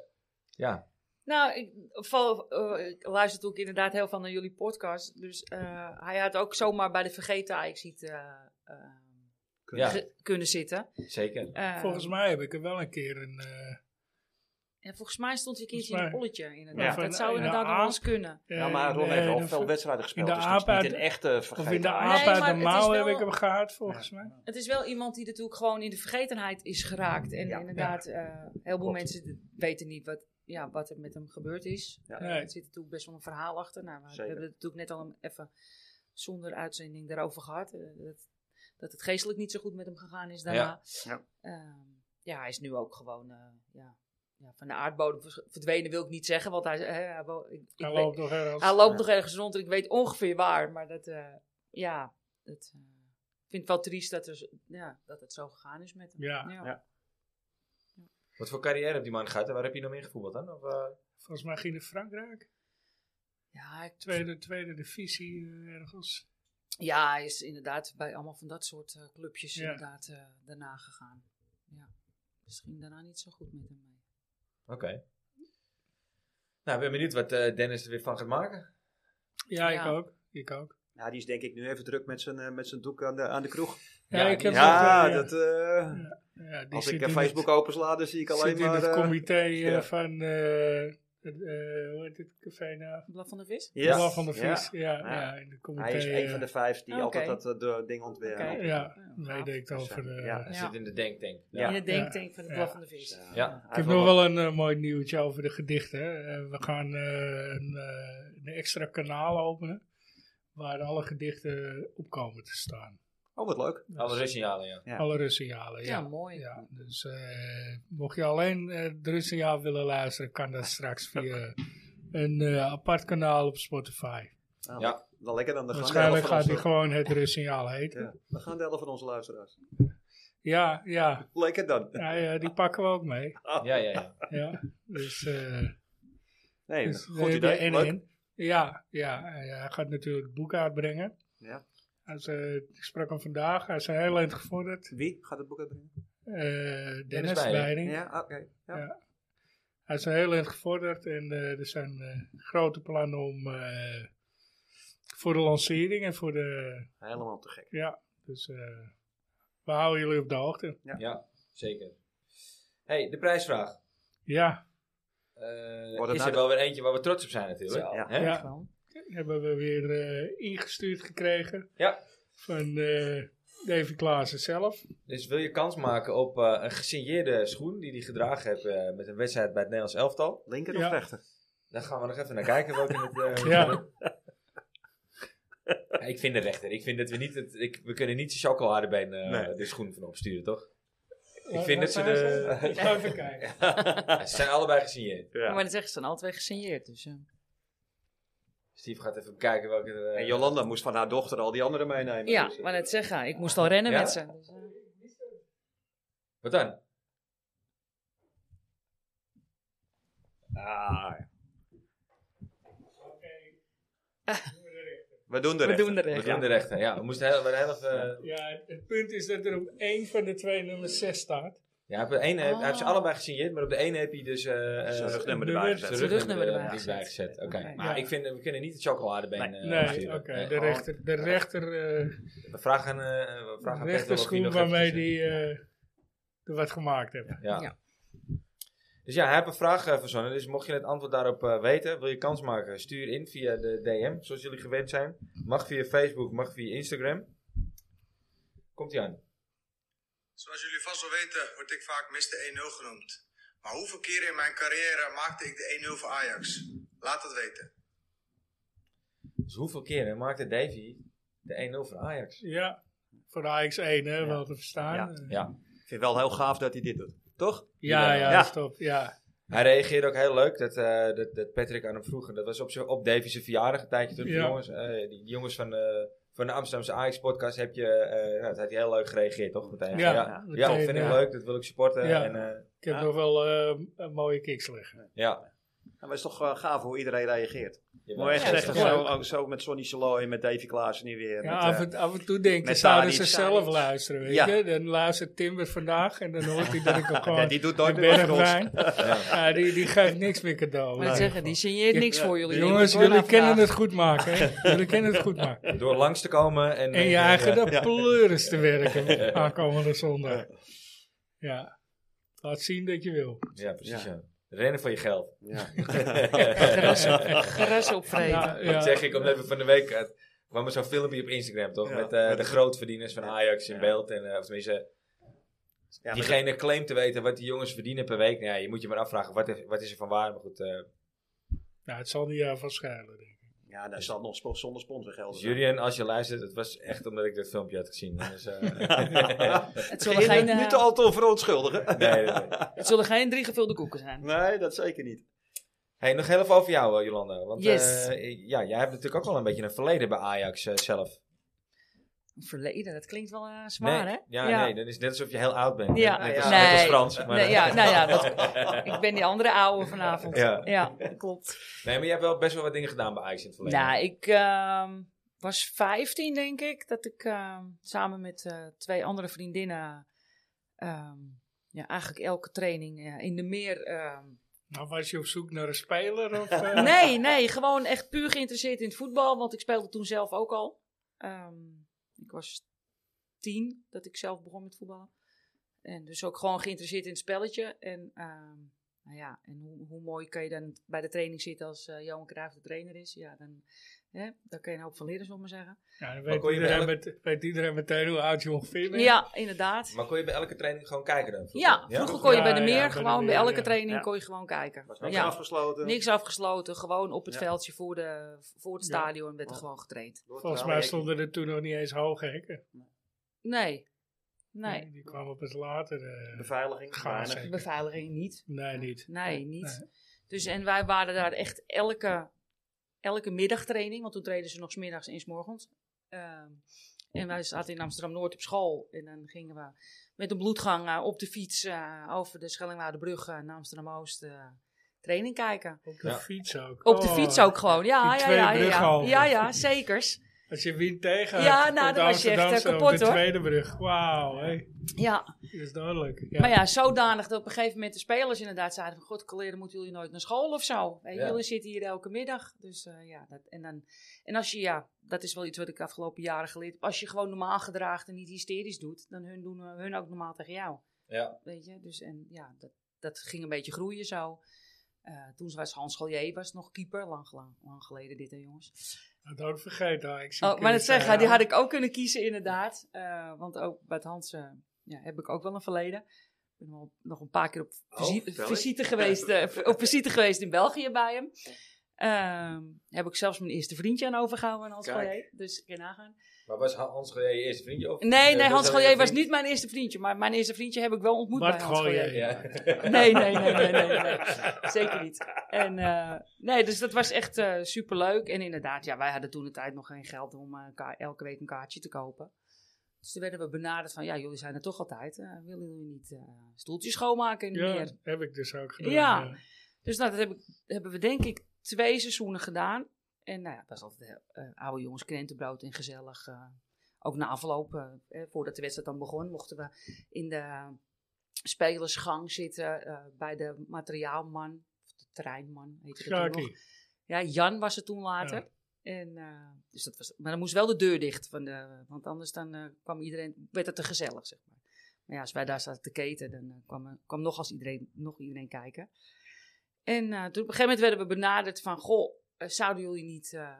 S1: ja,
S5: Nou, ik, val, eh, ik luister natuurlijk inderdaad heel veel naar jullie podcast. Dus eh, hij had ook zomaar bij de vergeten Ajax niet
S1: ja,
S5: eh, kunnen zitten.
S1: zeker.
S5: Eh,
S2: Volgens mij heb ik er wel een keer een... eh,
S5: En volgens mij stond hij een keertje in
S2: Volgens
S5: een
S2: mij-
S5: polletje. Inderdaad.
S2: Ja.
S5: dat zou
S2: Ja.
S5: inderdaad nog
S2: Ja.
S5: wel eens kunnen.
S4: Ja, Nou, maar Ron
S2: eh,
S4: heeft al
S2: de-
S4: veel wedstrijden gespeeld.
S2: in de
S4: dus dat is
S2: aap
S4: niet
S2: uit-
S4: een echte
S2: Of in
S4: vergeten.
S2: de
S5: Nee,
S2: aap
S5: maar
S2: uit
S5: het
S2: de
S5: is
S2: mouw
S5: wel-
S2: heb ik hem gehad, volgens mij.
S5: Het is wel iemand die natuurlijk gewoon in de vergetenheid is geraakt. En
S4: Ja.
S5: inderdaad, eh heel veel
S4: Klopt.
S5: mensen d- weten niet wat, ja, wat er met hem gebeurd is.
S4: Ja.
S5: Eh,
S2: Nee.
S5: Er zit natuurlijk best wel een verhaal achter. Nou, we
S4: Zeker.
S5: hebben het natuurlijk net al een- even zonder uitzending daarover gehad. eh, dat, dat het geestelijk niet zo goed met hem gegaan is daarna.
S4: Ja.
S5: Ehm, ja, hij is nu ook gewoon eh, ja, ja, van de aardbodem vers- verdwenen, wil ik niet zeggen. Want hij, eh, hij, wo- ik, ik
S2: Hij
S5: weet-
S2: loopt nog ergens.
S5: hij loopt
S4: Ja.
S5: nog ergens rond en ik weet ongeveer waar. Maar dat, eh, ja, het, eh, ik vind het wel triest dat, er, z- ja, dat het zo gegaan is met hem.
S2: Ja.
S4: Ja.
S1: Wat voor carrière heeft die man gehad en waar heb je hem ingevoerd dan? Of, eh,
S2: Volgens mij ging hij Frankrijk.
S5: Ja, ik-
S2: Tweede, tweede divisie eh, ergens.
S5: ja, hij is inderdaad bij allemaal van dat soort eh, clubjes
S2: Ja.
S5: inderdaad eh, daarna gegaan. Ja. Misschien daarna niet zo goed met hem mee.
S1: Oké. Nou, ik ben benieuwd wat eh, Dennis er weer van gaat maken.
S2: Ja, ik
S5: Ja.
S2: ook. Ik ook.
S4: Ja, die is denk ik nu even druk met zijn, eh, met zijn doek aan de, aan de kroeg.
S2: Ja,
S1: Ja,
S2: ik
S1: die-
S2: heb
S4: Ja,
S2: ook, eh,
S4: dat, eh,
S2: ja, die
S4: als
S2: zit
S4: ik eh,
S2: in
S4: Facebook
S2: het,
S4: opensla, dan zie ik alleen
S2: zit in
S4: maar...
S2: het
S4: eh,
S2: comité eh,
S4: ja.
S2: van, eh, het, eh, hoe heet het café nou?
S5: Blad van de Vis?
S4: ja.
S2: Blauw van de
S4: Ja.
S2: Vis. Ja, ja.
S4: Ja.
S2: in het comité.
S4: Hij is een van de vijf die
S5: Oké.
S4: altijd dat eh, de ding ontwerpt.
S5: Oké.
S2: eh, Ja, meedenkt over. eh,
S4: nou, dus, Ja.
S1: Hij
S5: Ja.
S1: zit in de denktank.
S4: Ja.
S5: In het denktank van de Blad
S2: Ja.
S5: van de Vis.
S4: Ja.
S1: Ja.
S2: Ik heb nog wel een eh, mooi nieuwtje over de gedichten. Eh, we gaan eh, een, eh, een extra kanaal openen. Waar alle gedichten op komen te staan.
S4: Oh, wat leuk.
S1: Alle rustsignaal, ja.
S4: Ja.
S2: Alle Russialen.
S5: Ja,
S2: Ja,
S5: mooi.
S2: Ja, dus eh, mocht je alleen eh de Russenjaar willen luisteren, kan dat straks via een eh, apart kanaal op Spotify.
S4: Oh,
S1: Ja.
S4: Wel lekker dan. Dan gaan de
S2: Waarschijnlijk
S4: helft van
S2: gaat hij
S4: onze-
S2: gewoon het Russenjaal heten.
S4: Ja, dan gaan de helft van onze luisteraars.
S2: Ja, ja.
S4: Lekker dan. Ah,
S2: ja, ja, die pakken we ook mee.
S1: Ja, ja, ja.
S2: Ja, dus, eh
S4: Nee,
S2: dus we
S4: goed
S2: hebben
S4: idee.
S2: en
S4: Leuk.
S2: in. Ja, ja, en hij gaat natuurlijk het boek uitbrengen.
S4: Ja.
S2: Hij is, eh, ik sprak hem vandaag, hij is een heel eind gevorderd.
S4: Wie gaat het boek uitbrengen?
S2: Eh,
S1: Dennis
S2: Dennis
S1: Beiring.
S2: Leiding.
S4: Ja, ah, oké. Ja.
S2: Ja. Hij is een heel eind gevorderd en eh, er zijn eh, grote plannen om eh, voor de lancering en voor de.
S4: Helemaal te gek.
S2: Ja, dus eh, we houden jullie op de hoogte.
S1: Ja, zeker. hey, de prijsvraag.
S2: Ja,
S1: Eh,
S4: Wordt het
S1: is
S4: nou
S1: er
S4: de-
S1: wel weer eentje waar we trots op zijn natuurlijk.
S5: Zo.
S4: Ja.
S1: Hè?
S2: Ja. hebben we weer eh, ingestuurd gekregen
S1: Ja.
S2: van eh Davy Klaassen zelf.
S1: Dus wil je kans maken op eh, een gesigneerde schoen die hij gedragen heeft eh, met een wedstrijd bij het Nederlands elftal?
S4: Linker
S2: Ja.
S4: of rechter?
S1: Daar gaan we nog even naar kijken. Welke het, eh,
S2: Ja,
S1: Ja, Ik vind de rechter. Ik vind dat we niet. Het, ik, we kunnen niet de chocoladebeen eh
S4: Nee.
S1: de schoen van opsturen, toch? Ik
S2: Wat-
S1: vind
S2: wat
S1: dat ze
S2: zijn
S1: de.
S2: ze? Ik ga even kijken.
S1: Ja, ze zijn allebei gesigneerd.
S4: Ja.
S5: Maar dan zeggen ze dan alle twee gesigneerd. Dus, eh.
S1: Steve gaat even kijken welke. er, eh,
S4: En Jolanda moest van haar dochter al die anderen meenemen.
S5: Ja,
S4: Dus, eh,
S5: maar net zeggen. Ik moest al rennen
S1: Ja?
S5: met ze. Dus, eh.
S1: Wat dan?
S4: ah, ja. We doen de
S5: We
S4: rechter.
S5: doen de
S1: We
S5: rechter.
S1: doen de rechter. Ja, we moesten heel, we heel even.
S2: Ja, het punt is dat er op één van de twee nummer 6 staat.
S1: Ja, op de ene, heb-
S5: Oh.
S1: Hij heeft ze allebei gesigneerd, maar op de ene heb je dus... eh eh,
S6: Zijn rugnummer
S2: de
S6: erbij
S2: rug-
S6: gezet.
S1: zijn
S5: Zijn rugnummer
S1: er,
S5: erbij
S1: eh, niet
S5: gezet.
S1: bij gezet. Oké,
S5: Oké.
S1: maar
S2: Ja.
S1: ik vind, we kunnen niet het chocoladebeen eh
S2: Nee, oké.
S1: afschillen. Nee.
S2: de rechter, de rechter, eh,
S1: We vragen, eh we vragen aan
S2: de
S1: Peter of hij
S2: rechterschoen
S1: nog
S2: waarmee
S1: eventjes,
S2: die
S1: eh,
S2: eh, er wat gemaakt heeft.
S1: Ja.
S5: Ja.
S1: Dus ja, hij heeft een vraag eh, verzonnen. Dus mocht je het antwoord daarop eh, weten, wil je kans maken, stuur in via de DM, zoals jullie gewend zijn. Mag via Facebook, mag via Instagram. Komt ie aan.
S8: Zoals jullie vast wel weten, word ik vaak Mr. 1-0 genoemd. Maar hoeveel keren in mijn carrière maakte ik de 1-0 voor Ajax? Laat het weten.
S1: Dus hoeveel keren maakte Davy de 1-0 voor Ajax?
S2: Ja, voor de AX1, hè, wel te verstaan. Eh,
S1: Ja.
S6: Ik vind het wel heel gaaf dat hij dit doet. Toch?
S2: Ja, ja,
S1: Ja.
S2: dat is top. Ja,
S1: Hij reageerde ook heel leuk dat, eh, dat, dat Patrick aan hem vroeg. En dat was op, z'n- op Davy's verjaardag een tijdje terug.
S2: Ja.
S1: Die, jongens, eh, die die jongens van, eh, van de Amsterdamse Ajax-podcast heb je, eh, nou, dat had hij heel leuk gereageerd, toch? Meteen.
S2: Ja.
S1: ja.
S2: Meteen,
S1: Ja, dat vind ik
S2: ja.
S1: leuk. Dat wil ik supporten.
S2: Ja.
S1: En, eh,
S2: ik heb
S6: Ja.
S2: nog wel eh, een mooie kicks liggen.
S1: ja.
S6: Nou, maar het is toch eh, gaaf hoe iedereen reageert. Mooi
S1: Ja,
S6: gezegd,
S2: dat is
S6: zo,
S2: leuk.
S6: ook zo met Sonny Saloy, met Davy Klaassen nu weer.
S2: Ja,
S6: met,
S2: af,
S6: eh,
S2: en, af en toe denk ik,
S6: met
S2: zouden ze
S6: Tadic,
S2: zelf
S6: Tadic.
S2: luisteren. Weet
S6: Ja.
S2: je? Dan luistert Timber vandaag en dan hoort hij dat ik ook gewoon...
S6: die doet nooit
S2: de
S6: meer wat voor ons.
S2: Bergwijn. Ja, die, die geeft niks meer cadeau.
S5: Maar zeggen, die signeert niks voor jullie.
S2: Jongens,
S5: Die moet
S2: jullie
S5: ik wel
S2: kennen het
S5: navragen.
S2: goed maken. Hè? Jullie kennen het goed maken.
S1: Door langs te komen en...
S2: En je
S1: eh,
S2: eigen
S1: eh,
S2: de pleuris te werken aankomende zondag. Ja. Laat zien dat je wil.
S1: Ja, precies. Ja. Rennen voor je geld.
S5: Gras op- Gras opvreten.
S2: Ja,
S1: Dat
S2: ja.
S1: zeg ik omdat we van de week... eh, kwam er zo'n filmpje op Instagram, toch?
S6: Ja.
S1: Met eh, de grootverdieners van Ajax in
S6: Ja.
S1: beeld. En, eh, of tenminste,
S6: Ja, maar
S1: diegene claimt te weten wat die jongens verdienen per week. Nou, ja, je moet je maar afvragen, wat, is- wat is er van waar? Maar goed, eh,
S2: Nou, het zal niet aan van schelen. denk ik.
S6: dat- ja, daar zal nog spo- zonder sponsorgeld.
S1: dus Julian, als je luistert, het was echt omdat ik dat filmpje had gezien. Dus, eh,
S5: Het
S6: Geen,
S5: zullen geen,
S6: niet
S5: eh,
S6: te al te verontschuldigen.
S1: nee, nee, nee.
S5: het zullen geen drie gevulde koeken zijn.
S6: Nee, dat zeker niet.
S1: Hey, nog heel even over jou, eh, Jolanda. Want
S5: Yes.
S1: eh, ja, jij hebt natuurlijk ook wel een beetje een verleden bij Ajax eh, zelf.
S5: Verleden, dat klinkt wel eh, zwaar,
S1: nee,
S5: hè?
S1: Ja, nee, dan is het net alsof je heel oud bent.
S5: Ja.
S1: Net als,
S5: Nee.
S1: net als Frans. Maar,
S5: Nee, ja, nou ja, dat, ik ben die andere ouwe vanavond.
S1: Ja.
S5: ja klopt.
S1: Nee, maar je hebt wel best wel wat dingen gedaan bij Ajax in het verleden.
S5: Nou, ik ehm, was 15, denk ik, dat ik ehm, samen met eh, twee andere vriendinnen ehm, ja, eigenlijk elke training eh, in de meer. ehm,
S2: Nou, was je op zoek naar een speler? Of, eh?
S5: nee, nee, gewoon echt puur geïnteresseerd in het voetbal, want ik speelde toen zelf ook al. Ehm, ik was tien dat ik zelf begon met voetballen. En dus ook gewoon geïnteresseerd in het spelletje. En, ehm, nou ja, en hoe, hoe mooi kan je dan bij de training zitten als eh, Johan Cruijff de trainer is? Ja, dan, hè, daar kan je een hoop van leren, zullen we maar zeggen.
S2: Ja, dan
S1: Maar
S2: weet,
S1: kon je
S2: iedereen
S1: bij elk-
S2: met- weet iedereen meteen hoe oud je ongeveer bent.
S5: Ja, inderdaad.
S1: Maar kon je bij elke training gewoon kijken dan?
S5: Ja, vroeger kon je bij de
S2: Ja,
S5: meer,
S2: ja, bij de
S5: gewoon bij
S2: meer,
S5: elke
S2: ja.
S5: training
S6: Ja.
S5: kon je gewoon kijken.
S6: Was niks
S5: ja.
S6: afgesloten.
S5: Niks afgesloten, gewoon op het
S6: Ja.
S5: veldje voor, de, voor het
S2: Ja.
S5: stadion werd er gewoon getraind.
S2: Volgens mij stonden er toen nog niet eens hoge hekken.
S5: Nee, nee,
S2: Die kwamen pas later. eh,
S6: Beveiliging.
S2: Gaaf,
S6: weinig.
S2: zeg. Nee.
S5: beveiliging niet.
S2: nee, niet.
S5: Nee, niet. Dus en wij waren daar echt elke, elke middagtraining, want toen treden ze nog 's middags en 's morgens. Ehm, en wij zaten in Amsterdam-Noord op school. En dan gingen we met een bloedgang eh, op de fiets eh, over de Schellingwaardenbrug eh, naar Amsterdam-Oost eh, training kijken.
S2: Op de
S1: Ja.
S2: fiets ook.
S5: Op de
S2: Oh,
S5: fiets ook gewoon, ja,
S2: die
S5: ja,
S2: twee
S5: ja, ja, ja.
S2: brughalven.
S5: Ja, ja, zekers.
S2: Als je wind tegen
S5: Ja, nou, dan was je echt, eh, kapot,
S2: Op de
S5: hoor.
S2: tweede brug. Wauw, hé.
S5: Ja.
S2: Dat is duidelijk. Ja.
S5: Maar ja, zodanig dat op een gegeven moment de spelers inderdaad zeiden van... God, kleren moeten jullie nooit naar school of zo. Weet je,
S1: Ja.
S5: Jullie zitten hier elke middag. Dus eh, ja, dat, en, dan, en als je, ja, dat is wel iets wat ik de afgelopen jaren geleerd heb. Als je gewoon normaal gedraagt en niet hysterisch doet, dan hun doen eh, hun ook normaal tegen jou.
S1: Ja.
S5: Weet je, dus en ja, dat, dat ging een beetje groeien zo. Eh, toen was Hans Gallier was nog keeper, lang, lang, lang geleden dit hè jongens.
S2: Dat had ik vergeten. ah, Ik zie
S5: Oh, maar dat
S2: Chris, eh,
S5: zeggen, die had ik ook kunnen kiezen inderdaad. Eh, want ook bij het Hans eh, ja, heb ik ook wel een verleden. Ik ben al nog een paar keer op visi-
S6: Oh, vertel eens.
S5: visite, geweest, eh, op visite geweest in België bij hem. Ehm, heb ik zelfs mijn eerste vriendje aan overgehouden aan Hans
S6: Kijk.
S5: Gallier. Dus ik kan nagaan.
S1: Maar was Ha- Hans Goyer je eerste vriendje? Of,
S5: Nee,
S1: eh,
S5: nee, Hans
S1: dat
S5: Gallier
S1: je
S5: was
S1: vriend-
S5: niet mijn eerste vriendje. Maar mijn eerste vriendje heb ik wel ontmoet
S2: Bart
S5: bij Hans
S2: Gooijer.
S5: Gallier.
S1: Ja.
S5: Nee, nee, nee, nee, nee, nee. Zeker niet. En, eh, nee, dus dat was echt eh, superleuk. En inderdaad, ja, wij hadden toen de tijd nog geen geld om eh, ka- elke week een kaartje te kopen. Dus toen werden we benaderd van, ja, jullie zijn er toch altijd. eh, willen jullie niet eh, stoeltjes schoonmaken in de
S2: Ja,
S5: meer?
S2: heb ik dus ook gedaan.
S5: Ja.
S2: ja.
S5: Dus nou, dat heb ik, hebben we denk ik twee seizoenen gedaan. En nou ja, dat is altijd eh, oude jongens, krentenbrood en gezellig. eh, ook na afloop, eh, eh, voordat de wedstrijd dan begon, mochten we in de spelersgang zitten eh, bij de materiaalman, of de treinman, heette dat toen nog.
S2: Sjaki.
S5: Ja, Jan was het toen later. En, eh, dus dat was, maar dan moest wel de deur dicht, van de, want anders dan, eh, kwam iedereen, werd het te gezellig, zeg maar. Maar ja, als wij daar zaten te keten, dan eh, kwam, er- kwam nog, als iedereen, nog iedereen kijken. En eh, toen op een gegeven moment werden we benaderd van, goh, eh, zouden jullie niet eh,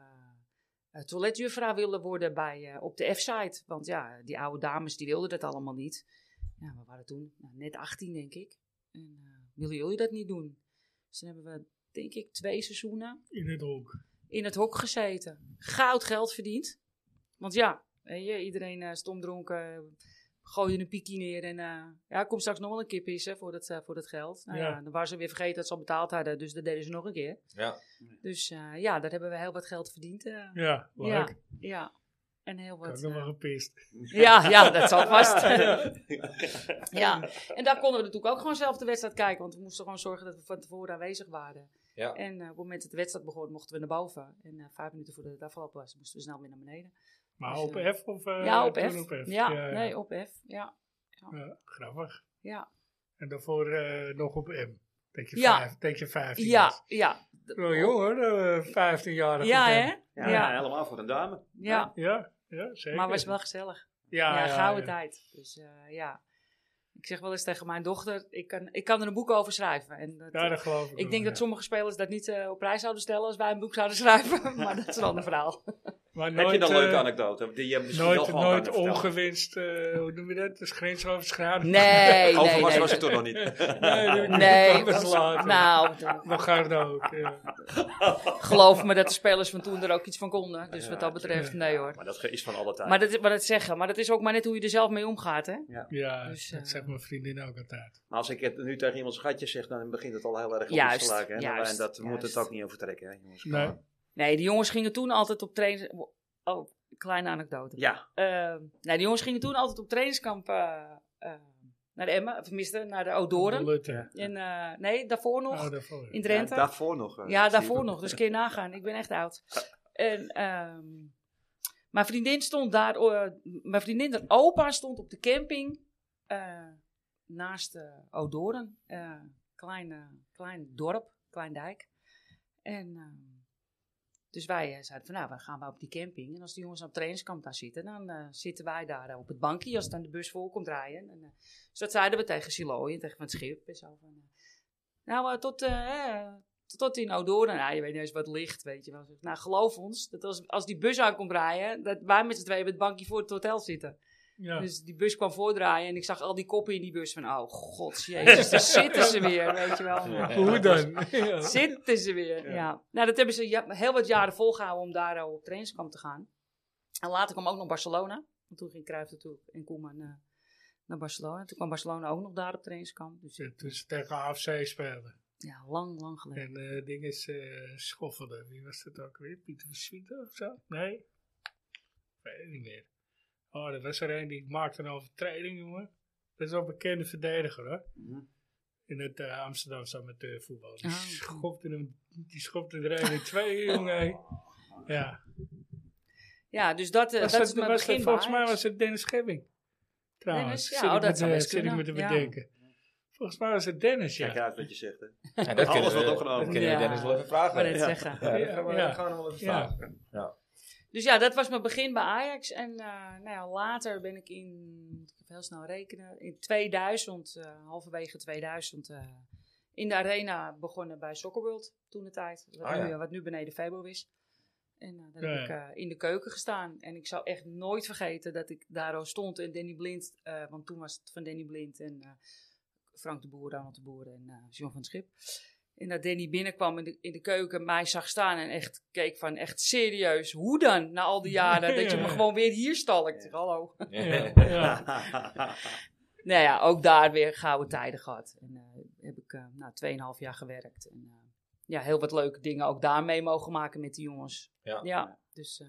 S5: eh, toiletjuffrouw willen worden bij, eh, op de F-site? Want ja, die oude dames die wilden dat allemaal niet. Ja, we waren toen nou, net 18, denk ik. En eh, willen jullie dat niet doen? Dus dan hebben we, denk ik, twee seizoenen
S2: in het hok.
S5: in het hok gezeten. Goud geld verdiend. Want ja, weet je, iedereen eh stomdronken. Gooi je een piekie neer en eh, ja, kom straks nog wel een keer pissen voor dat, eh, voor dat geld. Nou ja.
S2: Ja.
S5: dan waren ze weer vergeten dat ze al betaald hadden, dus dat deden ze nog een keer.
S1: Ja.
S5: Dus eh, ja, daar hebben we heel wat geld verdiend. eh.
S2: Ja, leuk.
S5: ja, ja. En heel
S2: Ik heb
S5: wat.
S2: nog wel
S5: eh,
S2: gepist.
S5: ja, ja, dat zal vast. ja, en daar konden we natuurlijk ook gewoon zelf de wedstrijd kijken, want we moesten gewoon zorgen dat we van tevoren aanwezig waren.
S1: Ja.
S5: En eh, op het moment dat de wedstrijd begon, mochten we naar boven. En eh, vijf minuten voordat het afgelopen was, moesten we snel weer naar beneden.
S2: Maar
S5: Dus,
S2: op
S5: eh,
S2: F of eh,
S5: ja, op
S2: toen
S5: F. Ja, nee, op F. Ja,
S2: Ja, grappig.
S5: ja.
S2: En daarvoor eh, nog op M. Dat je,
S5: Ja.
S2: vijf, dat je 15
S5: Ja, ja.
S2: was. Wel jong hoor, eh, de 15-jarige.
S5: Ja,
S2: op M.
S5: hè?
S6: Ja,
S5: Ja.
S6: helemaal voor een dame.
S5: Ja,
S2: Ja, ja, zeker.
S5: maar was wel gezellig.
S2: ja,
S5: Ja,
S2: ja,
S5: gouden
S2: ja.
S5: tijd. Dus eh, ja. Ik zeg wel eens tegen mijn dochter, ik kan, ik kan er een boek over schrijven. En dat, eh,
S2: Ja, dat geloof ik.
S5: ik denk dat
S2: soms
S5: sommige spelers dat niet eh, op prijs zouden stellen als wij een boek zouden schrijven. maar dat is een ander verhaal.
S2: Maar
S6: Heb je
S2: nooit,
S6: dan een leuke
S2: eh,
S6: anekdote? Die je misschien wel
S2: Nooit,
S6: gewoon
S2: nooit
S6: kan vertellen.
S2: ongewenst, eh, hoe noem je dat? Dus grensoverschrijdend.
S5: Nee, nee,
S6: Overmars
S5: nee.
S6: was het toch nog niet.
S2: nee, dat heb ik
S5: Nee,
S2: anders laten.
S5: nou,
S2: Nog harder ook. ja.
S5: geloof me dat de spelers van toen er ook iets van konden. Dus wat dat betreft, nee hoor.
S6: Maar dat is van alle tijd.
S5: Maar dat, is- maar dat zeggen, maar dat is ook maar net hoe je er zelf mee omgaat, hè?
S2: Ja,
S5: Dus, eh,
S2: dat zegt mijn vriendin ook altijd.
S6: Maar als ik het nu tegen iemands gatje zeg, dan begint het al heel erg op
S5: Juist,
S6: te lijken. hè. Nou,
S5: juist,
S6: en dat moet
S5: juist.
S6: het ook niet overtrekken, hè, jongens.
S2: Nee.
S5: Nee, die jongens gingen toen altijd op trainen. Oh, kleine anekdote.
S6: Ja,
S5: Ehm, nou, die jongens gingen toen altijd op trainingskamp eh, eh, naar de Emmen, of tenminste naar de
S2: De
S5: Oudoren.
S2: Lutte.
S5: En, eh, nee, daarvoor nog,
S2: Oh, daarvoor.
S5: in
S6: ja,
S5: Drenthe.
S6: daarvoor nog. eh,
S5: Ja, daarvoor
S6: Steven.
S5: nog. Dus kun je nagaan. Ik ben echt oud. En, ehm, mijn vriendin stond daar. eh, mijn vriendin, haar opa, stond op de camping. eh, naast eh Odoren. Eh, klein, eh, klein dorp, klein dijk. En, ehm, dus wij eh, zeiden van nou, we gaan we op die camping. En als de jongens op trainingskamp daar zitten, dan eh, zitten wij daar eh, op het bankje als dan de bus vol komt rijden. En, eh, dus dat zeiden we tegen Silooi en tegen Van het Schip en zo. Van, eh, nou, eh, tot, eh, eh, tot in Oudoorn. Nou, je weet niet eens wat ligt, weet je wel. Zeg, Nou, geloof ons, dat als, als die bus aankomt rijden, dat wij met z'n tweeën op het bankje voor het hotel zitten.
S2: Ja.
S5: Dus die bus kwam voordraaien en ik zag al die koppen in die bus van, oh god, jezus, daar zitten ze weer, weet je wel.
S2: Hoe dan? Ja.
S5: Zitten ze weer, ja. Nou, dat hebben ze ja- heel wat jaren volgehouden om daar eh, op trainingskamp te gaan. En later kwam ook nog Barcelona. Want toen ging Cruijff natuurlijk en Koeman eh, naar Barcelona. Toen kwam Barcelona ook nog daar op trainingskamp. Dus
S2: Toen ze tegen AFC speelden.
S5: ja, lang, lang geleden.
S2: En eh ding is eh schoffelde. Wie was dat ook weer? Pieter van Swieten of zo? Nee? Ik Weet het niet meer. Oh, dat was er een die maakte een overtreding, jongen. Dat is wel een bekende verdediger, hoor. In het eh, Amsterdamse amateurvoetbal. Die,
S5: Ah.
S2: schopte hem, die schopte er een in twee, jongen. hè. Ja.
S5: Ja, dus dat, eh,
S2: Was
S5: dat,
S2: dat-
S5: is mijn
S2: was
S5: begin.
S2: dat, volgens
S5: bij
S2: mij
S5: Ajax.
S2: was het Dennis Schemming. Trouwens,
S5: Dennis? Ja,
S2: zit
S5: oh,
S2: ik
S5: dat
S2: me te-
S5: zou best
S2: zit ik me te
S5: kunnen, ja.
S2: bedenken. Volgens mij was het Dennis, ja.
S6: Kijk uit wat je zegt. Hè.
S1: En dat
S6: Alles
S1: kunnen we,
S6: wordt opgenomen.
S1: dat kunnen we
S5: Ja.
S1: Dennis wel even
S5: Ik wou
S1: vragen.
S5: net zeggen.
S1: Ja, dat gaan we,
S2: Ja.
S1: dat gaan we nog wel even
S2: Ja.
S1: vragen.
S5: Dus ja, dat was mijn begin bij Ajax. En eh, nou ja, later ben ik in, moet ik even heel snel rekenen, in 2000, eh, halverwege 2000, eh, in de arena begonnen bij Soccerworld toen de tijd. Wat,
S1: Ah,
S5: nu,
S1: ja.
S5: eh, wat nu beneden Febo is. En eh, daar
S2: Ja,
S5: heb ik eh, in de keuken gestaan. En ik zou echt nooit vergeten dat ik daar al stond en Danny Blind, eh, want toen was het van Danny Blind en eh, Frank de Boer, Ronald de Boer en eh John van het Schip. En dat Danny binnenkwam in de, in de keuken, mij zag staan en echt keek van echt serieus. Hoe dan, na al die jaren, dat je me
S2: Ja.
S5: gewoon weer hier stalkt. Ik zeg, hallo.
S2: Ja,
S1: Ja.
S2: ja.
S5: Nou ja, ook daar weer gouden tijden gehad. En eh, heb ik eh nou 2,5 jaar gewerkt. En eh, ja, heel wat leuke dingen ook daar mee mogen maken met die jongens.
S1: Ja.
S5: dus eh,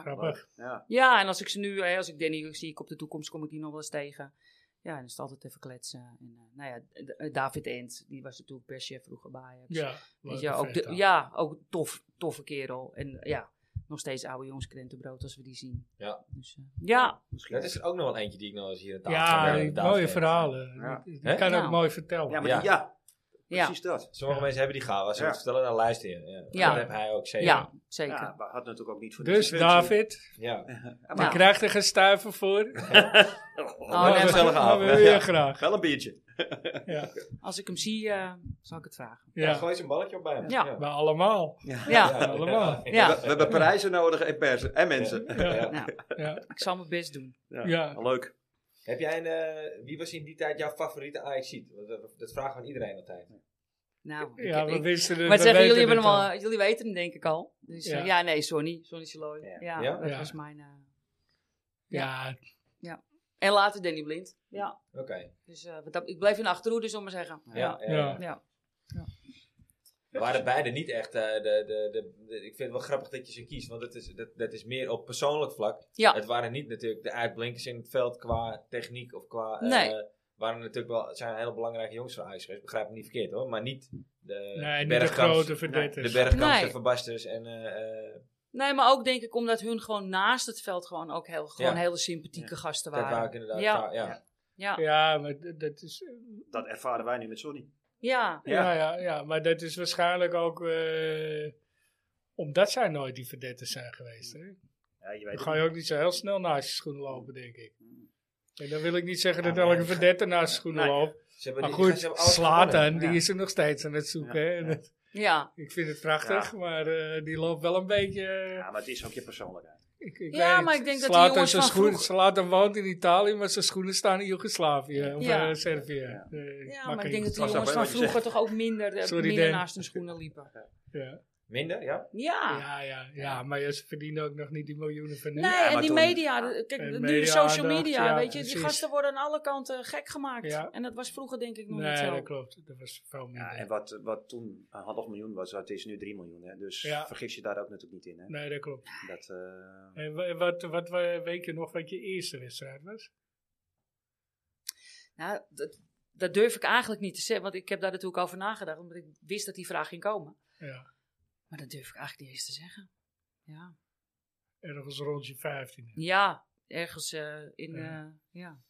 S2: grappig.
S6: Ja.
S5: Ja, en als ik ze nu, eh, als ik Danny zie, ik op de toekomst kom ik die nog wel eens tegen. Ja, en dan is het altijd even kletsen. En, eh, nou ja, D- eh, David Ent, die was natuurlijk perschef vroeger bij eh, Ajax.
S2: Ja,
S5: Weet
S2: leuke
S5: je, ook de-
S2: vent ook.
S5: ja, ook tof, toffe kerel. En ja, nog nog steeds oude jongens krentenbrood als we die zien.
S1: Ja.
S5: Dus, eh, ja,
S1: Dat is er ook nog wel eentje die ik nog eens hier aan tafel
S2: Ja,
S1: aan
S2: die
S1: tafel
S2: mooie
S1: geef.
S2: verhalen.
S4: Ja.
S2: Die, die
S1: Hè?
S2: kan
S5: Ja.
S2: ook mooi vertellen.
S4: Nou. Ja, maar
S1: Ja.
S4: die- ja,
S5: ja,
S4: precies dat.
S1: Sommige mensen hebben die gaven. Als ze
S4: Ja.
S1: het vertellen, dan luisteren. Ja.
S5: Ja.
S1: Dat heb hij ook zeker.
S5: ja, zeker.
S4: Ja, maar had natuurlijk ook niet voor
S2: Dus David,
S1: Ja.
S4: Ja,
S2: je
S5: Nou.
S4: maar,
S2: krijgt er geen stuiver voor.
S5: Oh, nee, maar
S1: gezellig
S2: maar
S1: avond.
S2: we willen
S1: Ja.
S2: je graag.
S6: Wel een biertje.
S2: Ja.
S5: als ik hem zie, eh, zal ik het vragen.
S1: Ja.
S2: Ja.
S1: gooi eens een balletje op bij hem.
S5: Ja.
S2: Maar allemaal.
S5: Ja,
S1: Ja.
S2: Allemaal.
S5: ja, Nou,
S6: We hebben prijzen nodig en, pers- en mensen.
S1: Ja.
S2: Ja.
S5: ik zal mijn best doen.
S2: Ja.
S6: Leuk.
S1: Heb jij een, eh, wie was in die tijd jouw favoriete ajax dat, dat vragen we aan iedereen altijd.
S5: Nou, ik
S2: ja,
S5: heb-
S2: we
S5: ik-
S2: wisten het.
S5: maar
S2: we
S5: zeggen,
S2: weten
S5: jullie, hebben hem
S2: het
S5: al, jullie weten hem denk ik al. Dus eh,
S2: Ja.
S5: ja, nee, Sonny. Sonny Saloy.
S1: Ja.
S5: Ja.
S1: Ja?
S5: dat
S2: Ja.
S5: was mijn... eh,
S2: Ja,
S5: en later Danny Blind. Ja.
S1: Oké.
S5: Dus eh, wat dat, ik blijf in de Achterhoede, zullen we maar zeggen.
S1: Ja, eh, ja,
S2: Ja.
S5: ja.
S1: We waren beide niet echt. eh, de, de, de, de- ik vind het wel grappig dat je ze kiest, want dat is, dat, dat is meer op persoonlijk vlak.
S5: Ja.
S1: Het waren niet natuurlijk de uitblinkers in het veld qua techniek of qua. eh,
S5: Nee.
S1: waren natuurlijk wel, zijn hele belangrijke jongens van Ajax geweest. Begrijp me niet verkeerd hoor, maar niet de
S2: Nee, niet de
S1: Bergkamps,
S2: grote verdetters.
S1: de Bergkamps,
S5: Nee.
S1: de Verbasters en. eh, eh,
S5: Nee, maar ook denk ik omdat hun gewoon naast het veld gewoon ook heel, gewoon
S1: Ja.
S5: hele sympathieke gasten
S1: dat waren
S5: waren.
S1: ook inderdaad.
S5: Ja.
S1: Ja, ja.
S5: Ja. Ja.
S2: ja, maar d- dat is
S4: dat ervaren wij nu met Sonny.
S5: Ja.
S2: Ja, ja, ja, maar dat is waarschijnlijk ook eh, omdat zij nooit die verdetters zijn geweest. Hè?
S4: Ja, je
S2: Dan
S4: weet
S2: ga je ook niet zo heel snel naast je schoenen lopen, denk ik. En dan wil ik niet zeggen dat
S4: Ja,
S2: elke
S4: nee.
S2: verdetter naast je schoenen
S4: Nee.
S2: loopt.
S1: Ze hebben die-
S2: Maar goed,
S1: ze hebben alles gewonnen.
S2: Slatan, die
S4: Ja.
S2: is er nog steeds aan het zoeken.
S4: Ja,
S2: hè.
S4: ja.
S2: En dat-
S5: Ja.
S2: Ik vind het prachtig, maar eh, die loopt wel een beetje... eh,
S4: Ja, maar het is ook je persoonlijkheid.
S2: ik, ik
S5: Ja,
S2: weet
S5: maar
S2: het.
S5: ik denk dat die
S2: Zlatan
S5: jongens
S2: zijn
S5: van
S2: schoen-
S5: vroeg-
S2: Zlatan woont in Italië, maar zijn schoenen staan in Joegoslavië. Of
S5: Ja.
S2: eh, Servië.
S4: Ja.
S2: Eh,
S5: maar ik denk
S2: Joegoslavië.
S5: dat die jongens
S4: wel
S5: van
S4: wat je zegt.
S5: vroeger toch ook minder, eh,
S2: Sorry,
S5: minder
S2: Dan.
S5: naast hun schoenen liepen.
S2: Ja.
S1: Minder, ja.
S5: Ah. Ja.
S2: Ja, ja, ja, maar ja, ze verdienen ook nog niet die miljoenen van nu.
S5: Nee,
S4: maar
S5: en die
S4: toen-
S5: media, de- kijk,
S2: En
S5: nu
S2: media,
S5: de social
S2: aandacht,
S5: media,
S2: ja,
S5: weet je,
S2: precies.
S5: die gasten worden aan alle kanten gek gemaakt.
S2: Ja.
S5: En dat was vroeger denk ik nog niet
S2: Nee,
S5: zo.
S2: dat klopt. Dat was veel minder.
S4: Ja, en wat, wat toen een half miljoen was, dat is nu 3 miljoen. Hè? Dus
S2: Ja.
S4: vergis je daar ook natuurlijk niet in. Hè?
S2: Nee, dat klopt.
S4: Dat, eh,
S2: En wa- wat, wat, wa- weet je nog wat je eerste wedstrijd was?
S5: Nou, dat, dat durf ik eigenlijk niet te zeggen, want ik heb daar natuurlijk over nagedacht, omdat ik wist dat die vraag ging komen.
S2: Ja,
S5: Maar dat durf ik eigenlijk niet eens te zeggen. Ja,
S2: ergens rond je 15.
S5: ja ergens eh, in,
S2: Ja.
S5: ja. ja.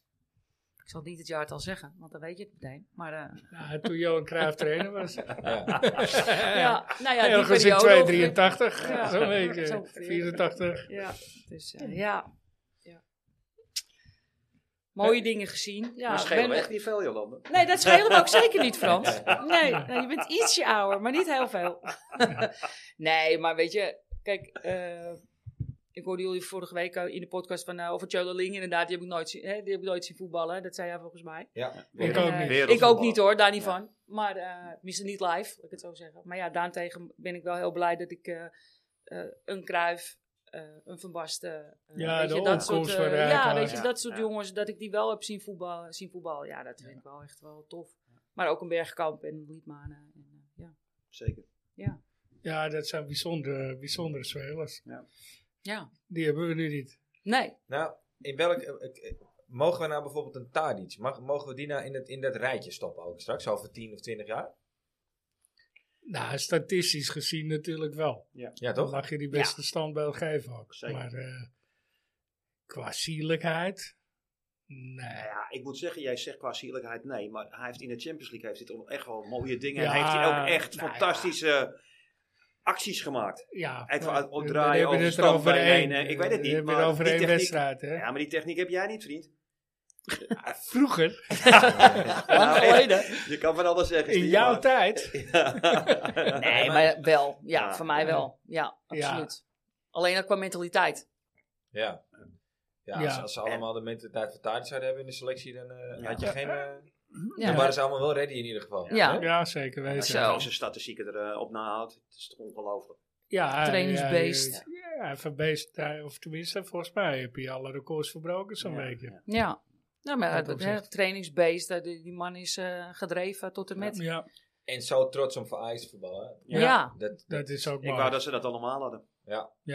S5: Ik zal niet het jaar al zeggen, want dan weet je het meteen. Maar eh,
S2: Ja, Nou, toen Johan Cruijff trainer was.
S1: ja.
S5: ja, nou ja, die
S2: ergens in
S5: periode.
S2: 283,
S5: Ja.
S2: zo'n eh,
S5: Zo
S2: beetje.
S5: ongeveer.
S2: 84.
S5: Ja, dus eh, ja. ja. Mooie dingen gezien. Ja,
S4: Eh, dat
S5: ik
S4: scheelt
S5: ben-
S4: echt niet veel, Jolande.
S5: Nee, dat scheelde me ook zeker niet, Frans. Nee, nee, je bent ietsje ouder, maar niet heel veel. nee, maar weet je, kijk, eh, ik hoorde jullie vorige week eh, in de podcast van, eh, over Chodeling. Inderdaad, die heb ik nooit zien, hè, die heb ik nooit zien voetballen. Dat zei jij volgens mij.
S1: ja.
S2: Ik
S5: En,
S2: ook
S5: eh,
S2: niet.
S5: Ik ook niet hoor, daar niet
S4: Ja.
S5: van. Maar eh misschien niet live, laat ik het zo zeggen. Maar ja, daarentegen ben ik wel heel blij dat ik eh, eh, een Kruif, een Van Basten, eh,
S2: Ja,
S5: weet
S2: de
S5: je, dat soort,
S2: opkomst
S5: eh,
S2: van Rijkaard.
S5: ja, weet je,
S4: Ja,
S5: dat soort
S4: ja.
S5: jongens, dat ik die wel heb zien voetballen. Zien voetballen. Ja, dat vind ik wel echt wel tof. Maar ook een Bergkamp en een Liedmanen. En, eh, ja.
S4: Zeker.
S2: Ja, dat zijn bijzondere, bijzondere spelers.
S5: ja,
S2: Die hebben we nu niet.
S5: nee.
S1: Nou, in welk. eh, eh, Mogen we nou bijvoorbeeld een Tadic, mag, mogen we die nou in, het, in dat rijtje stoppen ook straks, over 10 of 20 jaar?
S2: Nou, statistisch gezien natuurlijk wel.
S1: Ja,
S2: Dan
S1: toch?
S2: mag je die beste standbeeld geven ook.
S4: Zeker.
S2: Maar eh, qua zielijkheid, nee.
S4: Nou ja, ik moet zeggen, jij zegt qua sierlijkheid nee, maar hij heeft in de Champions League heeft hij toch echt wel mooie dingen.
S2: Ja,
S4: en heeft hij ook echt
S2: nou ja.
S4: fantastische acties gemaakt.
S2: Ja,
S4: Even
S2: maar
S4: uit- opdraaien,
S2: dan hebben we het
S4: overstand
S2: erover
S4: bij-
S2: één.
S4: nee, nee, ik weet het niet,
S2: Dan hebben we
S4: maar
S2: het over
S4: die
S2: één
S4: techniek-
S2: wedstrijd, hè?
S4: Ja, maar die techniek heb jij niet, vriend.
S2: Vroeger,
S4: Nou, echt,
S5: geleden.
S4: je kan van alles zeggen.
S2: in
S4: Steve,
S2: jouw
S4: maar-
S2: tijd,
S5: Nee, maar wel. Ja,
S4: Ja.
S5: voor mij wel. Ja,
S2: Ja.
S5: absoluut. Alleen ook qua mentaliteit.
S1: Ja. Ja,
S2: Ja.
S1: Als, als ze allemaal de mentaliteit van Tadic zouden hebben in de selectie, dan eh,
S4: Ja.
S1: had je geen... eh,
S5: Ja.
S1: Dan waren ze allemaal wel ready in ieder geval.
S5: Ja.
S1: Hè?
S2: ja, zeker weten.
S5: Zo.
S4: Als zijn statistieken erop nahoudt, het is toch ongelooflijk.
S2: Ja, hij-
S5: Trainingsbeest.
S2: hij- Ja, van beest, hij- of tenminste, volgens mij heb je alle records verbroken zo'n
S4: Ja,
S2: beetje.
S5: Ja. Ja, Nou, maar
S2: Dat
S5: het,
S2: opzicht.
S5: het trainingsbeest, eh, die die man is eh, gedreven tot en met.
S2: Ja,
S1: En zo trots om voor Ajax te voetballen.
S5: Ja,
S1: Dat,
S2: dat is ook
S4: Ik
S2: mooi.
S4: wou dat ze dat allemaal hadden.
S2: Ja,
S1: Ik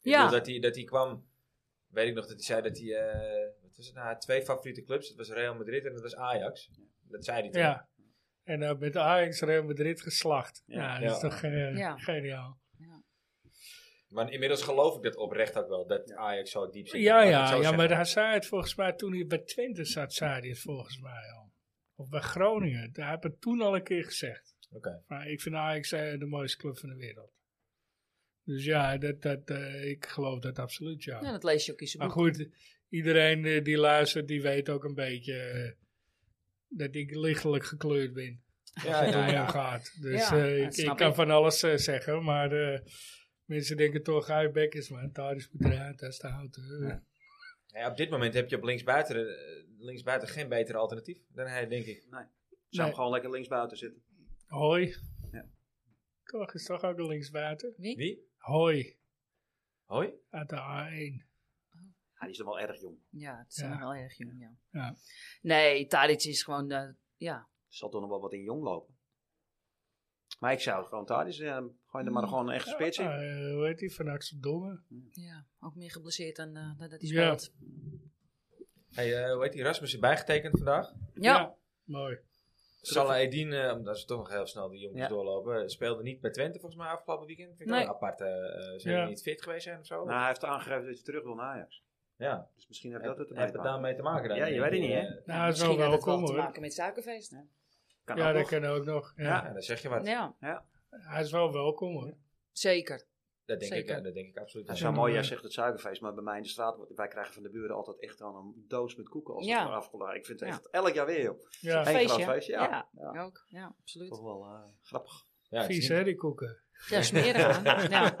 S5: Ja.
S1: bedoel, dat hij, dat hij kwam, weet ik nog dat hij zei dat hij, eh, wat was het nou, hij had twee favoriete clubs, dat was Real Madrid en dat was Ajax. Dat zei hij toen.
S2: ja. En dan met Ajax Real Madrid geslacht. Ja,
S4: Ja.
S2: dat is
S1: Ja.
S2: toch eh,
S5: Ja.
S2: geniaal.
S1: Maar inmiddels geloof ik dat oprecht ook wel, dat Ajax zo diep zit.
S2: Ja,
S1: Laat ik het
S2: ja,
S1: zo
S2: ja
S1: zeggen.
S2: maar daar zei het volgens mij, toen hij bij Twente zat, zei hij het volgens mij al. Of bij Groningen, daar heb ik het toen al een keer gezegd.
S1: Oké.
S2: Maar ik vind Ajax eh, de mooiste club van de wereld. Dus ja, dat, dat, eh, ik geloof dat absoluut, ja.
S5: Ja, dat lees je ook in zijn
S2: maar
S5: boek.
S2: goed, iedereen eh, die luistert, die weet ook een beetje eh, dat ik lichtelijk gekleurd ben.
S1: Ja,
S2: Als het
S1: ja,
S2: om
S1: ja.
S2: hem gaat. Dus
S5: Ja,
S2: eh,
S5: dat
S2: ik, ik
S5: snap
S2: kan
S5: ik.
S2: van alles eh, zeggen, maar eh, mensen denken toch, hij bek is maar daar is goed eruit, daar is de houten. eh.
S1: Ja, op dit moment heb je op linksbuiten, eh, linksbuiten geen beter alternatief dan hij, denk ik.
S6: Zou hem
S2: Nee.
S6: gewoon lekker linksbuiten zitten.
S2: Hoi.
S6: Ja.
S2: Toch is toch ook een linksbuiten?
S1: Wie?
S2: Hoi.
S1: Hoi?
S2: Uit de A1.
S6: Hij is dan wel erg jong.
S5: Ja, het is nog
S2: Ja.
S5: wel erg jong, ja.
S2: Ja.
S5: Nee, Tadic is gewoon, eh, ja.
S6: Zal toch nog wel wat in jong lopen. Maar ik zou gewoon Tadis, eh gooi er
S5: Hmm.
S6: maar gewoon een echte spits in.
S2: Eh, hoe heet die? Van Axel Domme.
S5: ja. Ook meer geblesseerd dan eh, dan dat hij
S2: Ja.
S5: speelt.
S1: Hey, eh, hoe heet die? Rasmus is bijgetekend vandaag.
S5: Ja. Nou,
S2: Mooi.
S1: Salah Edin, eh, omdat ze toch nog heel snel die jongens
S6: Ja.
S1: doorlopen, eh, speelde niet bij Twente volgens mij afgelopen weekend. Vind ik
S5: Nee.
S1: wel apart. eh, eh, zijn
S2: Ja.
S1: die niet fit geweest zijn of zo?
S6: Nou, hij heeft aangegeven dat hij terug wil naar Ajax.
S1: ja.
S6: Dus misschien heeft
S1: Heb
S6: dat het
S1: heb
S6: erbij.
S1: het daarmee te maken dan?
S6: Ja, je weet het niet, hè?
S1: Eh,
S2: Nou, dat is wel
S5: Misschien had het
S2: welkom
S5: wel te
S2: hoor.
S5: maken met suikerfeest. Hè?
S6: Kan
S2: ja,
S6: ook
S2: dat
S6: nog.
S2: kan ook nog. Ja.
S1: Ja, dan zeg je wat.
S5: Ja,
S2: Hij is wel welkom hoor.
S5: zeker.
S1: Dat, denk ik,
S5: Zeker.
S1: eh, dat denk ik absoluut.
S6: Dat
S1: wel.
S6: is wel mooi, jij zegt het suikerfeest, maar bij mij in de straat, wordt- wij krijgen van de buren altijd echt dan een doos met koeken als
S5: Ja.
S6: het afgeladen. Ik vind het
S5: Ja.
S6: echt elk jaar weer, joh.
S2: Ja.
S6: Eén
S5: Feestje.
S6: groot feestje, ja.
S5: Ja.
S6: Ja.
S5: Ook, ja, absoluut.
S2: Oh.
S6: Toch wel eh, grappig.
S1: Ja, het is
S2: Vies
S1: niet-
S2: hè, die koeken.
S5: Ja, smerig. hè? ja.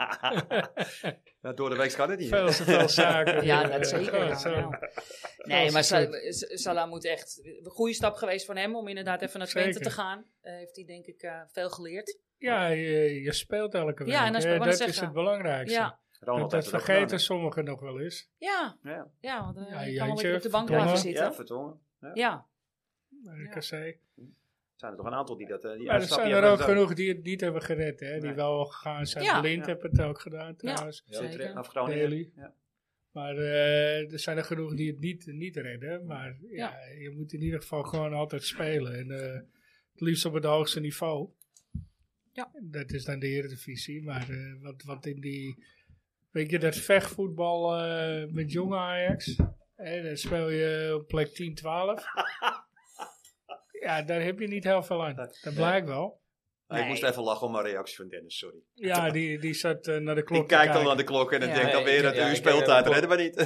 S6: Ja, door de week kan het niet. hè?
S2: Veel te veel zaken.
S5: Ja,
S2: Eh,
S5: dat zeker.
S2: gewoon
S5: ja,
S2: zo.
S5: ja. Nee,
S2: is
S5: maar
S2: het
S5: Sa- S- Salah moet echt... Een goede stap geweest van hem om inderdaad even naar Twente
S2: Zeker.
S5: te gaan. Eh, heeft hij denk ik eh, veel geleerd.
S2: Ja, je, je speelt elke
S5: Ja,
S2: week.
S5: en dan
S2: hè.
S5: speel- wou
S2: dat
S5: net
S2: is
S5: zeggen.
S2: het belangrijkste.
S5: Ja,
S6: Ronald
S2: Dat, dat
S6: heeft het ook
S2: vergeten
S6: gedaan,
S2: sommigen nog wel eens.
S5: ja,
S6: hè. Ja,
S5: ja. Want, eh,
S2: Ja,
S5: je kan wel
S2: jeetje,
S5: lekker op de
S2: verdomme.
S5: bank blijven
S6: ja.
S5: zitten.
S6: vertongen. Ja.
S5: Ja,
S2: Eh,
S5: Ja.
S2: KC.
S6: Er zijn er toch een aantal die dat... eh, die
S2: Maar er
S6: uitstapje
S2: zijn er
S6: hebben
S2: ook
S6: gedaan.
S2: genoeg die het niet hebben gered. Hè? Die
S6: Nee.
S2: wel gegaan zijn.
S5: Ja.
S2: Blind
S6: Ja.
S2: heeft het ook gedaan trouwens.
S5: zeker.
S6: Af Groningen.
S2: Daly.
S6: Ja.
S2: Maar eh, er zijn er genoeg die het niet, niet redden. Maar ja, je moet in ieder geval gewoon altijd spelen. En, eh, het liefst op het hoogste niveau.
S5: Ja.
S2: Dat is dan de Eredivisie. Maar eh, wat, wat in die... Weet je, dat vechtvoetbal eh, met jonge Ajax. Hè, dan speel je op plek 10, 12. ja, daar heb je niet heel veel aan. Dat blijkt wel.
S6: Ah, Ik
S5: Nee.
S6: moest even lachen om mijn reactie van Dennis, sorry.
S2: Ja, die, die zat eh, naar de klok
S6: Die
S2: te
S6: kijkt al
S2: kijken.
S6: aan de klok en dan
S5: Ja.
S6: denkt dan
S1: Nee,
S6: weer eh,
S1: ik-
S6: dat
S1: ja, ik-
S6: uw speeltijd
S1: ik-
S6: redden we niet.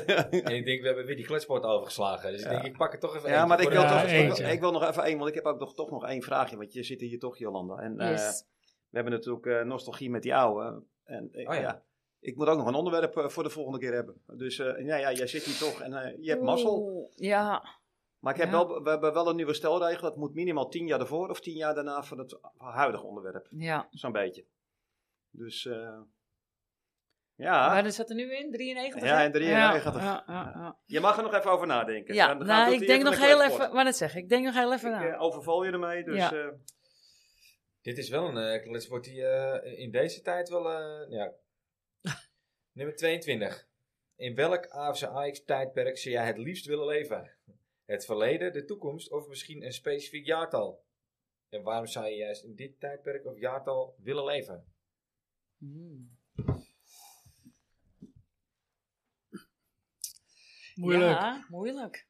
S1: En ik denk, we hebben weer die kletsport overgeslagen. Dus ik denk, ik pak het toch even
S6: Ja,
S1: eentje
S6: maar ik
S1: voor
S6: wil,
S1: de-
S6: toch,
S1: voor de-
S6: ik,
S2: eentje.
S6: wil- ik wil nog even één, want ik heb ook nog, toch nog één vraagje. Want je zit hier toch, Jolanda. En eh,
S5: yes.
S6: we hebben natuurlijk eh, nostalgie met die oude. En ik-
S1: Oh
S6: ja.
S1: ja.
S6: ik moet ook nog een onderwerp eh, voor de volgende keer hebben. Dus eh, ja, ja, jij zit hier toch en eh, je hebt mazzel.
S5: Oeh, Ja,
S6: Maar ik heb
S5: Ja.
S6: wel, we hebben wel een nieuwe stelregel. Dat moet minimaal tien jaar ervoor of tien jaar daarna van het huidige onderwerp.
S5: ja.
S6: Zo'n beetje. Dus eh, ja.
S5: Maar dat zat er nu in, 93?
S6: Ja,
S5: hè?
S6: in 93.
S5: Ja, ja, ja.
S6: Je mag er nog even over nadenken.
S5: ja.
S6: Dan gaan we
S5: nou,
S6: tot
S5: ik
S6: hier
S5: denk nog
S6: de
S5: heel
S6: kletsport.
S5: even... Maar dat zeg ik, ik denk nog heel even
S6: Ik
S5: na.
S6: eh, overval je ermee, dus
S5: Ja.
S6: eh,
S1: Dit is wel een eh, kletsport die eh, in deze tijd wel... eh, ja. Nummer 22. In welk AFC Ajax tijdperk zou jij het liefst willen leven? Het verleden, de toekomst of misschien een specifiek jaartal? En waarom zou je juist in dit tijdperk of jaartal willen leven?
S5: Hmm.
S2: Moeilijk.
S5: Ja, moeilijk.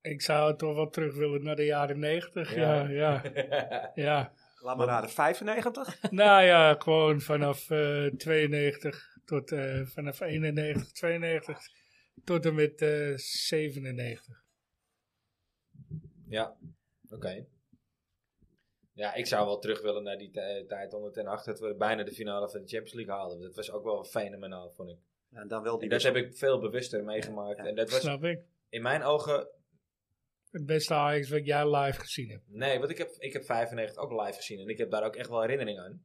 S2: Ik zou het toch wel terug willen naar de jaren 90. Ja, ja. ja.
S6: laat maar raden, 95?
S2: Nou ja, gewoon vanaf eh, 92 tot eh, vanaf 91, 92 tot en met eh, 97.
S1: ja, oké. Ja, ik zou wel terug willen naar die tij- tijd onder ten acht dat we bijna de finale van de Champions League haalden. Dat was ook wel fenomenaal, vond ik.
S6: En Nou, dan wel die
S1: En dat
S6: wissel.
S1: heb ik veel bewuster meegemaakt.
S6: Ja.
S1: En dat was
S2: Snap ik.
S1: in mijn ogen.
S2: Het beste Ajax wat jij live gezien hebt.
S1: Nee, want ik heb, ik heb 95 ook live gezien. En ik heb daar ook echt wel herinnering aan.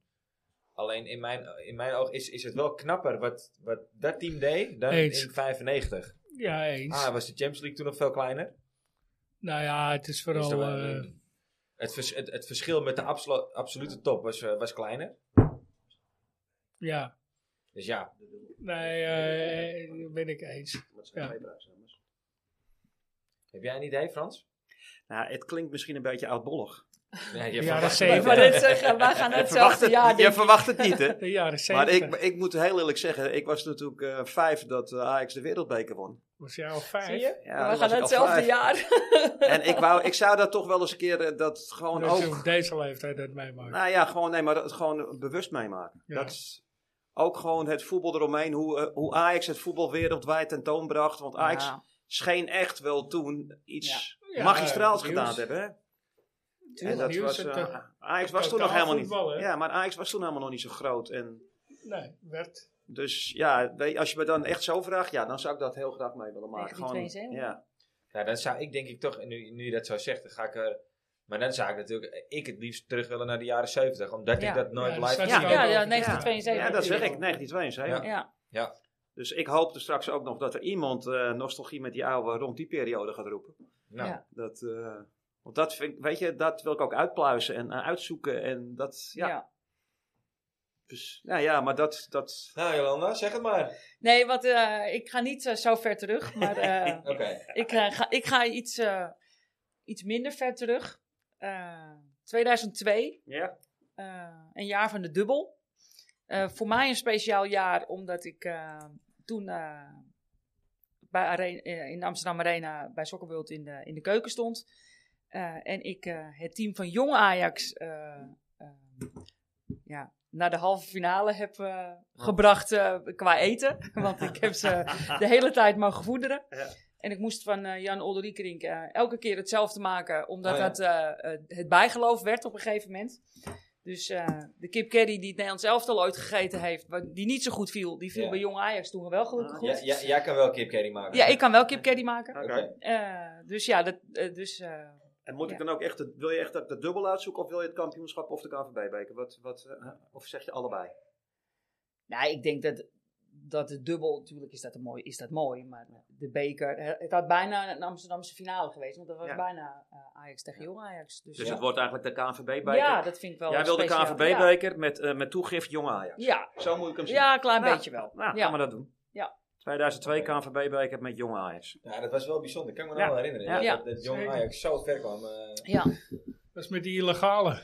S1: Alleen in mijn, in mijn ogen is, is het wel knapper wat, wat dat team deed dan
S2: Eens.
S1: in 95.
S2: Ja, eens.
S1: Ah, was de Champions League toen nog veel kleiner?
S2: nou ja, het is
S1: Dus
S2: vooral...
S1: dan,
S2: eh,
S1: eh, het, vers- het, het verschil met de absolu- absolute top was, eh, was kleiner.
S2: ja,
S1: Dus ja,
S2: nee, eh, eh, ben ik eens.
S6: Dat zijn
S2: Ja.
S6: twee prijsnummers.
S1: heb jij een idee, Frans?
S6: Nou, het klinkt misschien een beetje oudbollig.
S1: Nee,
S2: De
S1: je
S2: jaren
S1: verwacht-
S5: Ik wou
S2: zeventig.
S5: net zeggen, wij gaan
S6: verwacht
S5: hetzelfde
S6: het,
S5: jaar
S6: je
S5: denken.
S6: verwacht het niet, hè?
S2: De jaren
S6: Maar ik,
S2: zeventig.
S6: ik moet heel eerlijk zeggen, ik was natuurlijk eh, vijf dat eh, Ajax de wereldbeker won.
S2: Was jou al
S5: Zie
S2: vijf?
S5: je?
S6: Ja, dan was
S5: we gaan
S6: ik al
S5: hetzelfde
S6: vijf.
S5: jaar.
S6: En ik, wou, ik zou dat toch wel eens een keer eh, dat gewoon
S2: Dat je
S6: ook...
S2: op deze leeftijd dat meemaakt.
S6: Nou ja, gewoon, nee, maar het gewoon bewust meemaken.
S2: Ja.
S6: Dat is ook gewoon het voetbal eromheen, hoe, eh, hoe Ajax het voetbal wereldwijd tentoonbracht. Want Ajax
S5: Ja,
S6: scheen echt wel toen iets
S2: Ja.
S6: magistraals
S2: Ja,
S6: gedaan
S2: nieuws.
S6: te hebben. hè? En
S2: Tuurlijk.
S6: dat
S2: Nieuws
S6: was,
S2: en
S6: eh,
S2: to-
S6: Ajax was toen nog
S2: totaal
S6: helemaal
S2: voetbal,
S6: niet.
S2: hè?
S6: Ja, maar Ajax was toen helemaal nog niet zo groot. En
S2: Nee, werd.
S6: Dus ja, weet je, als je me dan echt zo vraagt, ja, dan zou ik dat heel graag mee willen maken. Gewoon,
S5: 1972.
S6: ja.
S1: Nou, dan zou ik denk ik toch, nu, nu je dat zo zegt, dan ga ik er... Maar dan zou ik natuurlijk, eh, ik het liefst terug willen naar de jaren 70. Omdat
S5: Ja.
S1: ik dat nooit
S2: Ja,
S1: live
S2: dat
S1: heb
S2: zou
S5: ja,
S1: gezien.
S5: ja,
S2: Ja,
S5: ja,
S6: ja,
S5: 1972.
S6: dat zeg ik, 1972. hè.
S1: Ja.
S5: Ja.
S1: Ja.
S6: Dus ik hoop er straks ook nog dat er iemand eh, nostalgie met die oude rond die periode gaat roepen.
S1: Nou,
S5: Ja.
S6: Dat, eh, want dat vind ik, weet je, dat wil ik ook uitpluizen en eh, uitzoeken. En dat, ja.
S5: Ja.
S6: Dus, nou ja, maar dat, dat
S1: nou Jolanda, zeg het maar.
S5: Nee, want eh, ik ga niet eh, zo ver terug, maar eh,
S1: Oké.
S5: ik, eh, ga, ik ga iets, eh, iets minder ver terug. Eh, 2002,
S6: ja.
S5: eh, een jaar van de dubbel. Eh, voor mij een speciaal jaar, omdat ik eh, toen eh, bij Arena- eh, in de Amsterdam Arena bij Sokkerworld in de, in de keuken stond. Eh, en ik eh, het team van jong Ajax eh, eh, ja, naar de halve finale heb eh,
S1: Oh.
S5: gebracht eh, qua eten. Want ik heb ze de hele tijd mogen voederen.
S6: Ja.
S5: En ik moest van eh, Jan Olderiekerink eh, elke keer hetzelfde maken, omdat
S1: Oh ja.
S5: dat eh, eh, het bijgeloof werd op een gegeven moment. Dus eh, de kip curry die het Nederlands elftal ooit gegeten heeft, wat- die niet zo goed viel, die viel
S1: Ja.
S5: bij jong Ajax toen wel gelukkig
S6: Ah,
S5: goed.
S1: Ja, ja, jij kan wel kip curry maken.
S5: Ja, ik kan wel kip curry maken.
S6: Oké.
S1: Oké.
S5: Eh, dus ja, dat, eh, dus, eh,
S6: En moet ik
S5: Ja.
S6: dan ook echt, het- wil je echt dat ik de dubbel uitzoeken of wil je het kampioenschap of de KNVB-beker? Wat, wat, eh, of zeg je allebei?
S5: nou, ik denk dat, dat het dubbel, natuurlijk is dat, een mooi, is dat mooi, maar de beker, eh, het had bijna een Amsterdamse finale geweest, want dat was
S6: Ja.
S5: bijna eh, Ajax tegen jong Ajax. Dus,
S6: Dus
S5: ja.
S6: het wordt eigenlijk de KNVB-beker.
S5: ja, dat vind ik wel
S6: Jij wil de
S5: speciaal. Ja.
S6: KNVB-beker met, eh, met toegift Jong Ajax.
S5: Ja,
S6: Zo moet ik hem zien.
S5: ja, een klein
S6: Nou,
S5: beetje wel.
S6: Nou,
S5: ja.
S6: gaan we dat doen.
S5: Ja.
S6: 2002
S1: Oké.
S6: KNVB-beker met Jong Ajax.
S1: Ja, dat was wel bijzonder. Ik kan me nog
S6: Ja.
S1: wel herinneren.
S6: Ja.
S5: Ja.
S1: Dat, dat jong
S2: Zeker.
S1: Ajax zo ver kwam. eh,
S5: ja.
S2: Dat is met die illegale.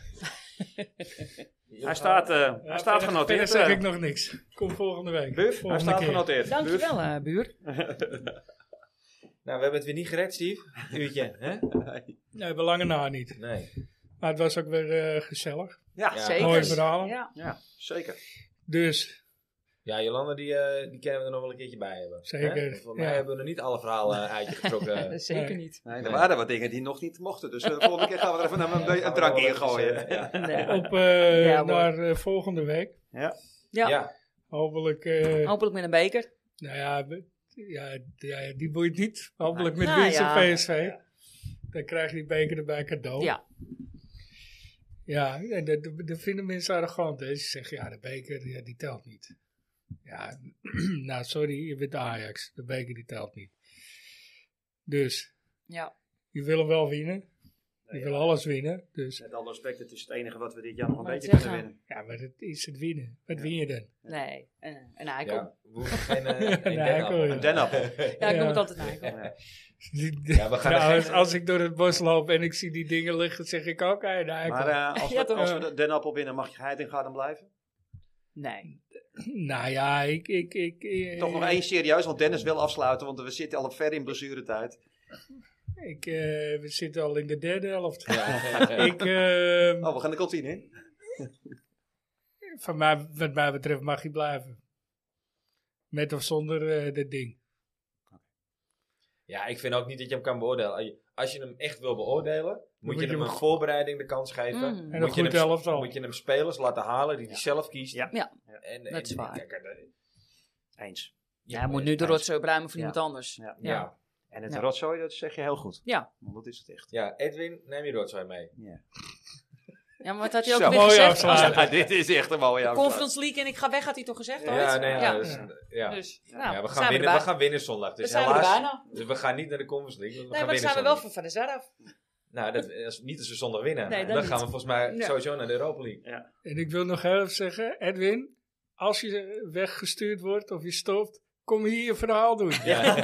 S6: Hij staat, eh,
S2: Ja,
S6: hij staat
S2: verder-
S6: genoteerd.
S2: Verder zeg
S6: eh,
S2: ik nog niks. Kom volgende week.
S6: Buf, hij
S2: volgende
S6: staat
S2: keer.
S6: genoteerd. Buf.
S5: Dankjewel, eh buur.
S1: Nou, we hebben het weer niet gered, Steve. Uurtje, hè?
S2: Nee, we lange na niet.
S1: Nee.
S2: Maar het was ook weer eh, gezellig.
S6: Ja,
S1: Ja.
S5: Zeker.
S2: Mooie verhalen.
S5: Ja.
S6: ja, zeker.
S2: Dus,
S1: Ja, Jolanda, die, eh, die kennen we er nog wel een keertje bij hebben.
S2: Zeker,
S1: Hè? Voor mij
S2: ja.
S1: hebben we er niet alle verhalen eh, uit je getrokken.
S5: Zeker
S2: Nee.
S5: niet.
S6: Nee, er
S1: Nee.
S6: waren wat dingen die nog niet mochten. Dus de volgende keer gaan we er even een,
S1: Ja,
S6: be- een drank
S1: gaan we
S6: in
S1: wel
S6: gooien.
S1: eventjes, eh,
S5: Nee.
S2: op eh,
S5: Ja, mooi.
S2: naar eh, volgende week.
S1: ja.
S5: Ja.
S1: ja.
S2: Hopelijk, eh,
S6: Ah,
S5: Hopelijk met een beker.
S2: nou ja, we- ja, ja, die boeit niet. Hopelijk met
S5: Nou
S2: winst en
S5: ja.
S2: PSV. Dan krijg je die beker erbij cadeau.
S5: Ja.
S2: Ja, en dat, dat- dat vinden mensen arrogant. Hè. Ze zeggen, ja, de beker, ja, die telt niet. Ja, nou, sorry, je bent Ajax. De beker, die telt niet. Dus,
S5: Ja.
S2: je wil hem wel winnen. Je wil alles winnen. Dus,
S6: Met alle respect, het is het enige wat we dit jaar nog een
S5: Maar
S6: beetje
S5: zeggen.
S6: kunnen winnen.
S2: ja, maar dat is het winnen. Wat win je dan?
S5: Nee. Eh, Een, een eikel. Ja.
S1: we hoeven geen, eh, geen
S2: Een
S1: dennappel.
S2: eikel, ja.
S6: Een dennappel.
S5: ik noem
S2: Ja.
S5: het altijd een eikel.
S1: Ja, we gaan er
S2: Trouwens,
S1: geen-
S2: Nou, als ik door het bos loop en ik zie die dingen liggen, zeg ik ook, hé, daar
S6: Maar eh, als,
S5: Ja,
S6: we,
S5: toch.
S6: als we de dennappel winnen, mag je geheid in Garden blijven?
S5: Nee.
S2: Nou ja, ik... ik, ik, eh,
S6: Toch nog één serieus, want Dennis wil afsluiten, want we zitten al ver in blessuretijd.
S2: Ik, eh, we zitten al in de derde helft.
S1: Ja.
S2: ik, eh,
S6: Oh, we gaan de kantine in.
S2: van mij, wat mij betreft mag hij blijven. Met of zonder eh, dit ding.
S1: Ja, ik vind ook niet dat je hem kan beoordelen. Als je- Als je hem echt wil beoordelen, moet, je hem een voorbereiding de kans geven.
S5: Mm.
S2: En
S1: Moet
S2: een
S1: je
S2: goed
S1: hem-
S2: elftal.
S1: Moet je hem spelers laten halen die hij zelf kiest.
S6: Ja.
S5: Ja.
S1: En,
S5: Dat is
S1: en-
S5: waar.
S1: kijk, eh,
S6: Eens.
S5: Ja, hij moet nu de rotzooi bruimen voor
S6: Ja.
S5: iemand anders.
S6: Ja.
S1: Ja. Ja.
S6: En het
S5: Ja.
S6: rotzooi, dat zeg je heel goed.
S5: Ja.
S6: Want dat is het echt.
S1: Edwin, neem je rotzooi mee.
S5: Ja, maar wat had hij ook
S6: Zo.
S5: weer
S2: Mooi
S5: gezegd?
S2: afsluiten.
S5: Als
S6: Ja, dit is echt een mooie
S5: de
S6: afspraak.
S5: Conference League en ik ga weg, had hij toch gezegd? ooit?
S1: Ja, nee, ja,
S5: Ja.
S1: dus, ja.
S5: Dus, nou,
S1: ja, we,
S5: zijn
S1: gaan
S5: we
S1: winnen,
S5: erbij.
S1: we gaan winnen zondag.
S5: Dan
S1: Dus
S5: zijn we er
S1: helaas.
S5: bijna.
S1: Dus we gaan niet naar de Conference League. want we
S5: Nee,
S1: gaan
S5: maar dan
S1: winnen
S5: zijn we wel
S1: zondag.
S5: van Van der Zar
S1: Nou,
S5: af.
S1: dat, als, niet als we zondag winnen.
S5: Nee,
S1: dan
S5: dan niet.
S1: gaan we volgens mij
S5: Ja.
S1: sowieso naar de Europa League.
S2: En ik wil nog heel even zeggen, Edwin, als je weggestuurd wordt of je stopt, kom hier je verhaal doen.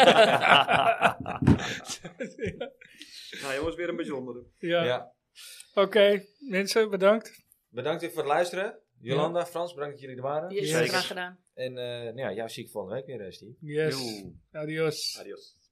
S6: Nou jongens, weer een bijzondere.
S2: ja.
S1: Ja.
S2: Oké, mensen, bedankt.
S1: Bedankt weer voor het luisteren. Jolanda, Frans, bedankt dat jullie er waren.
S5: Die is
S2: Zeker.
S5: graag gedaan.
S1: En eh, nou ja, jou zie ik volgende week weer, eh, Steve.
S2: Yes.
S6: Joe.
S2: Adios.
S6: Adios.